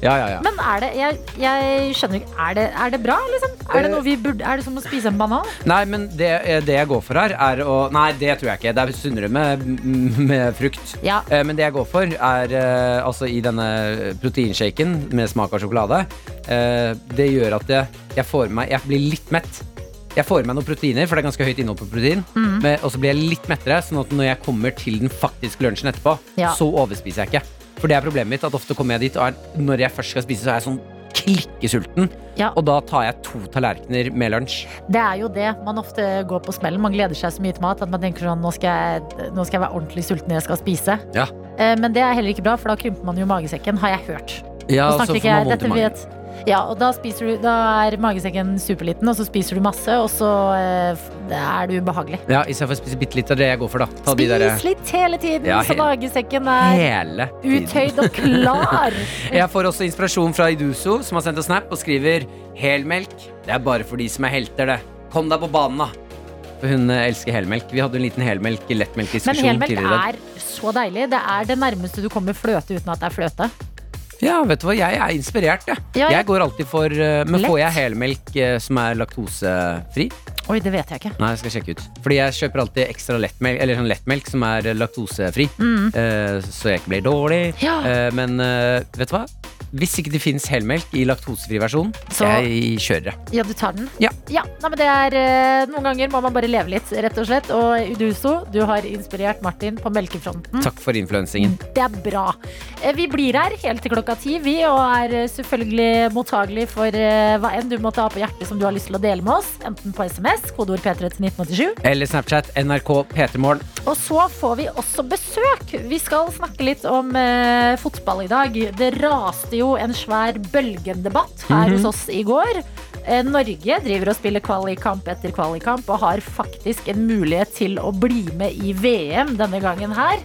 Speaker 3: Ja, ja, ja.
Speaker 2: men er det Jeg, jeg skjønner ikke. Er det, er det bra, liksom? Er det, noe vi burde, er det som å spise en banan?
Speaker 3: Nei, men det, eh, det jeg går for her, er å Nei, det tror jeg ikke. Det er sunnere med, med frukt.
Speaker 2: Ja.
Speaker 3: Eh, Men det jeg går for, er eh, altså i denne proteinshaken med smak av sjokolade eh, Det gjør at jeg, jeg får meg Jeg blir litt mett. Jeg får i meg noen proteiner, for det er ganske høyt innhold på protein.
Speaker 2: Mhm.
Speaker 3: Men, og så blir jeg litt mettere, sånn at når jeg kommer til den faktiske lunsjen etterpå,
Speaker 2: Ja.
Speaker 3: så overspiser jeg ikke. For det er problemet mitt, at ofte kommer jeg dit, og er, når jeg først skal spise, så er jeg sånn klikkesulten.
Speaker 2: Ja.
Speaker 3: Og da tar jeg to tallerkener med lunsj.
Speaker 2: Det er jo det man ofte går på smellen. Man gleder seg så mye til mat at man tenker sånn nå skal jeg, nå skal jeg være ordentlig sulten når jeg skal spise.
Speaker 3: Ja.
Speaker 2: Eh, Men det er heller ikke bra, for da krymper man jo magesekken, har jeg hørt.
Speaker 3: Ja,
Speaker 2: Nå snakker ikke jeg, dette vet ja, og da, spiser du, da er magesekken superliten, og så spiser du masse, og så eh, f- det er det ubehagelig.
Speaker 3: Ja, I stedet for å spise bitte litt av det jeg går for, da. Ta de
Speaker 2: Spis
Speaker 3: der,
Speaker 2: litt hele tiden,
Speaker 3: Ja,
Speaker 2: så
Speaker 3: hele-
Speaker 2: magesekken er
Speaker 3: hele tiden.
Speaker 2: uttøyd og
Speaker 3: [LAUGHS]
Speaker 2: klar.
Speaker 3: Jeg får også inspirasjon fra Iduso, som har sendt en snap og skriver Helmelk, det er bare for de som er helter, det. Kom deg på banen, da! For hun eh, elsker helmelk. Vi hadde en liten helmelk
Speaker 2: Men
Speaker 3: lettmelkdiskusjon
Speaker 2: helmelk
Speaker 3: tidligere.
Speaker 2: er så deilig. Det er det nærmeste du kommer fløte uten at det er fløte.
Speaker 3: Ja, vet du hva, jeg er inspirert, jeg.
Speaker 2: Ja, ja.
Speaker 3: Jeg går alltid for eh, Men
Speaker 2: Lett.
Speaker 3: får jeg helmelk eh, som er laktosefri?
Speaker 2: Oi, det vet jeg ikke.
Speaker 3: Nei, jeg skal sjekke ut. Fordi jeg kjøper alltid ekstra lettmelk, eller sånn lettmelk som er eh, laktosefri.
Speaker 2: Mm.
Speaker 3: eh, så jeg ikke blir dårlig.
Speaker 2: Ja.
Speaker 3: Eh, men eh, vet du hva? Hvis ikke det fins helmelk i laktosefri versjon,
Speaker 2: Så-
Speaker 3: jeg kjører det.
Speaker 2: Ja, du tar den?
Speaker 3: Ja.
Speaker 2: nei, men det er, eh, noen ganger må man bare leve litt, rett og slett. Og Uduso, du har inspirert Martin på melkefronten.
Speaker 3: Takk for influensingen.
Speaker 2: Det er bra. Eh, Vi blir her helt til klokka ti, vi, og er eh, selvfølgelig mottagelig for eh, hva enn du måtte ha på hjertet som du har lyst til å dele med oss. Enten på SMS, kodeord P3 til 1987,
Speaker 3: Eller Snapchat NRK P3morgen.
Speaker 2: Og så får vi også besøk. Vi skal snakke litt om eh, fotball i dag. Det raste jo en svær bølgendebatt her
Speaker 12: Mhm.
Speaker 2: hos oss i går. Eh, Norge driver og spiller kvalikkamp etter kvalikkamp og har faktisk en mulighet til å bli med i VM denne gangen her.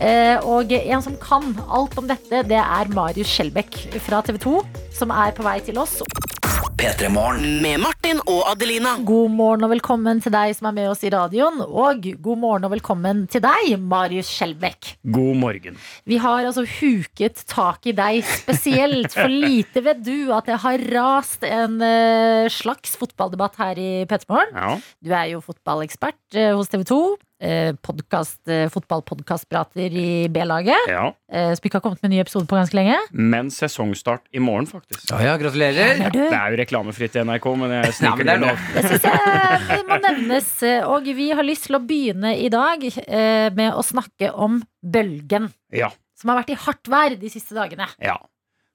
Speaker 2: Eh, og en som kan alt om dette, det er Marius Skjelbæk fra TV 2, som er på vei til oss.
Speaker 4: P3 Morgen. Med Martin og Adelina.
Speaker 2: God morgen og velkommen til deg som er med oss i radioen. Og god morgen og velkommen til deg, Marius Skjelbæk.
Speaker 13: God morgen.
Speaker 2: Vi har altså huket tak i deg spesielt,
Speaker 13: [LAUGHS]
Speaker 2: for lite vet du at det har rast en eh, slags fotballdebatt her i Pettermorgen.
Speaker 13: Ja.
Speaker 2: Du er jo fotballekspert eh, hos TV 2. Eh, podcast, eh, Fotballpodkastprater i B-laget.
Speaker 13: Ja.
Speaker 2: Eh, som ikke har kommet med en ny episode på ganske lenge.
Speaker 13: Men sesongstart i morgen, faktisk.
Speaker 3: Ja, ja, gratulerer.
Speaker 2: Ja, du.
Speaker 13: Det er jo reklamefritt i NRK, men jeg
Speaker 3: Ja,
Speaker 13: sniker
Speaker 3: men det er
Speaker 13: meg
Speaker 3: lov.
Speaker 13: ned.
Speaker 2: Det må nevnes. eh, Og vi har lyst til å begynne i dag eh, med å snakke om bølgen.
Speaker 13: Ja,
Speaker 2: Som har vært i hardt vær de siste dagene.
Speaker 13: ja.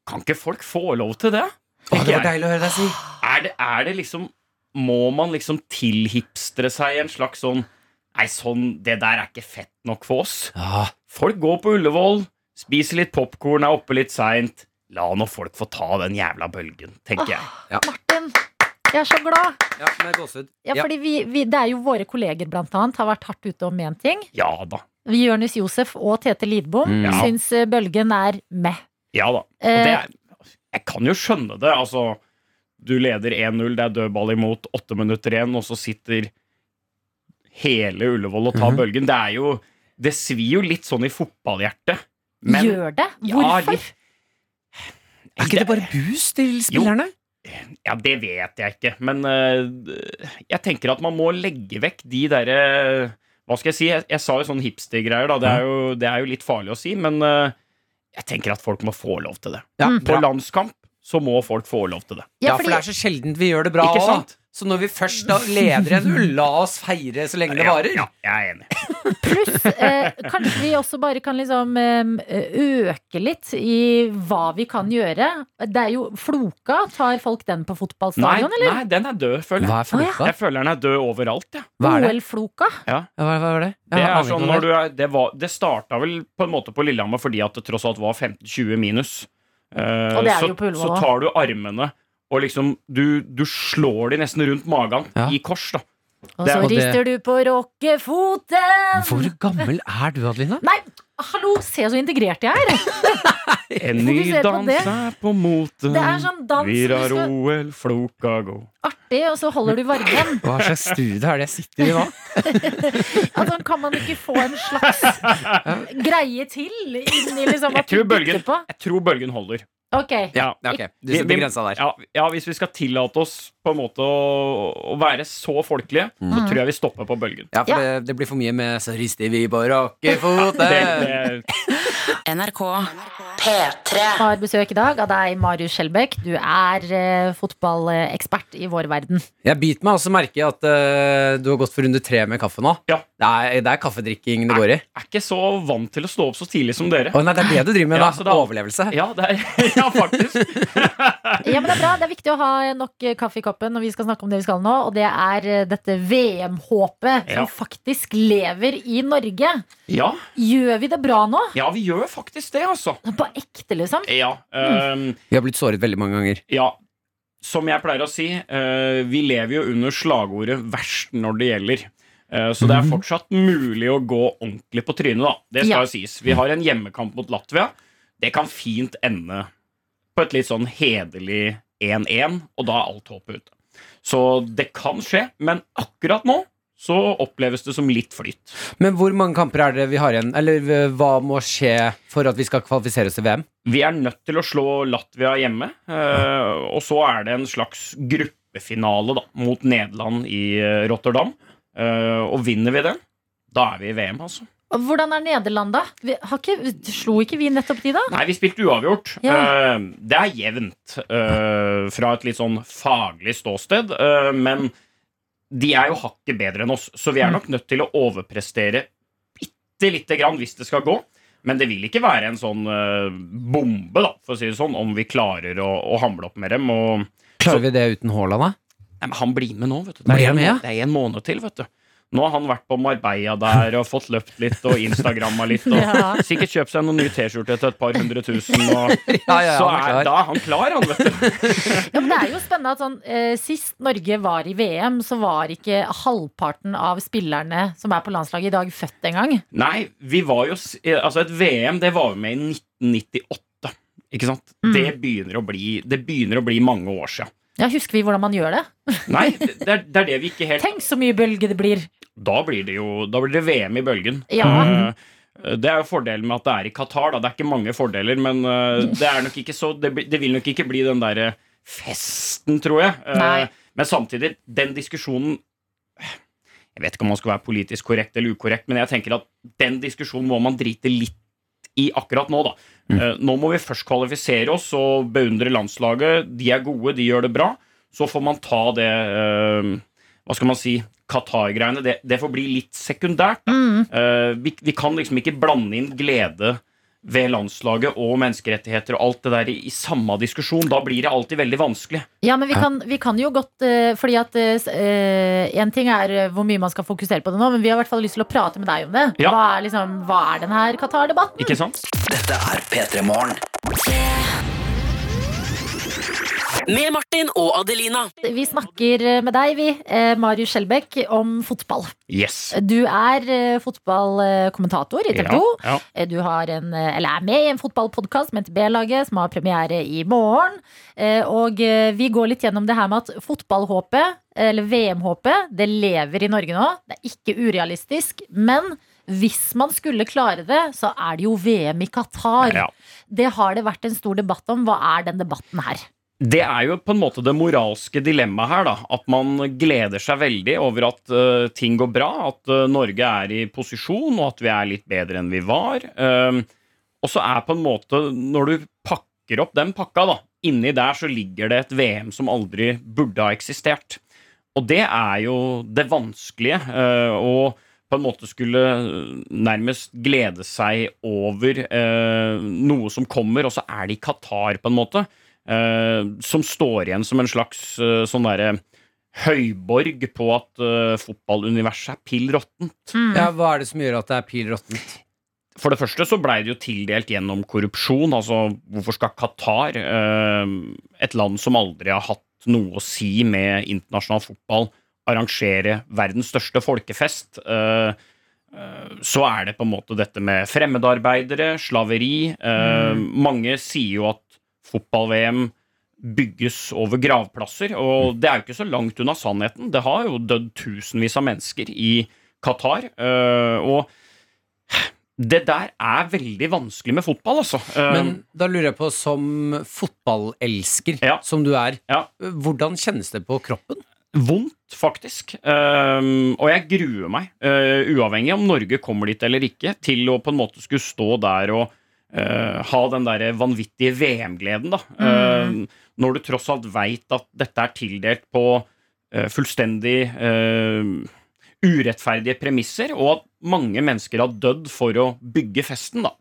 Speaker 13: Kan ikke folk få lov til det?
Speaker 3: det var deilig å høre deg si.
Speaker 13: Er det, er det liksom Må man liksom tilhipstre seg en slags sånn Nei, sånn, det der er ikke fett nok for oss.
Speaker 3: Ah.
Speaker 13: Folk går på Ullevål, spiser litt popkorn, er oppe litt seint. La nå folk få ta den jævla bølgen, tenker jeg.
Speaker 2: Martin, jeg er så glad.
Speaker 3: Ja, med gåsehud.
Speaker 2: Ja, fordi vi, vi, det er jo våre kolleger blant annet har vært hardt ute om én ting.
Speaker 13: Ja da.
Speaker 2: Vi, Jonis Josef og Tete Lidbom
Speaker 13: Mm. Ja.
Speaker 2: syns eh, bølgen er meh.
Speaker 13: Ja da. Og
Speaker 2: Eh.
Speaker 13: det er, jeg kan jo skjønne det. Altså, du leder 1-0, det er dødball imot, åtte minutter igjen, og så sitter hele Ullevål og
Speaker 3: Mm.
Speaker 13: tar bølgen. Det er jo Det svir jo litt sånn i fotballhjertet. Men-
Speaker 2: Gjør det?
Speaker 13: Ja,
Speaker 2: Hvorfor?
Speaker 13: litt- Er ikke det bare boost til
Speaker 3: spillerne?
Speaker 13: Ja, det vet jeg ikke. Men eh, jeg tenker at man må legge vekk de derre Hva skal jeg si? Jeg, jeg sa jo sånn hipstergreier, da. Det
Speaker 3: Mm.
Speaker 13: er, jo, det er jo litt farlig å si, men eh, jeg tenker at folk må få lov til det.
Speaker 3: Ja,
Speaker 2: Mm.
Speaker 13: På
Speaker 3: bra.
Speaker 13: landskamp så må folk få lov til det.
Speaker 3: Ja, for det er så sjeldent vi gjør det bra
Speaker 13: Ikke
Speaker 3: òg.
Speaker 13: sant?
Speaker 3: Så når vi først da leder en ull, la oss feire så lenge det
Speaker 13: Ja,
Speaker 3: varer.
Speaker 13: ja, jeg er enig.
Speaker 2: Pluss, eh, kanskje vi også bare kan liksom eh, øke litt i hva vi kan gjøre. Det er jo Floka, tar folk den på
Speaker 13: Nei,
Speaker 2: fotballstadion, eller?
Speaker 13: nei, den er død, føler jeg.
Speaker 3: Hva er floka?
Speaker 13: Jeg føler den er død overalt, jeg.
Speaker 2: OL-Floka?
Speaker 13: Ja.
Speaker 3: Hva, hva var det? Jeg
Speaker 13: Det,
Speaker 3: har
Speaker 13: er
Speaker 3: aning
Speaker 13: sånn
Speaker 3: om
Speaker 13: når du er, det, var, det starta vel på en måte på Lillehammer fordi at det tross alt var 15-20 minus. Eh,
Speaker 2: Og det er
Speaker 13: så,
Speaker 2: jo på Ullevål
Speaker 13: så
Speaker 2: også.
Speaker 13: tar du armene og liksom Du, du slår de nesten rundt magen i kors, da.
Speaker 2: Og så rister du på rockefoten!
Speaker 3: Hvor gammel er du, Adelina?
Speaker 2: Nei, hallo, se så integrert jeg er!
Speaker 13: [LAUGHS] En ny
Speaker 2: Fokuser på
Speaker 13: dans
Speaker 2: det.
Speaker 13: er på moten.
Speaker 2: Det er sånn dans
Speaker 13: Vi
Speaker 2: som du
Speaker 13: rar
Speaker 2: skal-
Speaker 13: OL, floka gå.
Speaker 2: Artig, og så holder du varmen.
Speaker 3: Hva slags studie er det jeg sitter i nå?
Speaker 2: Altså, kan man ikke få en slags
Speaker 13: [LAUGHS]
Speaker 2: greie til inni liksom
Speaker 13: Jeg
Speaker 2: at du
Speaker 13: tror bølgen,
Speaker 2: dytter på?
Speaker 13: jeg tror bølgen holder.
Speaker 2: Ok.
Speaker 13: [LAUGHS] Ja,
Speaker 3: Du setter
Speaker 13: Vi- vi-
Speaker 3: grensa der.
Speaker 13: Ja, ja, hvis vi skal tillate oss på en måte å, å være så folkelige, så
Speaker 3: Mm.
Speaker 13: tror jeg vi stopper på bølgen.
Speaker 3: Ja, for Det, det blir for mye med 'så rister vi på rockefoten'.
Speaker 13: Det- det-
Speaker 1: NRK P3.
Speaker 2: Har besøk i dag av deg, Marius Skjelbæk. Du er eh, fotballekspert i vår verden.
Speaker 3: Jeg biter meg også merke i at eh, du har gått for runde tre med kaffe nå. Det, er, det er kaffedrikking det går i.
Speaker 13: er ikke så vant til å stå opp så tidlig som dere.
Speaker 3: Å nei, det er det du driver med,
Speaker 13: Ja,
Speaker 3: da.
Speaker 13: så da-
Speaker 3: Overlevelse.
Speaker 13: Ja, det er, ja faktisk.
Speaker 2: Ja, men Det er bra. Det er viktig å ha nok eh, kaffe i koppen når vi skal snakke om det vi skal nå. Og det er eh, dette VM-håpet
Speaker 13: Ja.
Speaker 2: som faktisk lever i Norge.
Speaker 13: Ja,
Speaker 2: Gjør vi det bra nå?
Speaker 13: ja vi gjør faktisk det, altså.
Speaker 2: På ekte, liksom?
Speaker 13: Ja, ehm,
Speaker 3: Vi har blitt såret veldig mange ganger.
Speaker 13: ja. Som jeg pleier å si, eh, vi lever jo under slagordet 'verst når det gjelder'. Eh, Så det er fortsatt mulig å gå ordentlig på trynet, da. Det skal
Speaker 2: Ja.
Speaker 13: jo sies. Vi har en hjemmekamp mot Latvia. Det kan fint ende på et litt sånn hederlig 1-1, og da er alt håpet ute. Så det kan skje, men akkurat nå så oppleves det som litt flyt.
Speaker 14: Men hvor mange kamper er det vi har igjen? Eller eh, hva må skje for at vi skal kvalifisere oss til VM?
Speaker 13: Vi er nødt til å slå Latvia hjemme, eh, og så er det en slags gruppefinale da, mot Nederland i eh, Rotterdam. Eh, og vinner vi den, da er vi i VM, altså.
Speaker 2: Og Hvordan er Nederland, da? Vi, har ikke, slo ikke vi nettopp de, da?
Speaker 13: Nei, vi spilte uavgjort.
Speaker 2: Ja.
Speaker 13: Eh, Det er jevnt eh, fra et litt sånn faglig ståsted, eh, men de er jo hakket bedre enn oss, så
Speaker 2: Mm.
Speaker 13: vi er nok nødt til å overprestere bitte lite grann hvis det skal gå. Men det vil ikke være en sånn eh, bombe, da, for å si det sånn, om vi klarer å, å hamle opp med dem. Og,
Speaker 14: Klarer vi det uten Haaland, da?
Speaker 13: Nei, men han blir med nå, vet du. Det
Speaker 14: Blir
Speaker 13: er,
Speaker 14: han
Speaker 13: en,
Speaker 14: med, ja?
Speaker 13: det er en måned til, vet du. Nå har han vært på Marbella der og fått løpt litt og Instagramma litt. Og
Speaker 2: [LAUGHS] Ja.
Speaker 13: Sikkert kjøpt seg noen nye T-skjorter til et par hundre tusen. Og
Speaker 14: Ja, ja,
Speaker 13: så
Speaker 14: han er
Speaker 13: er,
Speaker 14: klar.
Speaker 13: da er han klar, han, vet du.
Speaker 2: Ja, men [LAUGHS] det er jo spennende at sånn, eh, Sist Norge var i VM, så var ikke halvparten av spillerne som er på landslaget i dag, født engang.
Speaker 13: Nei, vi var jo s- eh, Altså, et VM, det var jo med i 1998. Ikke sant?
Speaker 2: Mm.
Speaker 13: Det, begynner å bli, det begynner å bli mange år siden.
Speaker 2: Ja, husker vi hvordan man gjør det?
Speaker 13: [LAUGHS] Nei, det, det er, det er det vi ikke helt
Speaker 2: Tenk så mye bølge det blir!
Speaker 13: Da blir det jo Da blir det VM i bølgen.
Speaker 2: Ja.
Speaker 13: Eh, Det er jo fordelen med at det er i Qatar. Da. Det er ikke mange fordeler, men eh, det, er nok ikke så, det, blir- det vil nok ikke bli den derre festen, tror jeg. Eh,
Speaker 2: Nei.
Speaker 13: Men samtidig, den diskusjonen Jeg vet ikke om man skal være politisk korrekt eller ukorrekt, men jeg tenker at den diskusjonen må man drite litt i akkurat nå, da. Eh, Nå må vi først kvalifisere oss og beundre landslaget. De er gode, de gjør det bra. Så får man ta det eh, Hva skal man si? Qatar-greiene. Det, det får bli litt sekundært. Da. Eh, vi, vi kan liksom ikke blande inn glede ved landslaget og menneskerettigheter og alt det der i, i samme diskusjon. Da blir det alltid veldig vanskelig.
Speaker 2: Ja, men vi kan, vi kan jo godt eh, Fordi at eh, s- eh, en ting er eh, hvor mye man skal fokusere på det nå, men vi har i hvert fall lyst til å prate med deg om det.
Speaker 13: Ja.
Speaker 2: Hva er, liksom, hva er den her Qatar-debatten?
Speaker 13: Ikke sant?
Speaker 4: Dette er P3 Morgen.
Speaker 1: Med Martin og Adelina.
Speaker 2: Vi snakker eh, med deg, vi, eh, Marius Skjelbæk, om fotball.
Speaker 13: Yes.
Speaker 2: Du er eh, fotballkommentator i TV 2.
Speaker 13: Ja, ja.
Speaker 2: Eh, Du har en, eh, eller er med i en fotballpodkast med NTB-laget som har premiere i morgen. Eh, Og eh, vi går litt gjennom det her med at fotballhåpet, eller VM-håpet, det lever i Norge nå. Det er ikke urealistisk. Men hvis man skulle klare det, så er det jo VM i Qatar.
Speaker 13: Ja.
Speaker 2: Det har det vært en stor debatt om. Hva er den debatten her?
Speaker 13: Det er jo på en måte det moralske dilemmaet her, da. At man gleder seg veldig over at eh, ting går bra, at eh, Norge er i posisjon, og at vi er litt bedre enn vi var. Ehm, og så er på en måte, når du pakker opp den pakka, da, inni der så ligger det et VM som aldri burde ha eksistert. Og det er jo det vanskelige. eh, og på en måte skulle eh, nærmest glede seg over eh, noe som kommer, og så er det i Qatar, på en måte. eh, som står igjen som en slags eh, sånn derre høyborg på at eh, fotballuniverset er pill råttent.
Speaker 14: Ja, hva er det som gjør at det er pil råttent?
Speaker 13: For det første så blei det jo tildelt gjennom korrupsjon. Altså, hvorfor skal Qatar, eh, et land som aldri har hatt noe å si med internasjonal fotball, arrangere verdens største folkefest? Eh, eh, så er det på en måte dette med fremmedarbeidere, slaveri. Eh, Mange sier jo at fotball-VM bygges over gravplasser, og det er jo ikke så langt unna sannheten. Det har jo dødd tusenvis av mennesker i Qatar. eh, og det der er veldig vanskelig med fotball, altså.
Speaker 14: Men
Speaker 13: Men,
Speaker 14: da lurer jeg på, som fotballelsker
Speaker 13: Ja.
Speaker 14: som du er,
Speaker 13: Ja.
Speaker 14: hvordan kjennes det på kroppen?
Speaker 13: vondt, faktisk. Um, og jeg gruer meg, uh, uavhengig om Norge kommer dit eller ikke, til å på en måte skulle stå der og uh, ha den der vanvittige VM-gleden, da. Um, når du tross alt veit at dette er tildelt på uh, fullstendig uh, urettferdige premisser, og at mange mennesker har dødd for å bygge festen, da.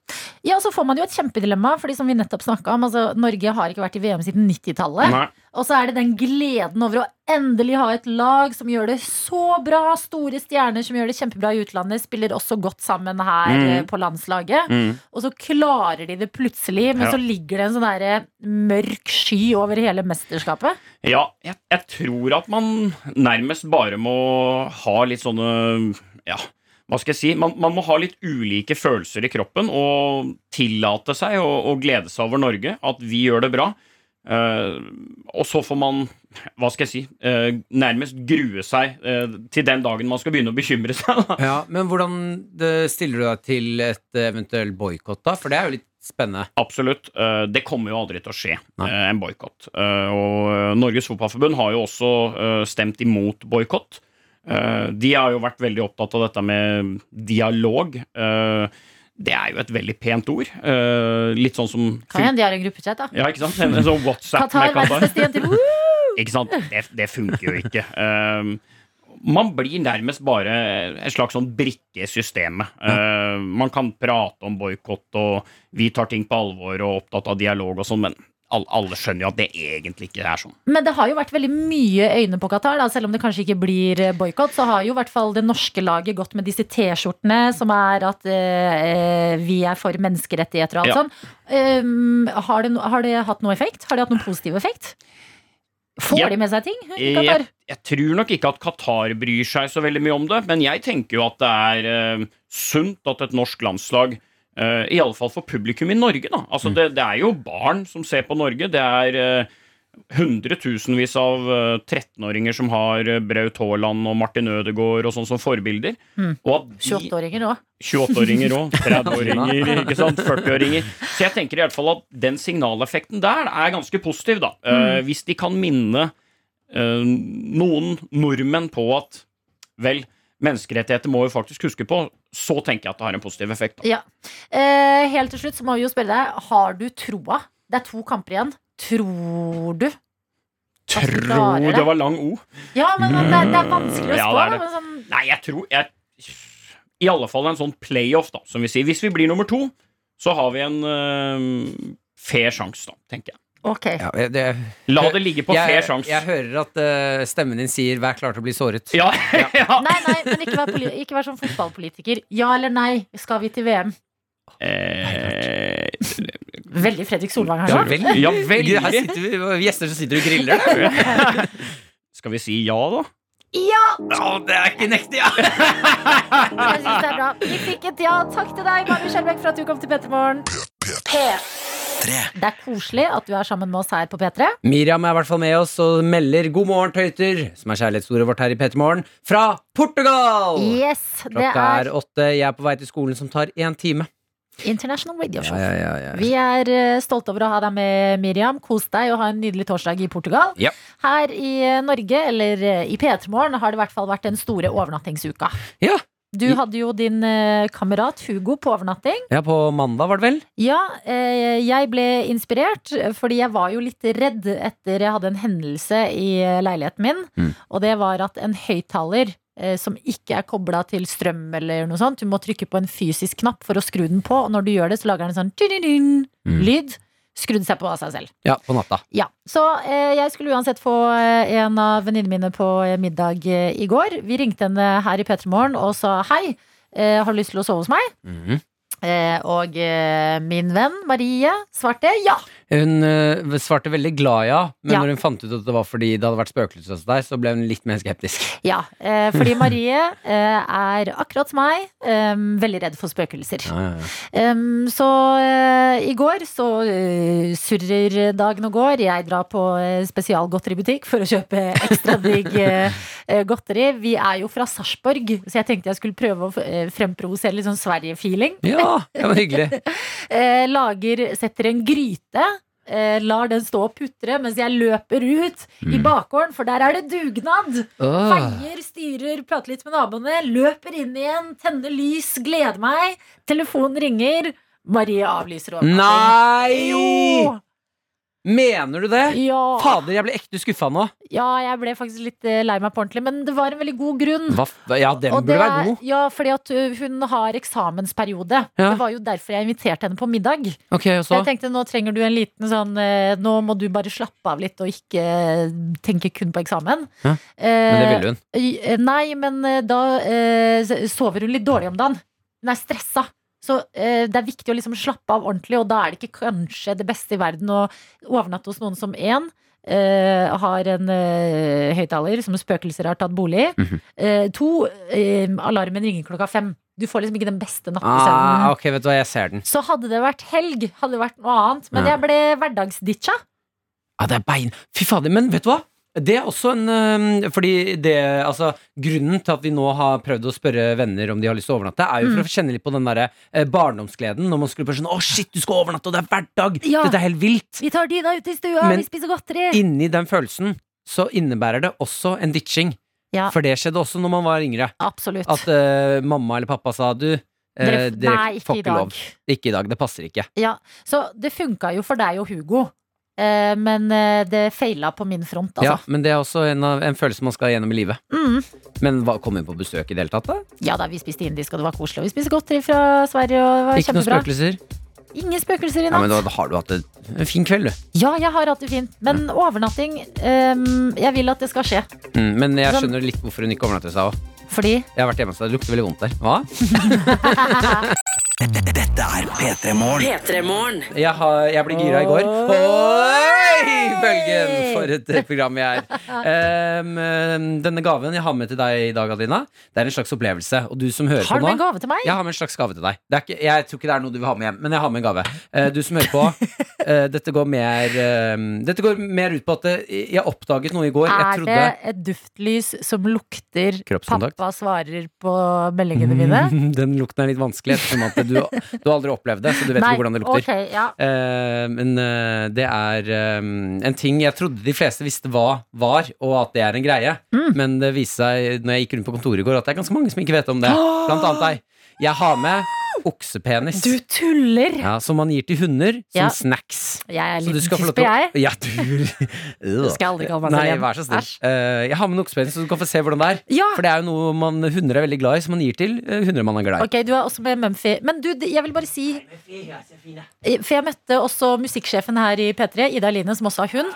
Speaker 2: Ja, så får man jo et kjempedilemma, fordi som vi nettopp snakket om, altså, Norge har ikke vært i VM siden 90-tallet.
Speaker 13: Nei.
Speaker 2: Og så er det den gleden over å endelig ha et lag som gjør det så bra. Store stjerner som gjør det kjempebra i utlandet, spiller også godt sammen her
Speaker 13: Mm.
Speaker 2: eh, på landslaget. Og så klarer de det plutselig, men
Speaker 13: Ja.
Speaker 2: så ligger det en sånn der eh, mørk sky over hele mesterskapet.
Speaker 13: Ja, jeg, jeg tror at man nærmest bare må ha litt sånne Ja, hva skal jeg si? Man, man må ha litt ulike følelser i kroppen og tillate seg å, å glede seg over Norge, at vi gjør det bra. Eh, og så får man, hva skal jeg si, eh, nærmest grue seg eh, til den dagen man skal begynne å bekymre seg. Da.
Speaker 3: Ja, men hvordan eh, stiller du deg til et eh, eventuell boikott, da? For det er jo litt spennende.
Speaker 13: Absolutt. Eh, Det kommer jo aldri til å skje, eh, en boikott. Eh, Og eh, Norges Fotballforbund har jo også eh, stemt imot boikott. Eh, De har jo vært veldig opptatt av dette med dialog. Eh, Det er jo et veldig pent ord. Eh, Litt sånn som
Speaker 2: Kan hende de har en gruppechat, da.
Speaker 13: Ja, ikke sant? En, en sånn WhatsApp
Speaker 2: Qatar,
Speaker 13: med
Speaker 2: verdens beste jenter. Woo!
Speaker 13: Ikke sant? Det, det funker jo [LAUGHS] ikke. Um, man blir nærmest bare en slags sånn brikke i systemet. Uh, man kan prate om boikott og vi tar ting på alvor og opptatt av dialog og sånn, men alle, alle skjønner jo at det egentlig ikke er sånn.
Speaker 2: Men det har jo vært veldig mye øyne på Qatar, da. selv om det kanskje ikke blir eh, boikott. Så har jo i hvert fall det norske laget gått med disse T-skjortene som er at eh, eh, vi er for menneskerettigheter og alt
Speaker 13: Ja.
Speaker 2: sånn. Um, har, det, no- har det hatt noe effekt? Har det hatt noen positiv effekt? Får
Speaker 13: Ja.
Speaker 2: de med seg ting i
Speaker 13: Jeg,
Speaker 2: Qatar?
Speaker 13: jeg tror nok ikke at Qatar bryr seg så veldig mye om det, men jeg tenker jo at det er eh, sunt at et norsk landslag eh, I alle fall for publikum i Norge, da. Altså, det, det er jo barn som ser på Norge. Det er eh, hundretusenvis av eh, 13-åringer som har eh, Braut Haaland og Martin Ødegaard og sånn som forbilder.
Speaker 2: Mm.
Speaker 13: Og at de
Speaker 2: 28-åringer òg.
Speaker 13: 28-åringer òg. 30-åringer, ikke sant. 40-åringer. Så jeg tenker i hvert fall at den signaleffekten der er ganske positiv, da. Eh, hvis de kan minne eh, noen nordmenn på at vel, menneskerettigheter må vi faktisk huske på, så tenker jeg at det har en positiv effekt. Da.
Speaker 2: Ja. Eh, helt til slutt så må vi jo spørre deg, har du troa? Det er to kamper igjen. Tror du? klarer
Speaker 13: Tror
Speaker 2: det.
Speaker 13: det var lang O.
Speaker 2: Ja, men det, er- det er vanskelig å
Speaker 13: Ja,
Speaker 2: spå.
Speaker 13: det
Speaker 2: da,
Speaker 13: er det.
Speaker 2: men sånn,
Speaker 13: Nei, jeg tror jeg, I alle fall en sånn playoff, da, som vi sier. Hvis vi blir nummer to, så har vi en eh, fair sjanse, da, tenker jeg.
Speaker 2: ok.
Speaker 3: Ja, jeg- det,
Speaker 13: La det ligge på
Speaker 3: jeg,
Speaker 13: fair sjanse.
Speaker 3: Jeg hører at eh, stemmen din sier 'vær klar til å bli såret'.
Speaker 13: Ja,
Speaker 2: Nei, nei, men ikke vær, poli ikke vær sånn fotballpolitiker. Ja eller nei, skal vi til VM?
Speaker 13: Eh,
Speaker 2: Veldig Fredrik Solvang her nå.
Speaker 13: veldig. Ja, veldig.
Speaker 3: Her sitter vi og gjester som sitter og griller.
Speaker 13: [LAUGHS] skal vi si ja, da?
Speaker 2: Ja!
Speaker 13: Ja, det er ikke nektig, ja.
Speaker 2: Jeg syns det er bra. Vi fikk et ja. Takk til deg, Mari Skjelbæk, for at du kom til P3morgen. Det er koselig at du er sammen med oss her på P3.
Speaker 3: Miriam er i hvert fall med oss og melder 'God morgen, tøyter', som er kjærlighetsordet vårt her i P3 Morgen, fra Portugal!
Speaker 2: Yes, det
Speaker 3: Klokka er
Speaker 2: er
Speaker 3: åtte. Jeg er på vei til skolen, som tar én time.
Speaker 2: International Radio Show.
Speaker 3: Ja, ja, ja, ja.
Speaker 2: Vi er eh, stolte over å ha deg med, Miriam. Kos deg og ha en nydelig torsdag i Portugal.
Speaker 3: Ja.
Speaker 2: Her i eh, Norge, eller eh, i P3morgen, har det i hvert fall vært den store overnattingsuka.
Speaker 3: Ja.
Speaker 2: Du hadde jo din eh, kamerat Hugo på overnatting.
Speaker 3: Ja, på mandag, var det vel?
Speaker 2: Ja, eh, jeg ble inspirert, fordi jeg var jo litt redd etter jeg hadde en hendelse i eh, leiligheten min.
Speaker 3: Mm.
Speaker 2: Og det var at en høyttaler eh, som ikke er kobla til strøm eller noe sånt, du må trykke på en fysisk knapp for å skru den på, og når du gjør det, så lager den en sånn
Speaker 3: Mm.
Speaker 2: lyd. Skrudde seg på av seg selv.
Speaker 3: Ja, på natta.
Speaker 2: Ja, Så eh, jeg skulle uansett få eh, en av venninnene mine på eh, middag eh, i går. Vi ringte henne her i P3 Morgen og sa hei, eh, har du lyst til å sove hos meg? Eh, og eh, min venn Marie svarte ja.
Speaker 3: Hun eh, svarte veldig glad ja, men
Speaker 2: Ja.
Speaker 3: når hun fant ut at det var fordi det hadde vært spøkelser hos deg, så ble hun litt mer skeptisk.
Speaker 2: ja. Eh, fordi Marie eh, er akkurat som meg, eh, veldig redd for spøkelser. Em, så eh, i går så eh, surrer dagen og går. Jeg drar på eh, spesialgodteributikk for å kjøpe ekstra digg eh, eh, godteri. Vi er jo fra Sarpsborg, så jeg tenkte jeg skulle prøve å eh, fremprovosere litt sånn Sverige-feeling.
Speaker 3: Ja, det var hyggelig.
Speaker 2: Eh, lager, setter en gryte. eh, Lar den stå og putre mens jeg løper ut i
Speaker 3: Mm.
Speaker 2: bakgården, for der er det dugnad!
Speaker 3: Åh.
Speaker 2: Feier, styrer, prater litt med naboene, løper inn igjen, tenner lys, gleder meg. Telefonen ringer. Marie avlyser
Speaker 3: Nei!
Speaker 2: Jo!
Speaker 3: Mener du det?
Speaker 2: Ja.
Speaker 3: Fader, jeg ble ekte skuffa nå.
Speaker 2: ja, jeg ble faktisk litt eh, lei meg på ordentlig, men det var en veldig god grunn.
Speaker 3: Hva, f- ja,
Speaker 2: Mm.
Speaker 3: den
Speaker 2: Og det
Speaker 3: burde være
Speaker 2: er-
Speaker 3: god.
Speaker 2: Ja, fordi at ø, hun har eksamensperiode.
Speaker 3: Ja.
Speaker 2: Det var jo derfor jeg inviterte henne på middag.
Speaker 3: Ok, og
Speaker 2: Så
Speaker 3: så?
Speaker 2: jeg tenkte nå trenger du en liten sånn eh, Nå må du bare slappe av litt og ikke eh, tenke kun på eksamen.
Speaker 3: Ja,
Speaker 2: Men
Speaker 3: det ville hun.
Speaker 2: Nei, men eh, da eh, s- sover hun litt dårlig om dagen. Hun er stressa. Så eh, det er viktig å liksom slappe av ordentlig, og da er det ikke kanskje det beste i verden å overnatte hos noen som én eh, har en eh, høyttaler som spøkelser har tatt bolig i.
Speaker 3: Mhm.
Speaker 2: Eh, to, eh, alarmen ringer klokka fem. Du får liksom ikke den beste nattesøvnen.
Speaker 3: Ah, ok, vet du hva, jeg ser den.
Speaker 2: Så hadde det vært helg, hadde det vært noe annet. Men
Speaker 3: Ja.
Speaker 2: jeg ble hverdagsditcha.
Speaker 3: Ja, Ah, det er bein. Fy fader. Men vet du hva? Det er også en øhm, Fordi det Altså, grunnen til at vi nå har prøvd å spørre venner om de har lyst til å overnatte, er jo
Speaker 2: Mm.
Speaker 3: for å kjenne litt på den derre eh, barndomsgleden når man skulle bare sånn Å, shit, du skal overnatte, og det er hverdag!
Speaker 2: Ja.
Speaker 3: Dette er helt vilt!
Speaker 2: Vi tar Dina ut i stua,
Speaker 3: Men
Speaker 2: vi spiser godteri.
Speaker 3: Inni den følelsen så innebærer det også en ditching.
Speaker 2: Ja.
Speaker 3: For det skjedde også når man var yngre.
Speaker 2: Absolutt.
Speaker 3: At eh, mamma eller pappa sa du, eh,
Speaker 2: Dere f-
Speaker 3: dere
Speaker 2: nei, ikke
Speaker 3: får
Speaker 2: i
Speaker 3: ikke
Speaker 2: dag.»
Speaker 3: lov. Ikke i dag. Det passer ikke.
Speaker 2: Ja, Så det funka jo for deg og Hugo, eh, men eh, det feila på min front,
Speaker 3: Ja,
Speaker 2: altså.
Speaker 3: men det er også en, av, en følelse man skal gjennom i livet.
Speaker 2: Ja, mm.
Speaker 3: Men hva, kom hun på besøk i det hele tatt, da?
Speaker 2: ja da, vi spiste indisk, og det var koselig. Og vi spiste godteri fra Sverige, og det var
Speaker 3: Ikke noen
Speaker 2: kjempebra.
Speaker 3: spøkelser?
Speaker 2: Ingen spøkelser i
Speaker 3: Ja, men
Speaker 2: natt.
Speaker 3: da har du hatt en en fin kveld, du.
Speaker 2: Ja, jeg har hatt det fint. Men overnatting ehm, Jeg vil at det skal skje.
Speaker 3: Mm, men jeg
Speaker 2: Sånn-
Speaker 3: skjønner litt hvorfor hun ikke overnattet seg òg.
Speaker 2: Fordi
Speaker 3: Jeg har vært hjemme hos deg, det lukter veldig vondt der. Hva? Dette er P3
Speaker 4: P3morgen.
Speaker 3: Jeg, har, jeg ble gira i går. Oi! Bølgen! For et eh, program jeg er. Em, em, denne gaven jeg har med til deg i dag, Adelina, det er en slags opplevelse. Og du som hører
Speaker 2: Har
Speaker 3: på
Speaker 2: du
Speaker 3: nå
Speaker 2: en gave til meg?
Speaker 3: Jeg har med en slags gave til deg. Det er ikke, jeg tror ikke det er noe du vil ha med hjem, men jeg har med en gave. Eh, du som hører på, eh, dette, går mer, em, dette går mer ut på at eh, jeg oppdaget noe i går. Jeg
Speaker 2: er det
Speaker 3: trodde
Speaker 2: et duftlys som lukter
Speaker 3: Kroppskontakt?
Speaker 2: Pappa svarer på meldingene mine?
Speaker 3: Mm, Den lukten er litt vanskelig, ettersom at du, du har aldri opplevd det, så du [LAUGHS] vet
Speaker 2: Nei,
Speaker 3: ikke hvordan det lukter.
Speaker 2: ok, ja.
Speaker 3: Eh, men eh, det er eh, en ting jeg trodde de fleste visste hva var, og at det er en greie.
Speaker 2: Mm.
Speaker 3: Men det viste seg når jeg gikk rundt på kontoret i går, at det er ganske mange som ikke vet om det. Blant annet deg. Jeg har med oksepenis.
Speaker 2: Du tuller!
Speaker 3: ja, som man gir til hunder som
Speaker 2: Ja.
Speaker 3: snacks.
Speaker 2: Jeg er
Speaker 3: Så
Speaker 2: litt
Speaker 3: du skal få lov
Speaker 2: tispe,
Speaker 3: til å-
Speaker 2: jeg.
Speaker 3: Ja, du
Speaker 2: [LAUGHS] Det skal jeg aldri kalle meg selv
Speaker 3: Nei,
Speaker 2: igjen.
Speaker 3: vær så snill.
Speaker 2: Æsj.
Speaker 3: Eh, jeg har med en oksepenis, så du kan få se hvordan det er.
Speaker 2: Ja.
Speaker 3: For det er jo noe man, hunder er veldig glad i, som man gir til eh, hunder man er glad i.
Speaker 2: Ok, du er også med Mumphy. Men du, jeg vil bare si For jeg møtte også musikksjefen her i P3, Ida Line, som også har hund.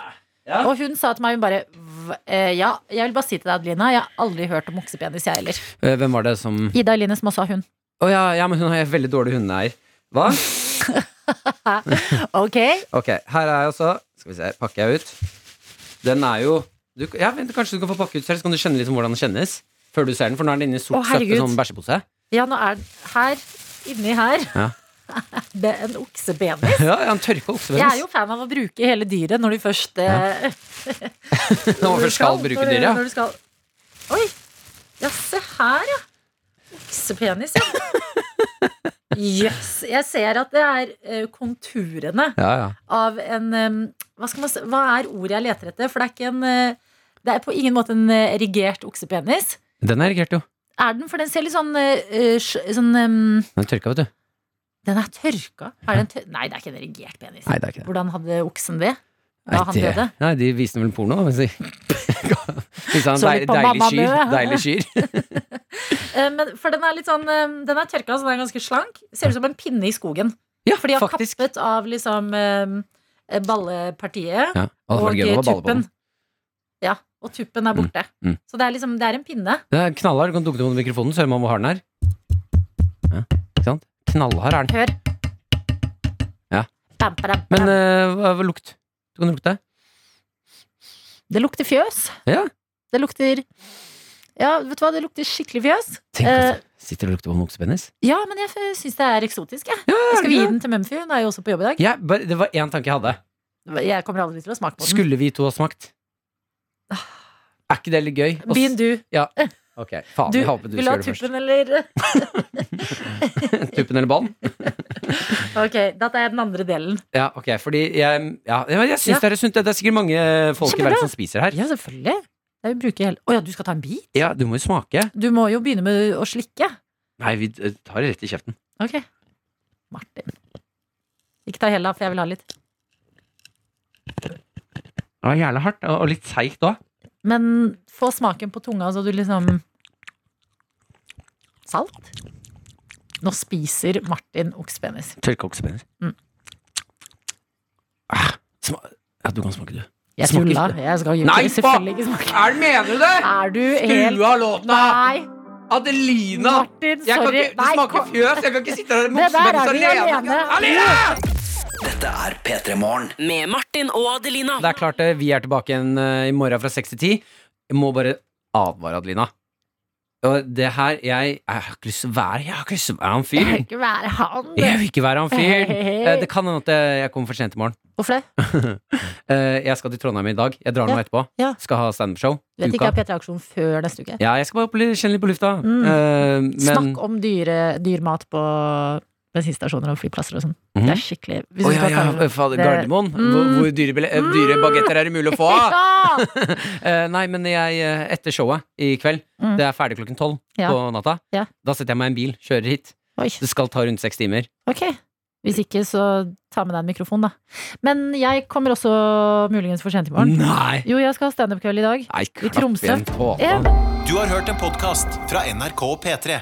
Speaker 2: Og hun sa til meg hun bare "V- eh, Ja, jeg vil bare si til deg, Adelina, jeg har aldri hørt om oksepenis, jeg heller.
Speaker 3: Eh, Hvem var det som Å
Speaker 2: Ida Line, som også har hund.
Speaker 3: ja, ja, men hun har veldig dårlig hundeeier. Hva?
Speaker 2: Ok?
Speaker 3: Ok, her er jeg også Skal vi se, pakker jeg ut Den er jo du, ja, vent, Kanskje du kan få pakke ut selv Så kan du kjenne litt om hvordan den kjennes Før du ser den, for nå er den inne i sort
Speaker 2: Å,
Speaker 3: søtte
Speaker 2: herregud.
Speaker 3: sånn bæsjepose
Speaker 2: Ja, nå er den her. Inni her.
Speaker 3: Ja.
Speaker 2: [LAUGHS] Det er en oksepenis.
Speaker 3: Ja, ja, en tørka oksepenis
Speaker 2: Jeg er jo fan av å bruke hele dyret når du først eh,
Speaker 3: Når man først skal
Speaker 2: når
Speaker 3: bruke
Speaker 2: du-
Speaker 3: dyr, ja
Speaker 2: når du skal. Oi! Ja, se her, ja. Oksepenis, ja. Jøss. Jeg ser at det er eh, konturene
Speaker 3: Ja, ja
Speaker 2: av en eh, hva, skal man, si- hva er ordet jeg leter etter? For det er ikke en eh, Det er på ingen måte en eh, erigert oksepenis.
Speaker 3: Den er erigert jo
Speaker 2: Er den? For den ser litt sånn, eh, sj- sånn eh,
Speaker 3: Den er tørka, vet du
Speaker 2: Den er tørka. Er det en tør Nei, det er ikke en erigert penis.
Speaker 3: Nei, det er ikke det
Speaker 2: Hvordan hadde oksen det
Speaker 3: Nei,
Speaker 2: da han
Speaker 3: det-
Speaker 2: døde?
Speaker 3: Nei, de viste vel porno hvis de- [LAUGHS] Hvis han
Speaker 2: Så litt
Speaker 3: deil,
Speaker 2: på
Speaker 3: deilig
Speaker 2: Mamma
Speaker 3: skyr
Speaker 2: Mø.
Speaker 3: Deilig
Speaker 2: [LAUGHS]
Speaker 3: skyr
Speaker 2: Eh, Men, for den er litt sånn eh, Den er tørka, så den er ganske slank. Ser ut som en pinne i skogen.
Speaker 3: Ja,
Speaker 2: For de har
Speaker 3: faktisk
Speaker 2: kappet av liksom eh, ballepartiet
Speaker 3: Ja, og det
Speaker 2: og
Speaker 3: var gøy å balle på
Speaker 2: tuppen.
Speaker 3: den.
Speaker 2: Ja, og tuppen er borte.
Speaker 3: Mm, mm.
Speaker 2: Så det er liksom Det er en pinne.
Speaker 3: Den er knallhard, du kan dukke den under mikrofonen Så hører man hvor hard den er ja, Ikke sant? Knallhard er den
Speaker 2: Hør.
Speaker 3: Ja.
Speaker 2: Bam, bam, bam.
Speaker 3: Men eh, hva, hva lukt? Du kan lukte
Speaker 2: det lukter fjøs.
Speaker 3: Ja
Speaker 2: Det lukter Ja, vet du hva, det lukter skikkelig fjøs.
Speaker 3: Tenk
Speaker 2: Eh,
Speaker 3: Sitter og lukter på en oksepenis?
Speaker 2: ja, men jeg f- syns det er eksotisk, jeg. jeg skal vi gi den til Mumphy? Hun er jo også på jobb i dag.
Speaker 3: Jeg, bare, det var én tanke jeg hadde.
Speaker 2: Jeg kommer aldri til å smake på den.
Speaker 3: Skulle vi to ha smakt? Er ikke det litt gøy? Og s-
Speaker 2: Begynn du.
Speaker 3: Ja. Ok, faen,
Speaker 2: Du,
Speaker 3: jeg håper du
Speaker 2: vil du ha
Speaker 3: skal gjøre det først.
Speaker 2: tuppen, eller? [LAUGHS]
Speaker 3: Tuppen eller bånd?
Speaker 2: Ok, dette er den andre delen.
Speaker 3: Ja, ok, fordi jeg Ja, ja, men jeg syns
Speaker 2: Ja.
Speaker 3: det er sunt. Det er sikkert mange folk i
Speaker 2: Kjempebra.
Speaker 3: verden som spiser her.
Speaker 2: Ja, selvfølgelig. Jeg vil bruke hele Å ja, du skal ta en bit?
Speaker 3: Ja, du må jo smake.
Speaker 2: Du må jo begynne med å slikke.
Speaker 3: Nei, vi eh, tar det rett i kjeften.
Speaker 2: Ok. Martin. Ikke ta hele, for jeg vil ha litt.
Speaker 3: Det var jævla hardt, og og litt seigt òg.
Speaker 2: Men få smaken på tunga, så du liksom Salt? Nå spiser Martin oksepenis.
Speaker 3: Tørka oksepenis.
Speaker 2: Mm.
Speaker 3: Ah, sma ja, du kan smake, du.
Speaker 2: Jeg
Speaker 3: Smaker
Speaker 2: tulla.
Speaker 3: ikke.
Speaker 2: Jeg skal jo
Speaker 3: Nei,
Speaker 2: ikke- selvfølgelig ikke smake.
Speaker 3: Er det mener du det?
Speaker 2: Er du helt
Speaker 3: Skrua låten av!
Speaker 2: Nei,
Speaker 3: Adelina!
Speaker 2: Martin,
Speaker 3: jeg kan
Speaker 2: sorry.
Speaker 3: ikke, det
Speaker 2: Nei,
Speaker 3: smaker
Speaker 2: kom-
Speaker 3: fjøs! Jeg kan ikke sitte her med
Speaker 2: Det der er
Speaker 3: oksepenis
Speaker 2: vi
Speaker 3: alene!
Speaker 2: alene.
Speaker 15: Dette er P3 Morgen.
Speaker 4: Med Martin og Adelina.
Speaker 3: Det er klart det, vi er tilbake igjen eh, i morgen fra 6 til 10. Jeg må bare advare Adelina. Og det her, jeg, jeg har ikke lyst til å være Jeg har ikke lyst til å være han
Speaker 2: Jeg vil
Speaker 3: fyren.
Speaker 2: ikke være han.
Speaker 3: Jeg vil ikke være han fyren.
Speaker 2: Hei, hei, hei.
Speaker 3: Eh, Det kan hende at jeg kommer for sent i morgen.
Speaker 2: Hvorfor
Speaker 3: [LAUGHS] det? Eh, jeg skal til Trondheim i dag. Jeg drar nå
Speaker 2: Ja,
Speaker 3: etterpå.
Speaker 2: ja.
Speaker 3: Skal ha standup-show.
Speaker 2: Vet ikke
Speaker 3: Uka.
Speaker 2: jeg P3 Aksjon før neste uke.
Speaker 3: Ja, jeg skal bare bli- kjenne litt på lufta.
Speaker 2: Mm.
Speaker 3: Eh, men
Speaker 2: Snakk om dyre, dyr mat på bensinstasjoner og flyplasser og sånn. Det er skikkelig hvis
Speaker 3: Mhm. Å,
Speaker 2: du
Speaker 3: ja,
Speaker 2: skal
Speaker 3: ja,
Speaker 2: ta-
Speaker 3: fader,
Speaker 2: det- Mm.
Speaker 3: Gardermoen? Hvor, hvor dyre, bille- eh, dyre bagetter er det mulig å få
Speaker 2: [LAUGHS]
Speaker 3: av? [LAUGHS] Eh, nei, men jeg, eh, etter showet i kveld,
Speaker 2: Mm.
Speaker 3: det er ferdig klokken tolv
Speaker 2: Ja.
Speaker 3: på natta,
Speaker 2: Ja.
Speaker 3: da setter jeg meg i en bil, kjører hit. Det skal ta rundt seks timer.
Speaker 2: Ok. Hvis ikke, så ta med deg en mikrofon, da. Men jeg kommer også muligens for sent i morgen.
Speaker 3: Nei.
Speaker 2: Jo, jeg skal ha standup-kveld i dag.
Speaker 3: Nei,
Speaker 2: I Tromsø. Ja.
Speaker 16: Du har hørt en podkast fra NRK P3.